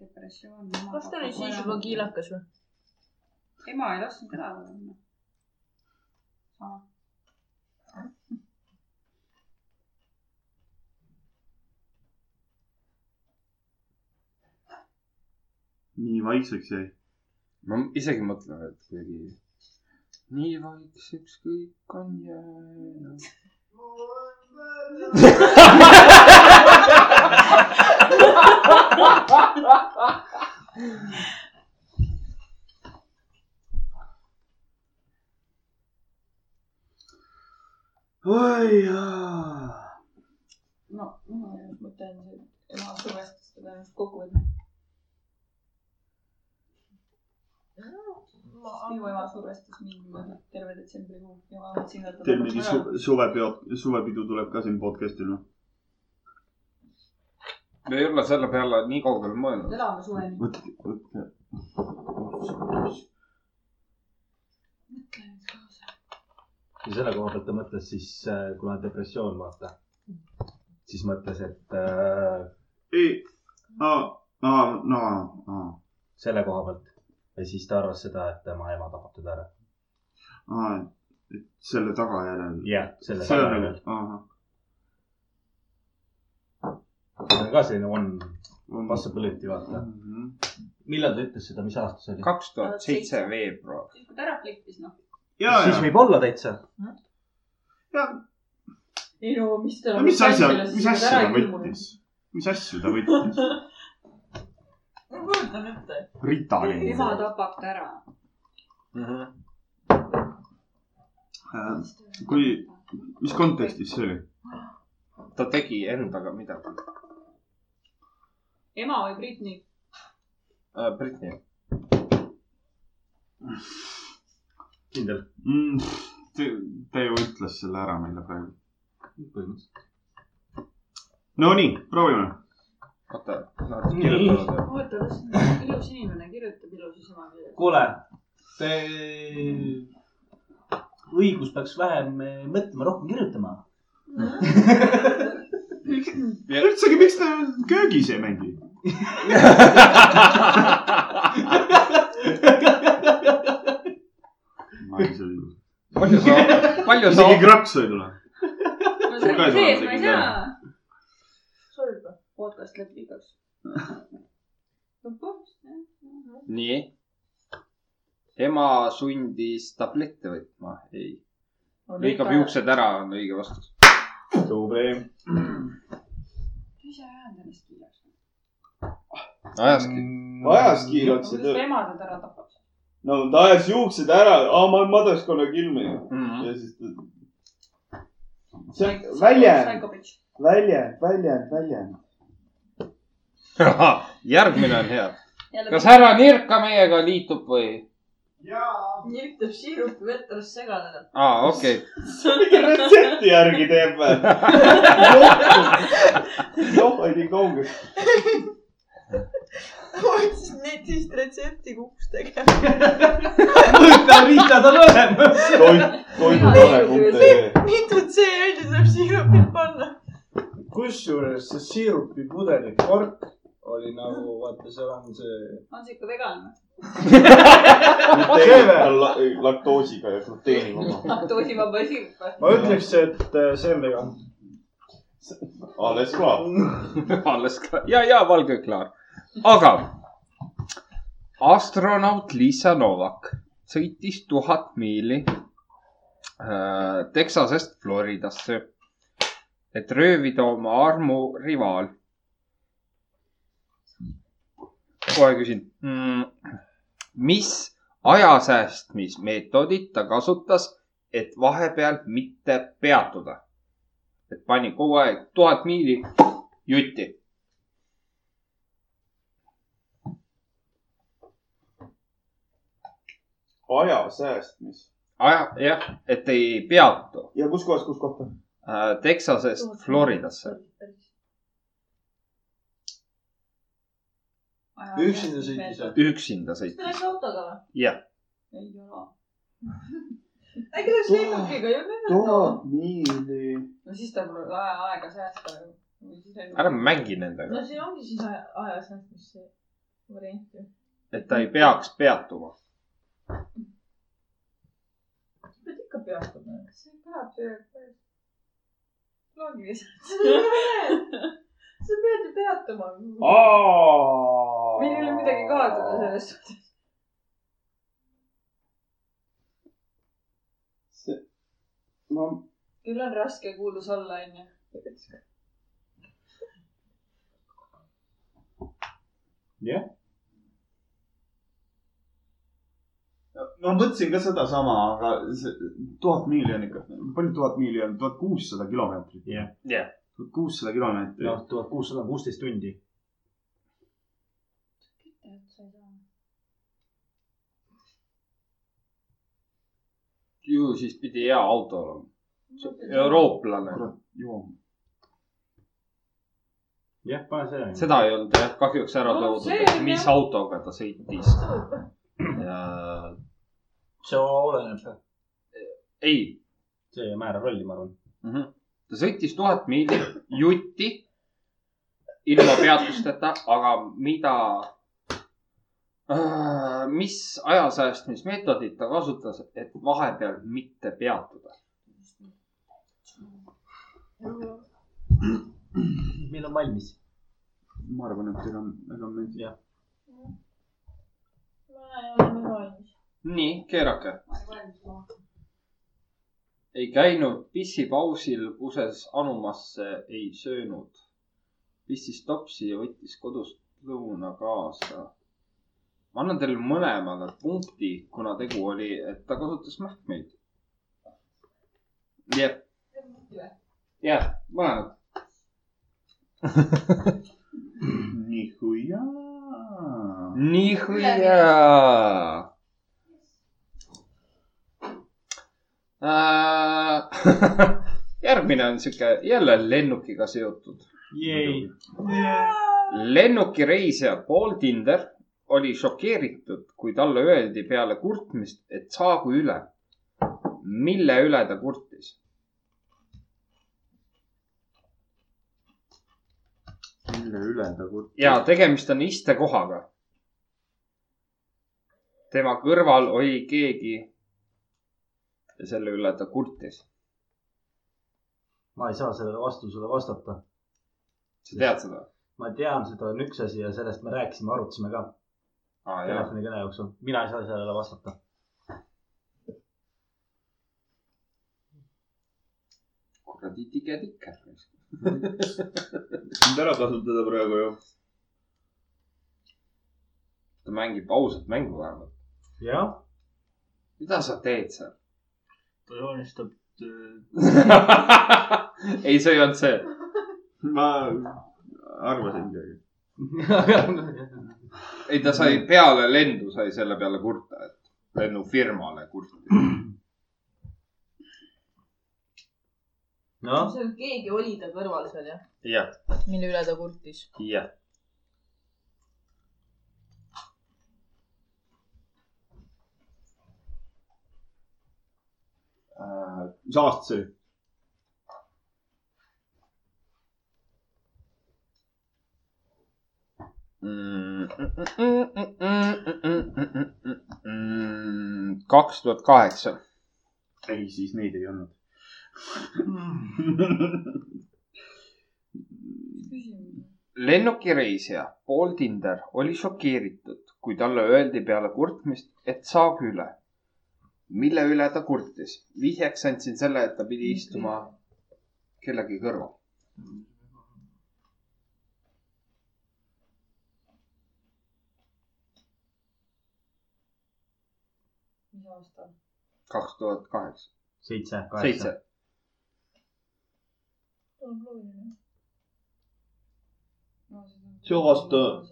depressioon . kas ta oli siis juba ? kiilakas või ? ema ei lasknud ära minna . nii vaikseks jäi . ma isegi mõtlen , et kuidagi nii vaikseks kõik on jäänud . oi jaa . no , minu jaoks mõte on see , et ema survestas teda ennast kokku võtma . minu ema survestas mind terve detsembrikuu ja ma mõtlesin , et . Teil mingi su- suvepeo , suvepidu tuleb ka siin podcast'il noh. või ? me ei ole selle peale nii kaugele mõelnud . elame suveni . võtke , võtke . mõtle nüüd kaasa . ja selle koha pealt ta mõtles siis , kuna depressioon , vaata , siis mõtles , et äh, ei , aa , aa , no , aa , selle koha pealt ja siis ta arvas seda , et tema ema tapab teda ära . aa , et selle tagajärjel . jah , selle see on tagajärjel nagu ,. ahah . see on ka selline one possibility , vaata . Mhm. millal ta ütles seda , mis aasta see oli ? kaks tuhat seitse veebruar . siis kui ta ära klippis , noh . ja , siis ja , võib olla täitsa . ja , ei no mis ta no mis asja , mis asja ta võttis ? mis asju ta võttis ? ma kujutan ette . Ritali . ema tapab ta ära . Kui- Äh, mis kontekstis see oli ? ta tegi endaga midagi . ema või Britney ? Britni . kindel . Mm, ta ju ütles selle ära meile praegu . põhimõtteliselt . Nonii , proovime . oota , nad kirjutavad . oota , las ilus inimene kirjutab ilusas ema keeles . kuule , te , õigus peaks vähem eh, mõtlema , rohkem kirjutama . üldsegi , miks ta köögis ei mängi ? isegi palju sa , palju sa , krapsu ei tule . no see Ka ei tule oli sees , ma ei midagi saa . soovib või ? podcast lõpeb igaks . nii . ema sundis tablette võtma , ei . lõikab . juuksed ära , on õige vastus . probleem . ise ajan ennast kiireks . ajas kõik . ajas kiirelt see kuidas töö . ta ema teda ära tapab ? no ta ajas juuksed ära , aa ma olen madaskonna külm ju . ja siis ta . see on väljend , väljend , väljend , väljend . järgmine on hea . kas härra Nirka meiega liitub või ? nirktab siirupi vett alles segada . aa , okei mingi retsepti järgi teeb või ? noh , ei nii kaugel . ma otsin netist retsepti kuks tegema . mõtle , Rita , ta on olemas . toit , toidutoore.ee mitu C-öödi tuleb siirupit panna ? kusjuures see siirupipudeli kork oli nagu , vaata , seal on see . on see ikka vegan või ? tegelikult on la- laktoosiga ja gluteenivaba . laktoosivaba sirup või ? ma ütleks , et äh, see on vegan . alles ka . okay. , alles ka ja , ja valge klaar . aga astronaut Liisa Novak sõitis tuhat miili äh, Texasest Floridasse , et röövida oma armurivaal . kohe küsin mm, , mis ajasäästmismeetodit ta kasutas , et vahepeal mitte peatuda ? et pani kogu aeg tuhat miili jutti . aja säästmis . aja , jah , et ei peatu ja kus kohas , kus kohta ? äh, Texasest Floridasse . üksinda sõitis või ? üksinda sõitis . läks autoga või ? jah , ei ole . äkki läks lennukiga ju lennata . tuhat miili . no siis tal pole vaja aega säästa ju . ära mängi no nendega , siin ongi siis aja , ajas noh , mis see variant ju . et ta ei peaks peatuma . sa pead ikka peatama . see kõlab see loogiliselt . sa pead ju peatuma . meil ei ole midagi kaotada selles suhtes . ma , küll on raske kuulus olla , onju . ma mõtlesin ka sedasama , aga see tuhat miili on ikka , palju tuhat miili on , tuhat kuussada kilomeetrit . Jah. Jah. tuhat kuussada kilomeetrit . noh , tuhat kuussada on kuusteist tundi . ju siis pidi hea auto olema . eurooplane , kurat , joom . jah , pane selle . seda ei olnud jah kahjuks ära No, toodud , see et on mis jah. autoga ta sõitis . ja see oleneb . ei , see määrab rolli , ma arvan . ta sõitis tuhat miili jutti ilma peatusteta , aga mida , mis ajasäästmismeetodit ta kasutas , et vahepeal mitte peatuda ? meil on valmis . ma arvan , et ega , ega me ei tea . ma ei ole nii valmis . nii , keerake . ei käinud pissipausil , kuses anumasse ei söönud . pissis topsi ja võttis kodust lõuna kaasa . ma annan teile mõlemale punkti , kuna tegu oli , et ta kasutas mähkmeid . jah , jah , mõlemad . nihuja . nii hõia . järgmine on sihuke jälle lennukiga seotud . jäi . lennukireisija Paul Tinder oli šokeeritud , kui talle öeldi peale kurtmist , et saagu üle . mille üle ta kurtis ? mille üle ta kut- ? ja tegemist on istekohaga . tema kõrval oli keegi . ja selle üle ta kurtis . ma ei saa sellele vastusele vastata . sa tead seda ? ma tean , seda on üks asi ja sellest me rääkisime , arutasime ka aa , jah . telefonikõne jooksul . mina ei saa sellele vastata . kuradi tige-tiker . sind ära kasutada praegu ju . ta mängib ausat mängu vähemalt . jah . mida sa teed seal ? ta joonistab . äh, ei , see ei olnud see . ma arvasin midagi . ei , ta sai Mm. peale lendu , sai selle peale kurta , et lennufirmale kurti . Mm. noh , seal keegi oli ta kõrval seal jah ? jah , mille üle ta kurtis ? jah . Äh, mis aasta see oli ? Mm, mm, kaks tuhat kaheksa . ei , siis neid ei olnud . lennukireisija Paul Tinder oli šokeeritud , kui talle öeldi peale kurtmist , et saab üle . mille üle ta kurtis ? vihjeks andsin selle , et ta pidi istuma kellegi kõrval . mis aasta ? kaks tuhat kaheksa , seitse , kaheksa . seitse . See aasta-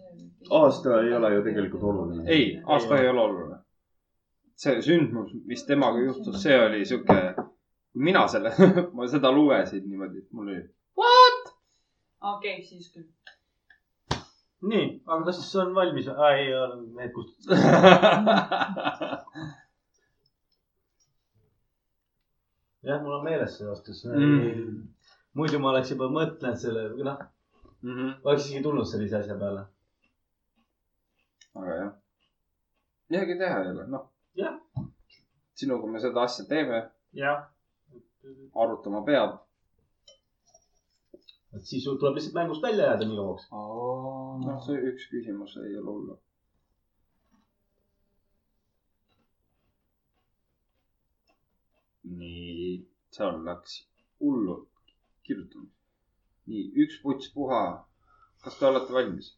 aasta ei ole ju tegelikult oluline. ei , aasta ei ole oluline . see sündmus , mis temaga juhtus , see oli sihuke , mina selle , ma seda lugesin niimoodi , et mul oli , okei , siis küll . nii , aga kas on valmis ? ei , need kustutasid . jah , mul on meeles see vastus Mm. mm. . muidu ma oleks juba mõtlenud selle , noh , mm . -hmm. oleks isegi tulnud sellise asja peale . aga jah , midagi teha ei ole , noh . Jah. . sinuga me seda asja teeme , jah . arutama peab . et siis sul tuleb lihtsalt mängust välja jääda nii kauaks . noh , see üks küsimus ei ole hullu . nii , seal läks hullu kirjutama . nii , üks puts puha . kas te olete valmis ?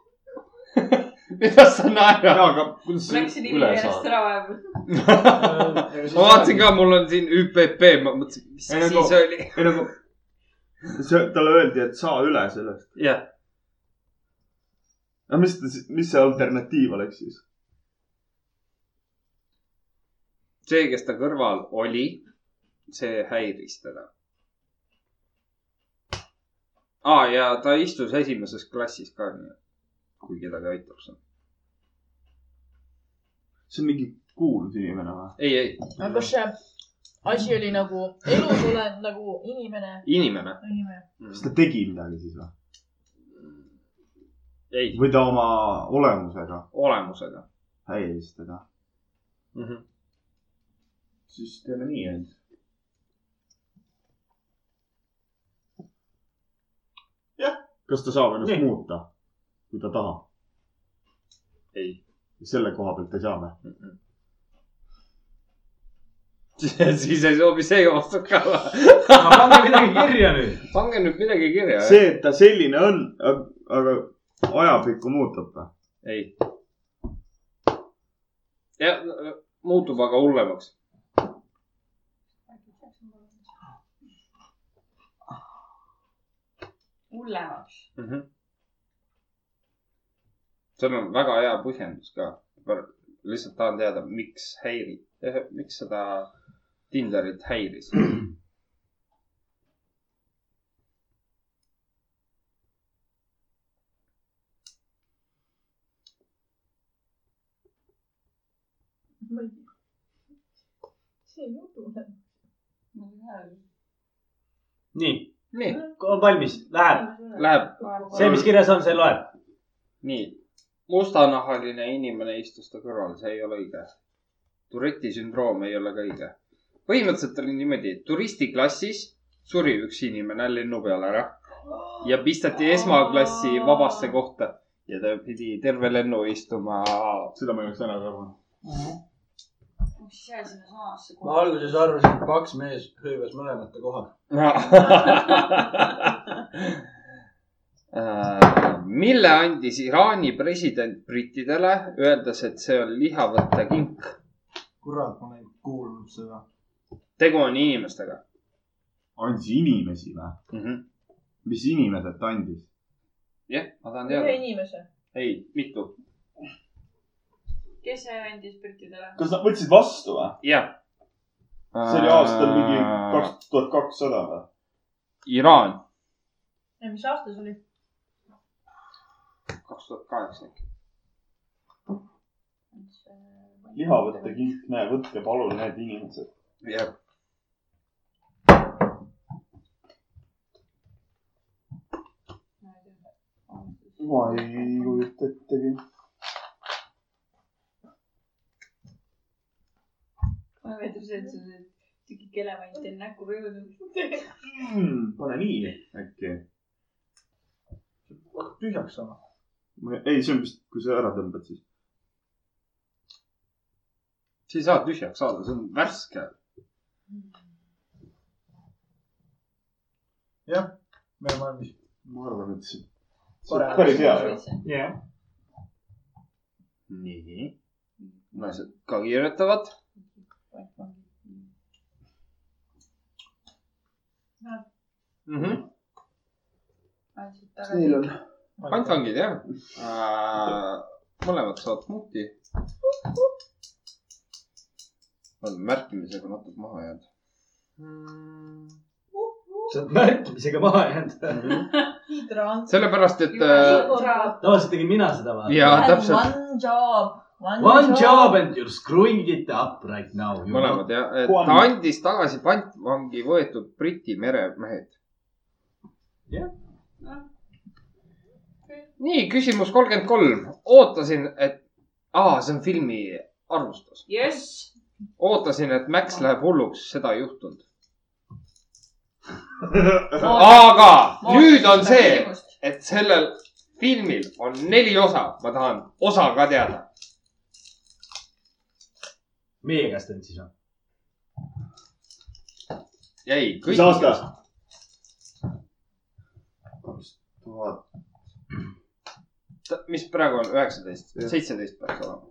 mida sa naerad ? jaa , aga kuidas Läksin see üle nimi järjest saab ? ära vahepeal . Äh, ma vaatasin ka , mul on siin ÜPP , ma mõtlesin , mis Ei, see nagu- siis oli . ei nagu , see , talle öeldi , et saa üle sellest . jah , aga mis , mis see alternatiiv oleks siis ? see , kes ta kõrval oli , see häiris teda . aa , Ah, ja ta istus esimeses klassis ka , nii et kui kedagi aitab seal . see on mingi kuulus inimene või ? ei , ei , aga kas see asi oli nagu elus olev nagu inimene , inimene . inimene ? kas ta tegi midagi siis või ? ei , või ta oma olemusega olemusega häiris teda ? mm . -hmm. siis teeme nii ainult . jah , kas ta saab ennast Nii. nii. muuta , kui ta tahab ? ei selle koha pealt ei saa või ? mm . -mm. siis ei sobi see vastus ka . pange midagi kirja nüüd . pange nüüd midagi kirja . see , et ta selline on , aga ajapikku muutub või ? ei . jah , muutub aga hullemaks . hullemaks . mm . -hmm. seal on väga hea põhjendus ka . lihtsalt tahan teada , miks häiri- , miks seda Tinderit häiris . ma ei tea . see ei jutu ole . ma ei tea . nii , nii , on valmis , läheb . läheb see , mis kirjas on , see loeb . nii . mustanahaline inimene istus ta kõrval , see ei ole õige . Tourette'i sündroom ei ole ka õige . põhimõtteliselt oli niimoodi , turistiklassis suri üks inimene lennu peal ära ja pistati esmaklassi vabasse kohta ja ta pidi terve lennu istuma seda ma ei oleks ära arvanud . mis ise sinna samasse ma kohta . alguses arvasin , et paks mees hõivas mõlemate kohad . Äh, mille andis Iraani president brittidele , öeldes , et see on lihavõtte kink . kurat , ma olen kuulnud seda . tegu on inimestega andis inimesi või ? mm . -hmm. mis inimesed ta andis ? jah yeah, , ma tahan ühe teada . inimese . ei , mitu . kes see andis brittidele ? kas nad võtsid vastu või ? jah . see oli aastal mingi kaks tuhat kakssada või ? Iraan , mis aasta see oli ? kaks tuhat kaheksa . äh, lihavõtte kink , näe , võtke palun need inimesed . jah . ma ei kujuta ettegi . mulle meeldib see , et sa oled tükike elevant enne näkku võjunud . pane nii äkki . hakkab tühjaks saama . ei , see on vist , kui sa ära tõmbad , siis . see ei saa tühjaks saada , see on värske . me oleme valmis . ma arvan , et see , see on päris hea . jah . nii . naised ka kirjutavad . Mm -hmm. kas neil on ? pantvangid jah äh, . mõlemad saavad smuuti . on märkimisega natuke maha jäänud . sa oled märkimisega maha jäänud . Hydra on . sellepärast , et äh, tavaliselt tegin mina seda vaata . ja täpselt , One job . One job and you are screwing it up right now . mõlemad jah , et Juan. ta andis tagasi pantvangi võetud Briti meremehed . Jah. nii , küsimus kolmkümmend kolm . ootasin , et , aa , see on filmi arvustus . jess . ootasin , et Max läheb hulluks , seda ei juhtunud . aga Ah, nüüd on see , et sellel filmil on neli osa , ma tahan osa ka teada . meie käest on siis või ? jäi kõik mis . aasta ? tuhat . mis praegu on üheksateist , seitseteist peaks olema .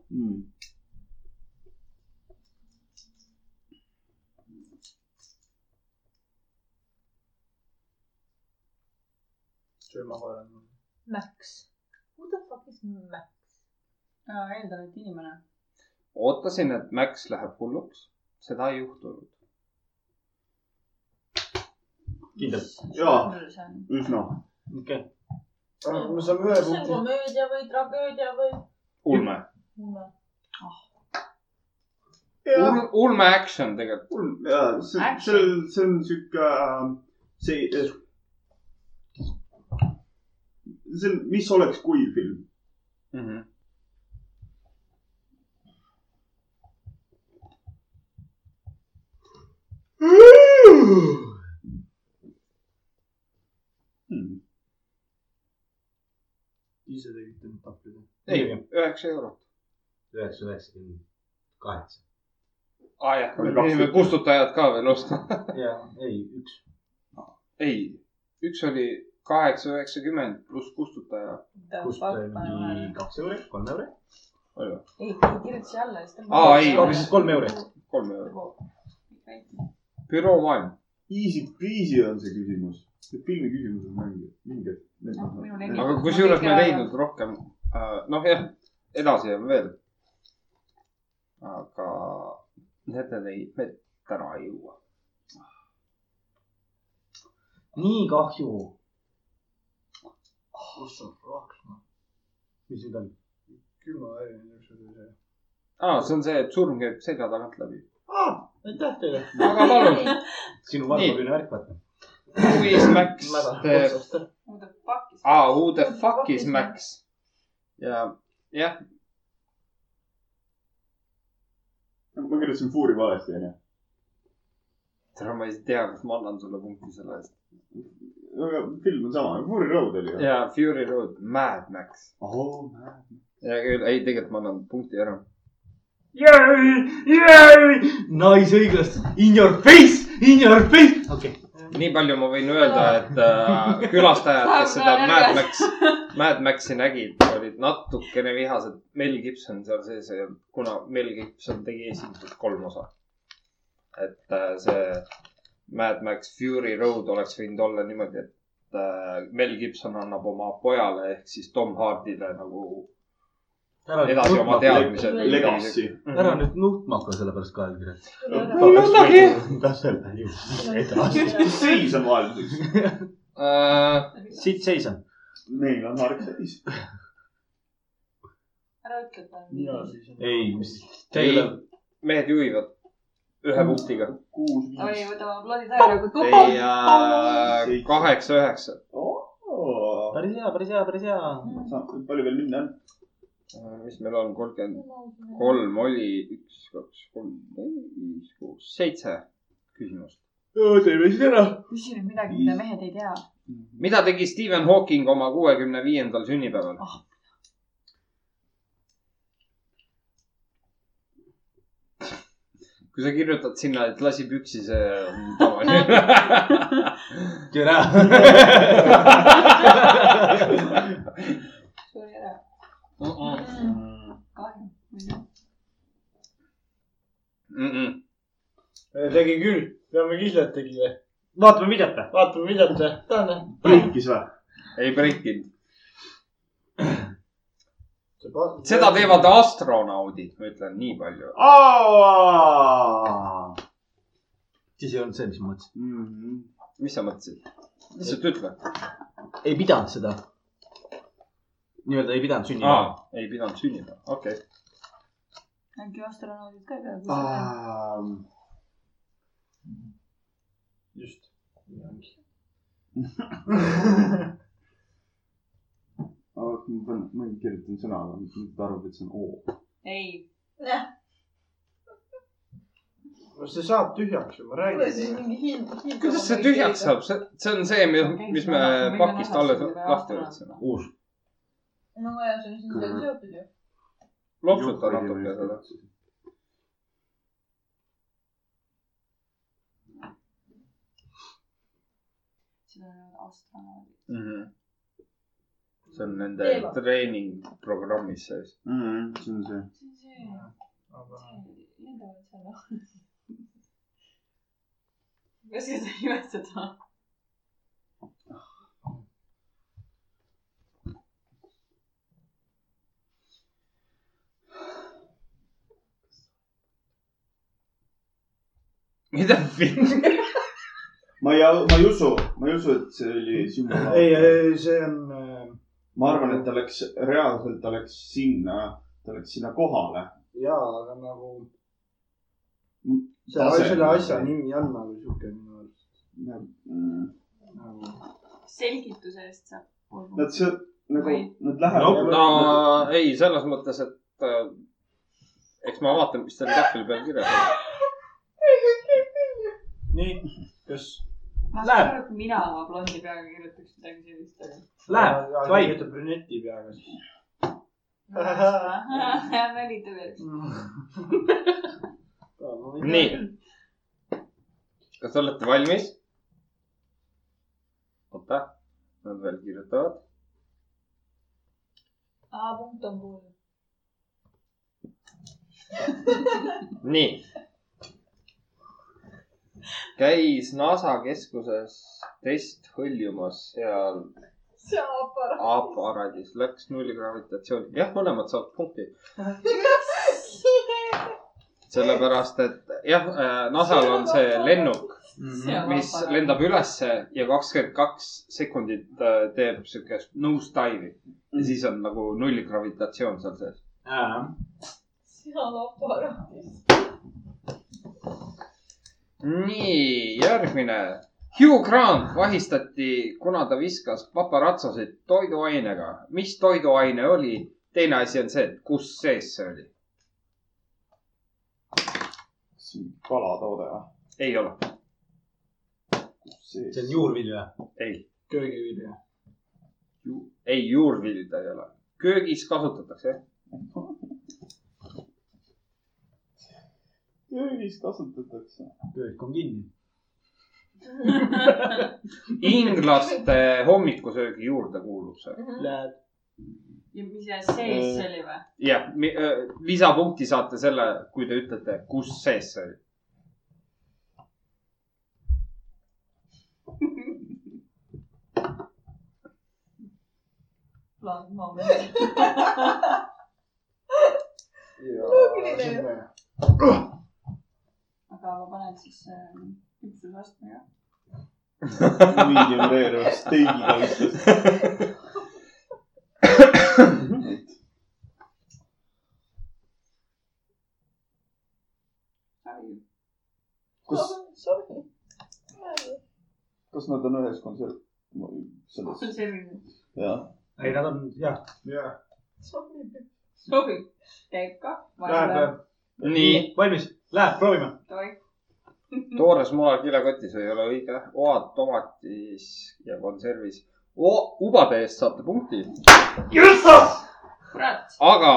Max . Who the fuck is Max ? eeldan , et inimene . ootasin , et Max läheb hulluks , seda ei juhtunud . kindlalt . jaa , üsna . okei . me saame ühe kas see on punkti . komöödia või tragöödia või ? ulme , jaa , ulme action tegelikult . see , see , see on äh, sihuke , see , see on , mis oleks , kui film . Mhm. ise tegite nüüd pappi . ei , üheksa eurot . üheksa , üheksakümmend kaheksa . aa jah , Ah, me Oli kaks pidime tükki. kustutajad ka veel ostma . jaa , ei , üks . ei , üks oli kaheksa üheksakümmend pluss kustutaja . kust äh, mingi kaks euri , kolm euri . ei , kirjuta siia alla , siis tõmbab . aa ei , hoopis kolm euri . kolm eurot . büroo maailm . Easy peasy on see küsimus . see filmi küsimus on mängija , mingid , need on . aga kusjuures me ei leidnud rohkem , noh jah , edasi on veel . aga need ei , me täna ei jõua . nii kahju . kus on plaks ? mis nüüd on ? külma värvi niisuguse . aa , Ah, see on see , et surm käib selja tagant läbi . aitäh teile . aga palun , sinu Nii. valgepõline värk , vaata . who is Max teeb otsast . ah, . Who the fuck is Max ? ja , jah , ma kirjutasin Fuuri valesti , onju . tere , ma ei tea , kas ma annan sulle punkti selle eest . aga film on sama , Fuuri Road oli ju . ja Fury Road , Mad Max . oh , hea küll , ei , tegelikult ma annan punkti ära . Nice , õiglast . In your face , in your face . okei . nii palju ma võin öelda , et äh, külastajad , kes seda Mad Max , Mad Maxi nägid , olid natukene vihased . Mel Gibson seal sees ei olnud , kuna Mel Gibson tegi esimesed kolm osa . et äh, see Mad Max Fury Road oleks võinud olla niimoodi , et äh, Mel Gibson annab oma pojale ehk siis Tom Hardile nagu edasi oma teadmised . Mm. Legacy . ära nüüd nutma hakka selle pärast ka allkirja . ei annagi . täpselt , edasi . mis seis on vahelduseks ? Äh, siit seisan . meil on harg seis . ära ütle , et ta on mina viis . siis . ei , mis . Ei. mehed juhivad ühe punktiga . kuus , oi , viis . võtame aplaudid ära , kui tuba . ei äh, , kaheksa , üheksa . päris hea , päris hea , päris hea . palju veel minna on ? Äh, mis meil on , kolmkümmend kolm oli , üks , kaks , kolm , neli , viis , kuus , seitse küsimust . teeme siis ära . küsi nüüd midagi , mida mehed ei tea . mida tegi Stephen Hawking oma kuuekümne viiendal sünnipäeval ? kui sa kirjutad sinna , et lasi püksi , see on tavaline . türa . suri ära , kahju . tegi Äh, küll , peame kindlalt tegi või ? vaatame videot või ? vaatame videot või ? tahame . breikis või ? ei breikinud . seda seda teevad astronaudid , ma ütlen nii palju . siis ei olnud see , mis ma mõtlesin . mis sa mõtlesid ? lihtsalt ütle . ei pidanud seda . nii-öelda ei pidanud sünni . aa , ei pidanud sünnima , okei okay. . äkki astronaudid ka ei pea kuskile um, . just . ma pean , ma ei kirjutanud sõna , aga nüüd ta arvab , et see on O . ei , no see saab tühjaks ju , ma kuule , räägin . siis mingi hind , hind . kuidas see tühjaks ? saab , see , see on see , mis me pakist alles lahti võtsime . uus . no ja see on siis veel seotud ju . loksuta natuke seda . seda öelnud astronaudid . Mhm. see on nende Teema. treeningprogrammis sees . mm, . see on see . see on see , see , need on seal noh . ma ei oska seda nimetada . mida film ? ma ei , ma ei usu , ma ei usu , et see oli sümbol . Mm. ei , ei , see on äh, ma arvan , et ta läks , reaalselt ta läks sinna , ta läks sinna kohale . jaa , aga nagu Mm, see , tase. selle asja nimi on nagu siuke minu arust mm. nagu . selgituse eest saab pool Nad punkti . see , nagu Või- , nad no, lähevad . no ei , selles mõttes , et äh, eks ma vaatan , mis seal tahvli peal kirjas on . nii , kas ma läheb. saan aru , et mina oma blondi peaga kirjutaks midagi sellist , aga . Läheb , davai . ütleb brüneti peaga siis . välita veel . nii . kas olete valmis ? oota , nad veel kirjutavad . aa , punkt on puudu . nii . käis NASA keskuses test hõljumas seal see aparaat . aparaadis , läks nullgravitatsiooni , jah , mõlemad saavad punkti . sellepärast , et jah , NASA-l on see lennuk , mis lendab ülesse ja kakskümmend kaks sekundit äh, teeb siukest nose dive'i ja siis on nagu nullgravitatsioon seal sees . seal aparaadis . nii , järgmine . Hugh Grant vahistati , kuna ta viskas paparatsosid toiduainega . mis toiduaine oli ? teine asi on see , et kus sees see oli . see on kalatoode või ? ei ole , see see on juurvilja . ei , köögivilja . ei juurvilja ta ei ole . köögis kasutatakse , jah . köögis kasutatakse . köök on kinni . inglaste hommikusöögi juurde kuulub see . Läheb . ja mis seal sees see oli või ? jah , lisapunkti saate selle , kui te ütlete , kus sees see oli . plaan , ma mõtlen . loogiline . aga ma panen siis äh, küpsusastmega . medium rare steigi taustas . kas , sorry . kas nad on ühes kontsert , selles , see on selline . jah . ei , nad on jah , jah , sorry . sobib . käib ka . läheb . nii . valmis , läheb , proovime . toores muna kilekotis ei ole õige , oad tomatis ja konservis . ubade eest saate punkti , kurat . aga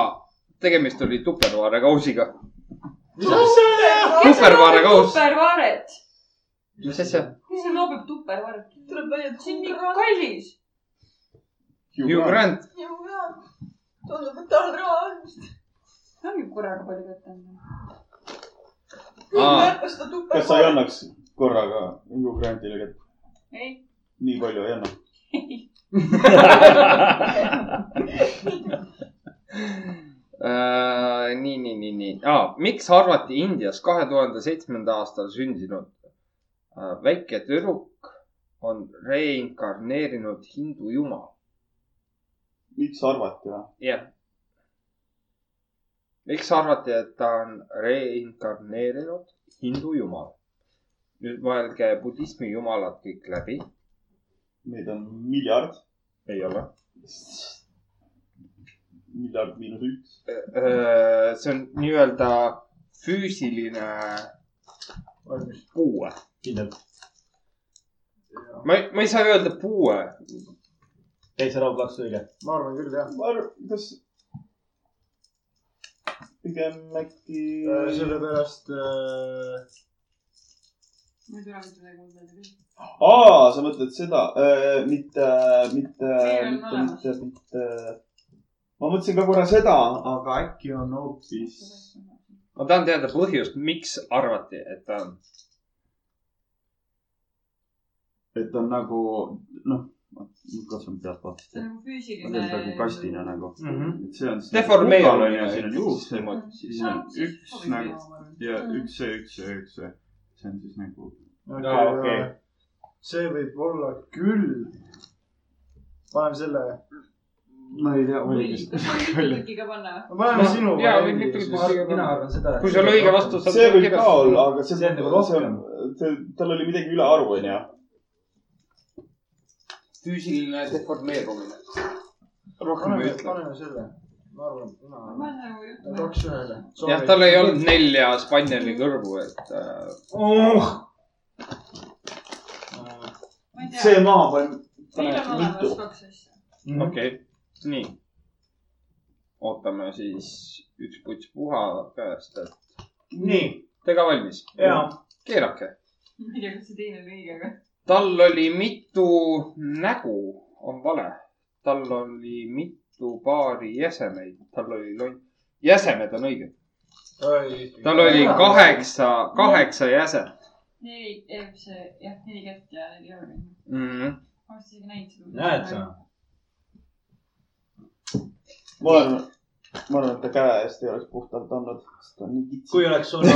tegemist oli tupperware kausiga . tuleb tupperware kaus , supervaaret . mis asja ? mis see loobib tuppervaaret ? välja , et see on nii kallis . Hugh . Grant , jõuab . tundub , et tal raha on . see ongi korraga palju kätte andnud . kõik Aa. märkas seda kas sa ei tupet . annaks korraga Hugh Grantile kätt ? ei , nii palju ei anna . Äh, nii , nii , nii , nii ah, . miks arvati Indias kahe tuhande seitsmenda aastal sündinud äh, väike tüdruk on reinkarneerinud hindu jumal ? miks arvati või ? jah . miks arvati , et ta on reinkarneerinud hindu jumal ? nüüd mõelge budismi jumalad kõik läbi . Neid on miljard , ei ole . miljard miinus üks . Äh, see on nii-öelda füüsiline puue . kindlalt . ma ei , ma ei saa öelda puue . täitsa raudlaks õige . ma arvan küll , jah . ma arvan , kas pigem äkki Äh, sellepärast äh, ma ei tule mitte midagi muud meelde küll . aa , sa mõtled seda äh, , mitte , mitte , Meil on mitte , olemas. mitte , mitte . ma mõtlesin ka korra seda , aga äkki on hoopis . ma tahan teada põhjust , miks arvati , et ta on . et on nagu noh , kasvab pealt vaatama . see on ma teen nagu praegu füüsiline . kastina nagu mm . Mhm. -hmm. et see on . deformeerumine siin on juuks niimoodi , siis on Ah, üks nagu ja Mhm. üks see , üks see , üks see . see on siis nagu . Aa, okei. . see võib olla küll . paneme selle . ma ei tea , või muidugi . kas ma võin ikkagi ka panna ? paneme No, sinu jaa, variandi võib- võib- siis. võib- ma arvan , mina arvan seda . kui sul õige vastus saab . see võib ka olla , aga see, See on nagu rohkem. . tal oli midagi ülearu , onju . füüsiline deformeerumine . rohkem ei paneme , ütle . paneme selle . ma arvan , ma mina arvan . olen nagu jutu . kaks ühele . jah , tal ei olnud nelja spanjali kõrvu , et äh, oh, . ma ei see tea , maa paneb , meil on paneb mitu olemas . kaks asja . Mm. okei okay. , nii . ootame siis üks puts puha käest , et nii , te ka valmis ? ja . keerake . ma ei tea , kas see teine on õige , aga . tal oli mitu nägu , on vale . tal oli mitu paari jäsemeid , tal oli lon- , jäsemed on õiged . tal oli kaheksa , kaheksa jäset neli , see jah , neli kätt ja neli jalga . mm . -hmm. ma vist isegi näinud seda . näed sa ?? ma arvan , ma arvan , et ta käe eest ei oleks puhtalt andnud , sest ta on nii kits . kui oleks olnud .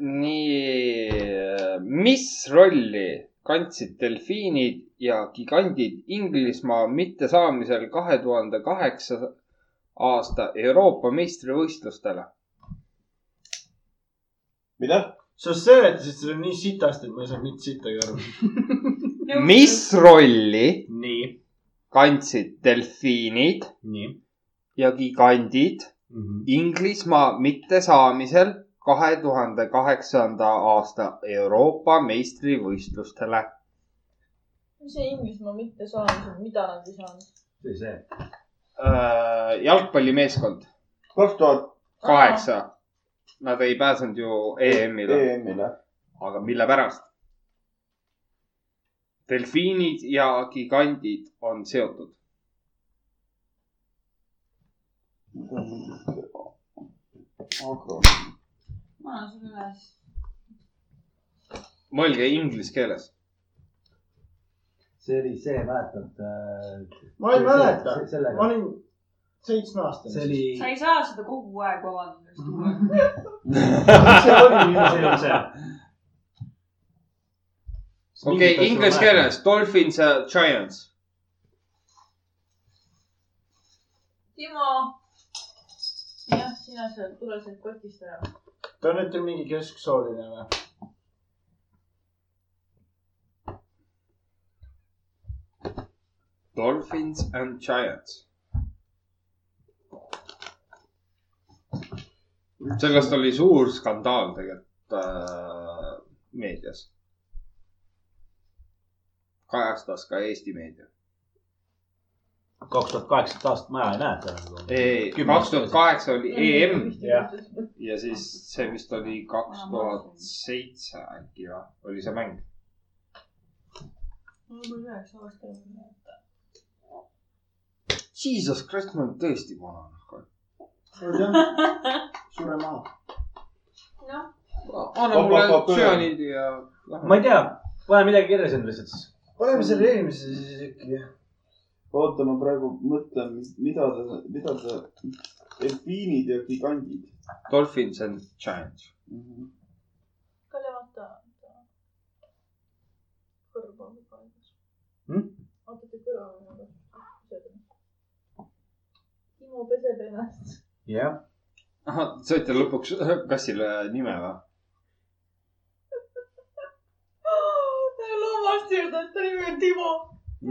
nii , mis rolli kandsid delfiinid ja gigandid Inglismaa mittesaamisel kahe tuhande kaheksa aasta Euroopa meistrivõistlustele ? mida ? sa seletasid seda nii sitasti , et ma ei saanud mitte sittagi aru . mis rolli nii , kandsid delfiinid nii . ja gigandid Mhm. Inglismaa mittesaamisel kahe tuhande kaheksanda aasta Euroopa meistrivõistlustele ? Äh, mis see Inglismaa mittesaamised , mida nad ei saanud ? see , see . jalgpallimeeskond kaks tuhat kaheksa . Nad ei pääsenud ju E EM-ile , EM-ile . aga mille pärast ? delfiinid ja gigandid on seotud . agro . ma annan sulle üles . mõelge inglise keeles . see oli see , mäletad äh, ? ma ei mäleta , ma sellega . olin seitsmeaastane . see oli . sa ei saa seda kogu aeg vabandada , kas tuua . see oli minu see oli see . okei , inglise . keeles dolphins ja giants . Timo . jah , sina seal , tule sealt kotist ära . ta on nüüd mingi kesksooline või ? Dolphins and giants . sellest oli suur skandaal tegelikult äh, meedias . kajastas ka Eesti meedia . kaks tuhat kaheksateist aastat ma ei näe seda . ei , kaks tuhat kaheksa oli EM jah. . ja siis see vist oli kaks tuhat seitse äkki või , oli see mäng . Jesus Christ , ma olen tõesti vana . noh. suure maa . anna Hop, hop, mulle hop, tsüaniidi ja . ma ei tea , pane midagi kirja sinna lihtsalt siis . paneme selle eelmise siis äkki . oota , ma praegu mõtlen , mida ta , mida ta , delfiinid ja gigandid Dolphins and Giants . mm . -hmm. Kalle , vaata . kõrva või kaelas Hmm? vaata , kui kõrva on . nagu- Timo peseb ennast . jah , ahah , saite lõpuks kassile nime või ? loomaarsti juurde , ta nimi on Timo .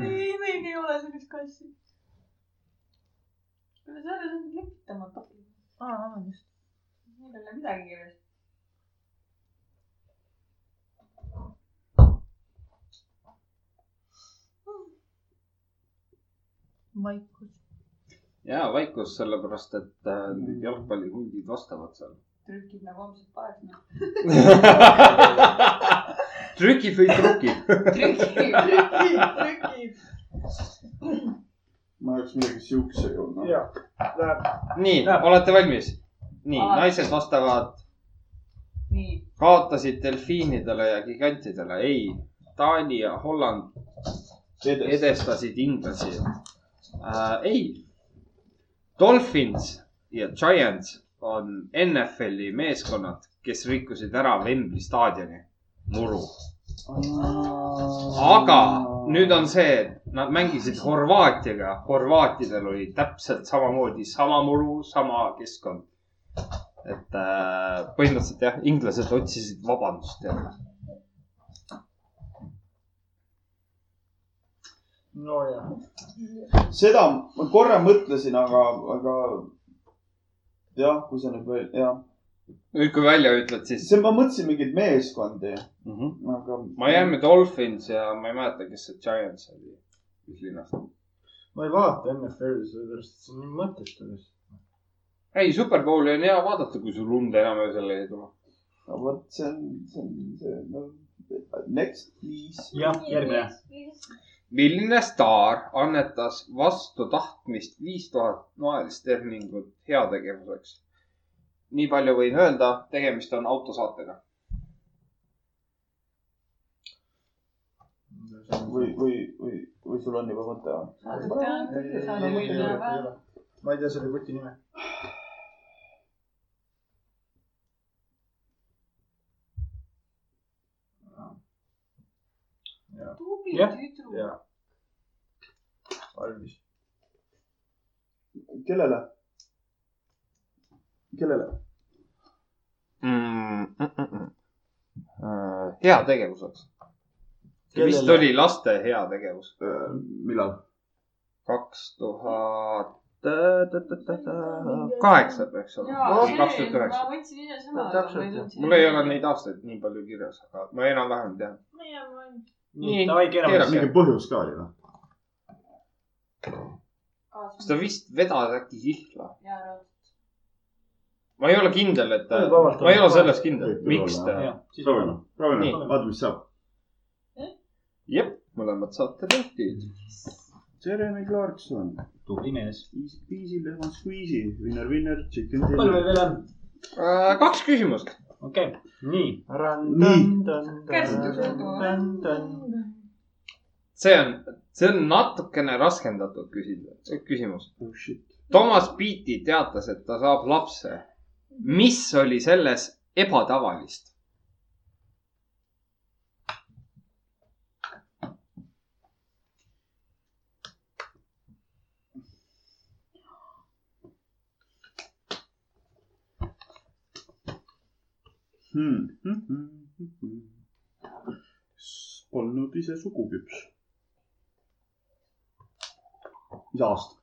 ei , meil ei ole sellist kassi . kuule , sa oled nüüd lepitamata . aa , vabandust . mul ei ole midagi kirjas . vaikus . jaa , vaikus , sellepärast et äh, need jalgpallihundid vastavad seal . trükid nagu homset paneks , noh . trükib või trukib ? trükid . trükib . ma oleks midagi noh. siukse joonud . ja , läheb . nii , olete valmis ? nii , Alati. naised vastavad , nii , kaotasid delfiinidele ja gigantidele , ei . Taani ja Holland edestasid inglasi äh, . ei , Dolphins ja Giants on NFL-i meeskonnad , kes rikkusid ära Wembley staadioni muru . aga nüüd on see , et nad mängisid Horvaatiaga , horvaatidel oli täpselt samamoodi sama muru , sama keskkond . et äh, põhimõtteliselt jah , inglased otsisid vabandust jälle . nojah . seda ma korra mõtlesin , aga , aga jah , kui sa nüüd veel , jah . nüüd , kui välja ütled , siis see , ma mõtlesin mingeid meeskondi , mm . Mhm. -hmm. aga . Miami Dolphins ja ma ei mäleta , kes see Giants oli , mis linnas . ma ei vaata NFL-i , sellepärast et see on nii mõttetu vist . ei , Superbowli on hea vaadata , kui sul und enam öösel ei tule . no vot , see on , see on , see on no, , next please . jah , järgmine . milline staar annetas vastu tahtmist viis tuhat naelist termingut heategevuseks ? nii palju võin öelda , tegemist on autosaatega . või , või , või , või sul on juba mõte või ? ma ei tea selle kuti nime . tubli Jah, tüdruk . ja , valmis . kellele ? kellele ? Äh, heategevuseks . vist Kellele? oli laste heategevus . Äh, millal ? kaks tuhat kaheksa peaks olema , kaks tuhat ma üheksa . võtsin ise sõna , aga ma ei Täpselt, tundnud . mul ei ole neid aastaid nii palju kirjas , aga ma enam-vähem tean . nii , davai , keerame . Mingi põhjus ka oli noh. või ? kas ta vist vedas äkki kihla ? jaa , raud . ma ei ole kindel , et ta , Võib vabalt ma ei ole olla. selles kindel Võib , küll miks olla, ta . proovime , Nii. proovime , vaatame , mis saab . jep , mõlemad saate punktid . Jeremy Clarkson , tubli mees . Easy Peasy , Lemon Squeezy , Winner Winner , Chicken palju Dinner meil . veel on ? Äh, kaks küsimust . okei okay. , nii . see on , see on natukene raskendatud küsimus , küsimus . oh shit . Toomas Piiti teatas , et ta saab lapse . mis oli selles ebatavalist ? Hmm, Polnud ise suguküps . mis aasta ?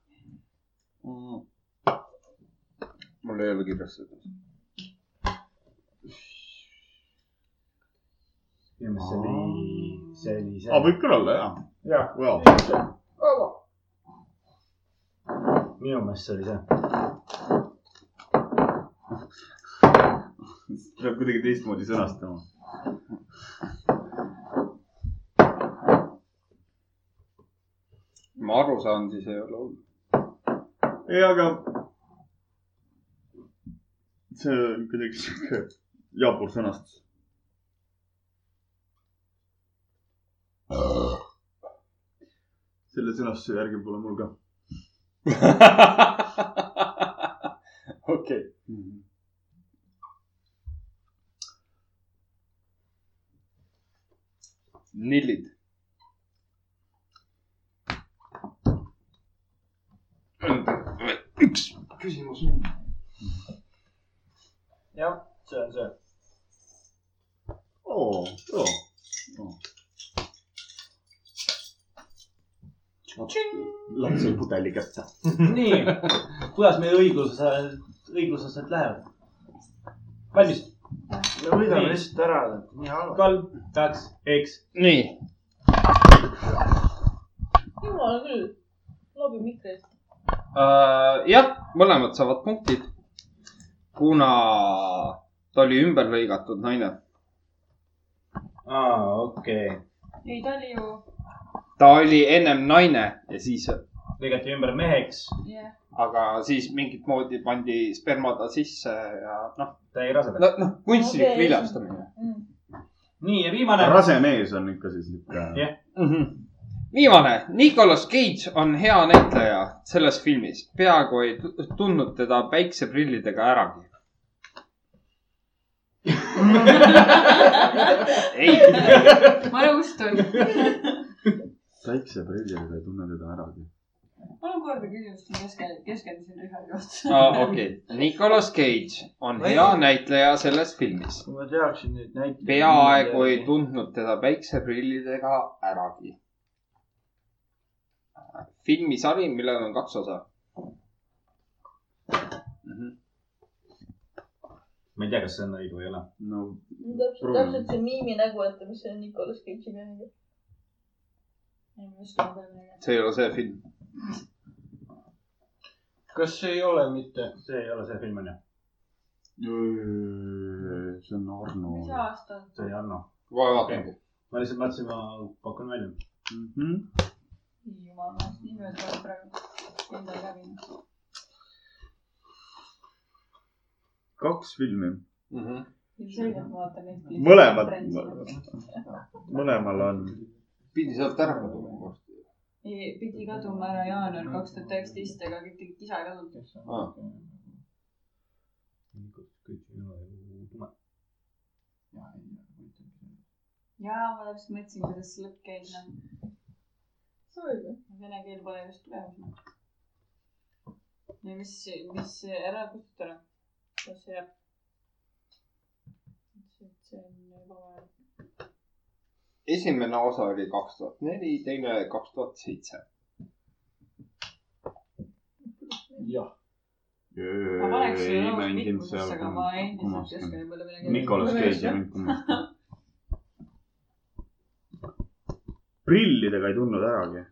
mul ei ole kirjas seda . minu meelest see oli , aa , see oli see , Ah, võib küll olla , jaa . jaa , jaa , minu meelest see oli see . peab kuidagi teistmoodi sõnastama . ma aru saan , siis ei ole hullu . ei , aga . see on kuidagi sihuke jabur sõnastus . selle sõnastuse järgi pole mul ka . okei . nillid . üks , jah , see on see . oo , joo . lapse pudeli kätte . nii , kuidas meie õiglused , õiglused lähevad ? valmis ? me võidame Nii. lihtsalt ära , nii halb . kolm , kaks , üks . nii , jumala küll , loobi mikri . Äh, jah , mõlemad saavad punktid . kuna ta oli ümber lõigatud naine , aa , okei okay. . ei , ta oli ju , ta oli ennem naine ja siis , lõigati ümber meheks , jah . aga siis mingit moodi pandi sperma ta sisse ja noh , ta jäi rasedaks no. . noh , kunstlik Okei. viljastamine nii ja viimane . rase mees on ikka siis niisugune . mm . -hmm. viimane , Nicolas Cage on hea näitleja selles filmis , peaaegu ei tu- tundnud teda päikseprillidega äragi . ei , ma nõustun . päikseprilliga ei tunne teda äragi . palun korda küsimust , ma kesken- , keskendusin Richardi vastu . Ah, okei , Nicolas Cage on Ma ei- hea näitleja selles filmis , kui ma teaksin nüüd näiteid . peaaegu ei . tundnud teda päikseprillidega äragi . filmisari , millel on kaks osa . ma ei tea , kas see on õige või ei ole . no täpselt , täpselt see miimi nägu , et mis see on Nicolas Cage'iga . see ei ole see film . kas ei ole mitte ? see ei ole see film , on ju ? see on Arno . mis aasta on ? see ei anna . kohe vaatan . ma lihtsalt mõtlesin , ma pakun välja . Mhm. jumala , nii mööda tuleb praegu . endal läbi . kaks filmi . Mhm. ilmselgelt ma vaatan neid . Mõlemad- mõlemal on . pidi sealt ära kaduma kord . pidi kaduma ära jaanuar kaks tuhat üheksateist , aga kõik kisa ei kadunud . jaa , ma täpselt mõtlesin , kuidas see lõppkeel on . Vene keel pole just tulemas . ja mis , mis ära kustutada , kas see jääb ? see on ebavajalik . esimene osa oli kaks tuhat neli , teine kaks tuhat seitse . jah . ma paneks ei selle laulu mänginud pikkusesse , seal aga ma endiselt ei oska kummaski . nii palju midagi Nicolas Cage'i mäng kummaski . prillidega ei tundnud äragi .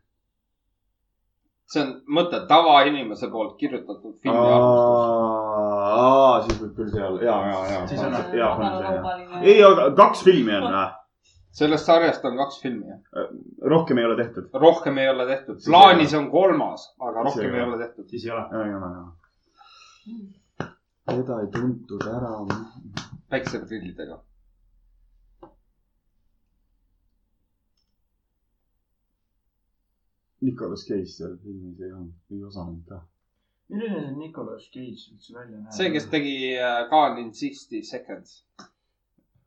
see on mõte tavainimese poolt kirjutatud filmi arvustus . aa , siis võib küll seal , ja , ja , ja . Siis on- ja , on see , jah . ei , aga kaks filmi on , sellest sarjast on kaks filmi , jah . rohkem ei ole tehtud . rohkem ei ole tehtud . Siis plaanis on kolmas , aga Siis rohkem ei ei ole. ole tehtud . siis ei ole . ja , ja , ja . Hmm. teda ei tuntud ära . päikseprillidega . Nicolas Cage seal filmis ei olnud , ei osanud ka . milline see Nicolas Cage üldse välja näeb ? see , kes tegi äh, Gone in sixty seconds .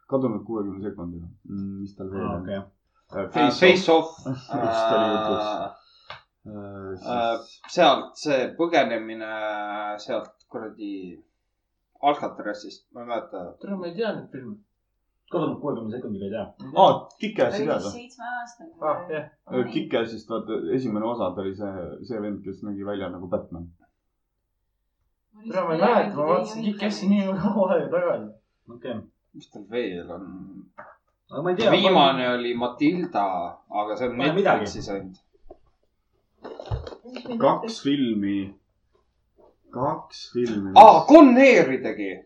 kadunud kuuekümne sekundiga mm, . mis tal veel on Äh, okei . okay. ? Ah, Face off . Just oli jutus. Äh, siis Äh, sealt see põgenemine äh, sealt kuradi Alcatrazist , ma ei mäleta . tere , ma ei tea neid filme . kadunud kuuekümne sekundiga ei tea . Äh, aa , Kikesi ka Äh, ta . ah , seitsmeaastane . jah . Kikesist vaata , esimene osa ta oli see , see vend , kes nägi välja nagu Batman . tere , ma ei mäleta , ma vaatasin Kikessi . nii kaua aega tagasi . okei okay. , mis tal veel on ? aga ma ei tea . viimane oli Matilda , aga see on Pole Netflixis ainult . kaks filmi , kaks filmi . aa , Ah, Con Air'i tegi .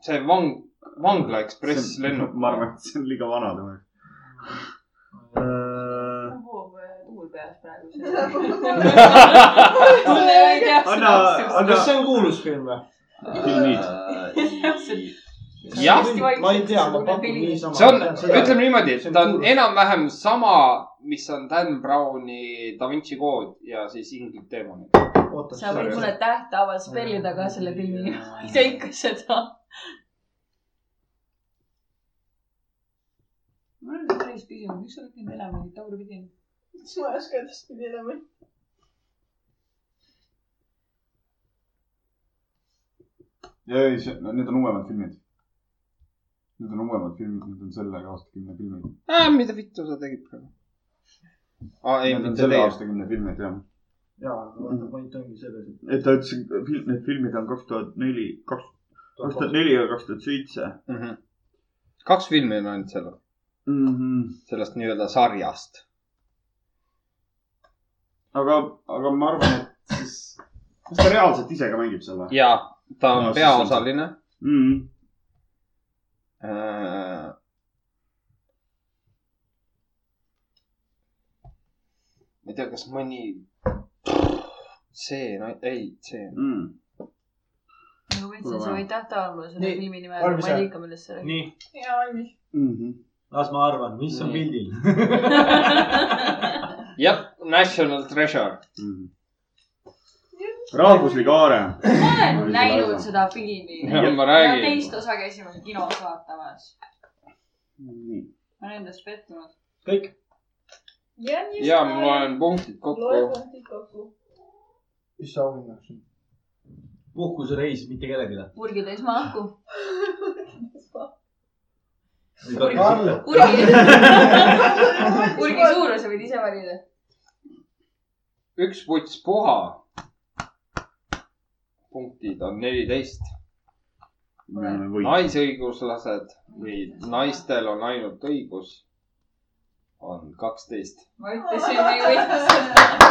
see vang , Vangla Ekspress lennuk . ma arvan , et see on liiga vana tema jaoks . puhub äh, tuul peas praegu . anna , anna kas . see on kuulus film või ? Kill Äh, jah , ma ei tea , ma pakun niisama . see on , ütleme niimoodi , et see on ta on kuulus. enam-vähem sama , mis on Dan Browni Da Vinci kood ja siis Ingrid Teemani . oota , sa võid mulle tähthaaval spellida ka selle filmi nime , ma ei tea ikka seda . mul on päris küsimus , miks sa kõik need elemendid tagurpidi on ? siis ma ei oska edaspidi enam . ei , see , need on uuemad filmid . Need on uuemad filmid , need on selle aastakümne filmid . äh, . mida vittu sa tegid praegu ? aa , ei , Need on mitte selle teie . aastakümne filmid , jah . jaa , aga vaata , point ongi selles , et et ta ütles , et need filmid on kaks tuhat neli , kaks , kaks tuhat neli ja kaks tuhat seitse . Mhm. kaks filmi on ainult seal , Mhm. sellest nii-öelda sarjast . aga , aga ma arvan , et siis , kas ta reaalselt ise ka mängib Mhm. seal või ? ja ta on No, no, siis on see- peaosaline . ma ei tea , kas mõni , see , ei , see . Mhm. nagu ma ütlesin , sa võid tähtaja olla selle Nii, filmi nime , ma valmis ei või? tea , millest sa räägid . nii , mina valmis . Mhm. las ma arvan , mis on pildil . jah , National Treasure . Mhm. rahvuslik aare . ma olen näinud seda filmi . Ja ma ja räägin. teist osa käisime kinos vaatamas . ma olen endast pettunud . kõik . ja ma loen punktid kokku . punktid kokku . mis see auhind läks ? puhkusereis mitte kellelegi . purgi täis mahku . Karl , purgi , purgi suuruse võid ise valida . üks puts puha . punktid on neliteist . naisõiguslased või naistel on ainult õigus , on kaksteist . ma ütlesin , ei võitle .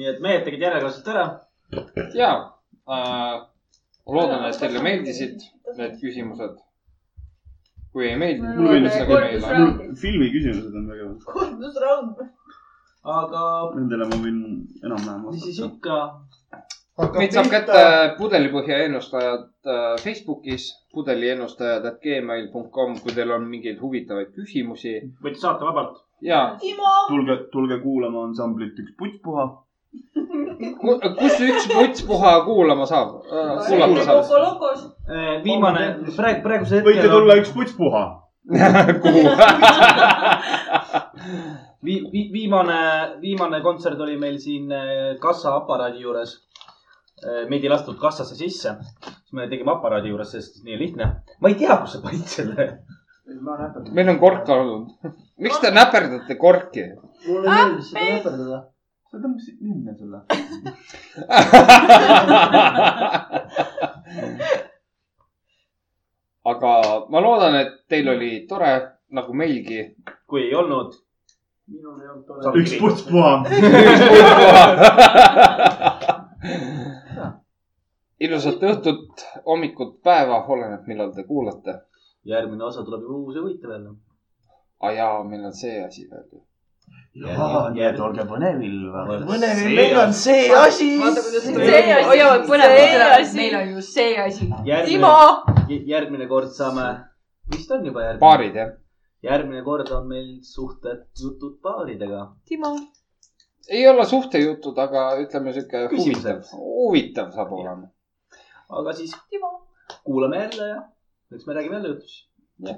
nii et mehed tegid järjekordselt ära . ja äh, loodan , et teile meeldisid need küsimused . kui ei Mulle meeldinud , meeldis kirjutage meile . filmi küsimused on väga , kordusraund . aga nendele ma võin enam-vähem mis siis vastata . ikka , meid saab kätte pudelipõhja ennustajad äh, Facebookis , pudeliennustajad.gmail.com , kui teil on mingeid huvitavaid küsimusi võite saata vabalt . ja tulge , tulge kuulama ansamblit Üks puts puha . Ku- kus üks puts puha kuulama saab , kuulata saab ? Kokolokos . Äh, viimane , praegu , praegusel võite hetkel tulla Üks puts puha . vi, vi, viimane , viimane kontsert oli meil siin eh, kassaaparaadi juures . meid ei lastud kassasse sisse , siis me tegime aparaadi juures , sest nii lihtne . ma ei tea , kus sa panid selle . ma näpetan . meil on kork olnud . miks te näperdate korki ? mulle meeldis seda näperdada . sa tõmbasid ninna selle . aga ma loodan , et teil oli tore nagu meilgi . kui ei olnud , minul ei olnud Sa- tore . üks puts puha . ilusat õhtut , hommikut , päeva , oleneb , millal te kuulate . järgmine osa tuleb juba uus ja huvitav jälle . aa Ah jaa , meil on see asi veel . Jaa, nii et olge põnevil . mõnel meil on see . vaata , kuidas See asi. hoiavad põnevust See ära , et asi. meil on ju see asi . järgmine , järgmine kord saame , vist on juba järgmine . paarid jah ? järgmine kord on meil suhted , jutud paaridega . Timo . ei ole suhtejutud , aga ütleme sihuke huvitav Küsimused. , huvitav saab olema . aga siis kuulame jälle ja eks me räägime jälle jutus . Bye ,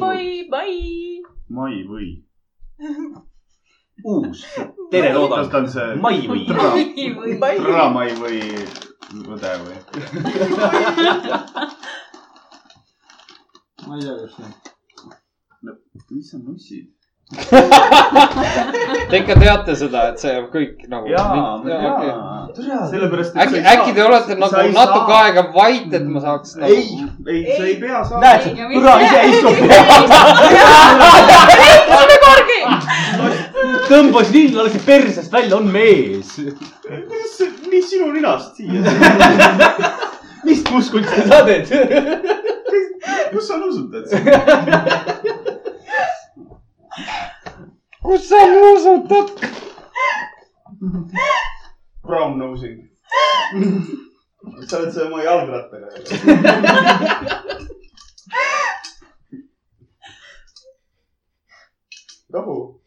bye , bye . mai või ? uus , tere kas ta loodame . on see mai või ? tra- või tramai või õde või ? ma ei tea , kas see . mis on nussid ? Te ikka teate seda , et see on kõik nagu . jaa , ma tean . sellepärast , et äkki , äkki te olete nagu natuke . aega vait , et ma saaks nagu... ei ,, ei , sa ei pea saama . näed , kurat ise istub . tõmbas lill alles persest välja , on mees . mis , mis sinu ninast siia ? mis muskulit sa seda teed ? kus sa nuusutad siin ? kus sa nuusutad ? Brown nosing . sa oled selle oma jalgrattaga . rahu .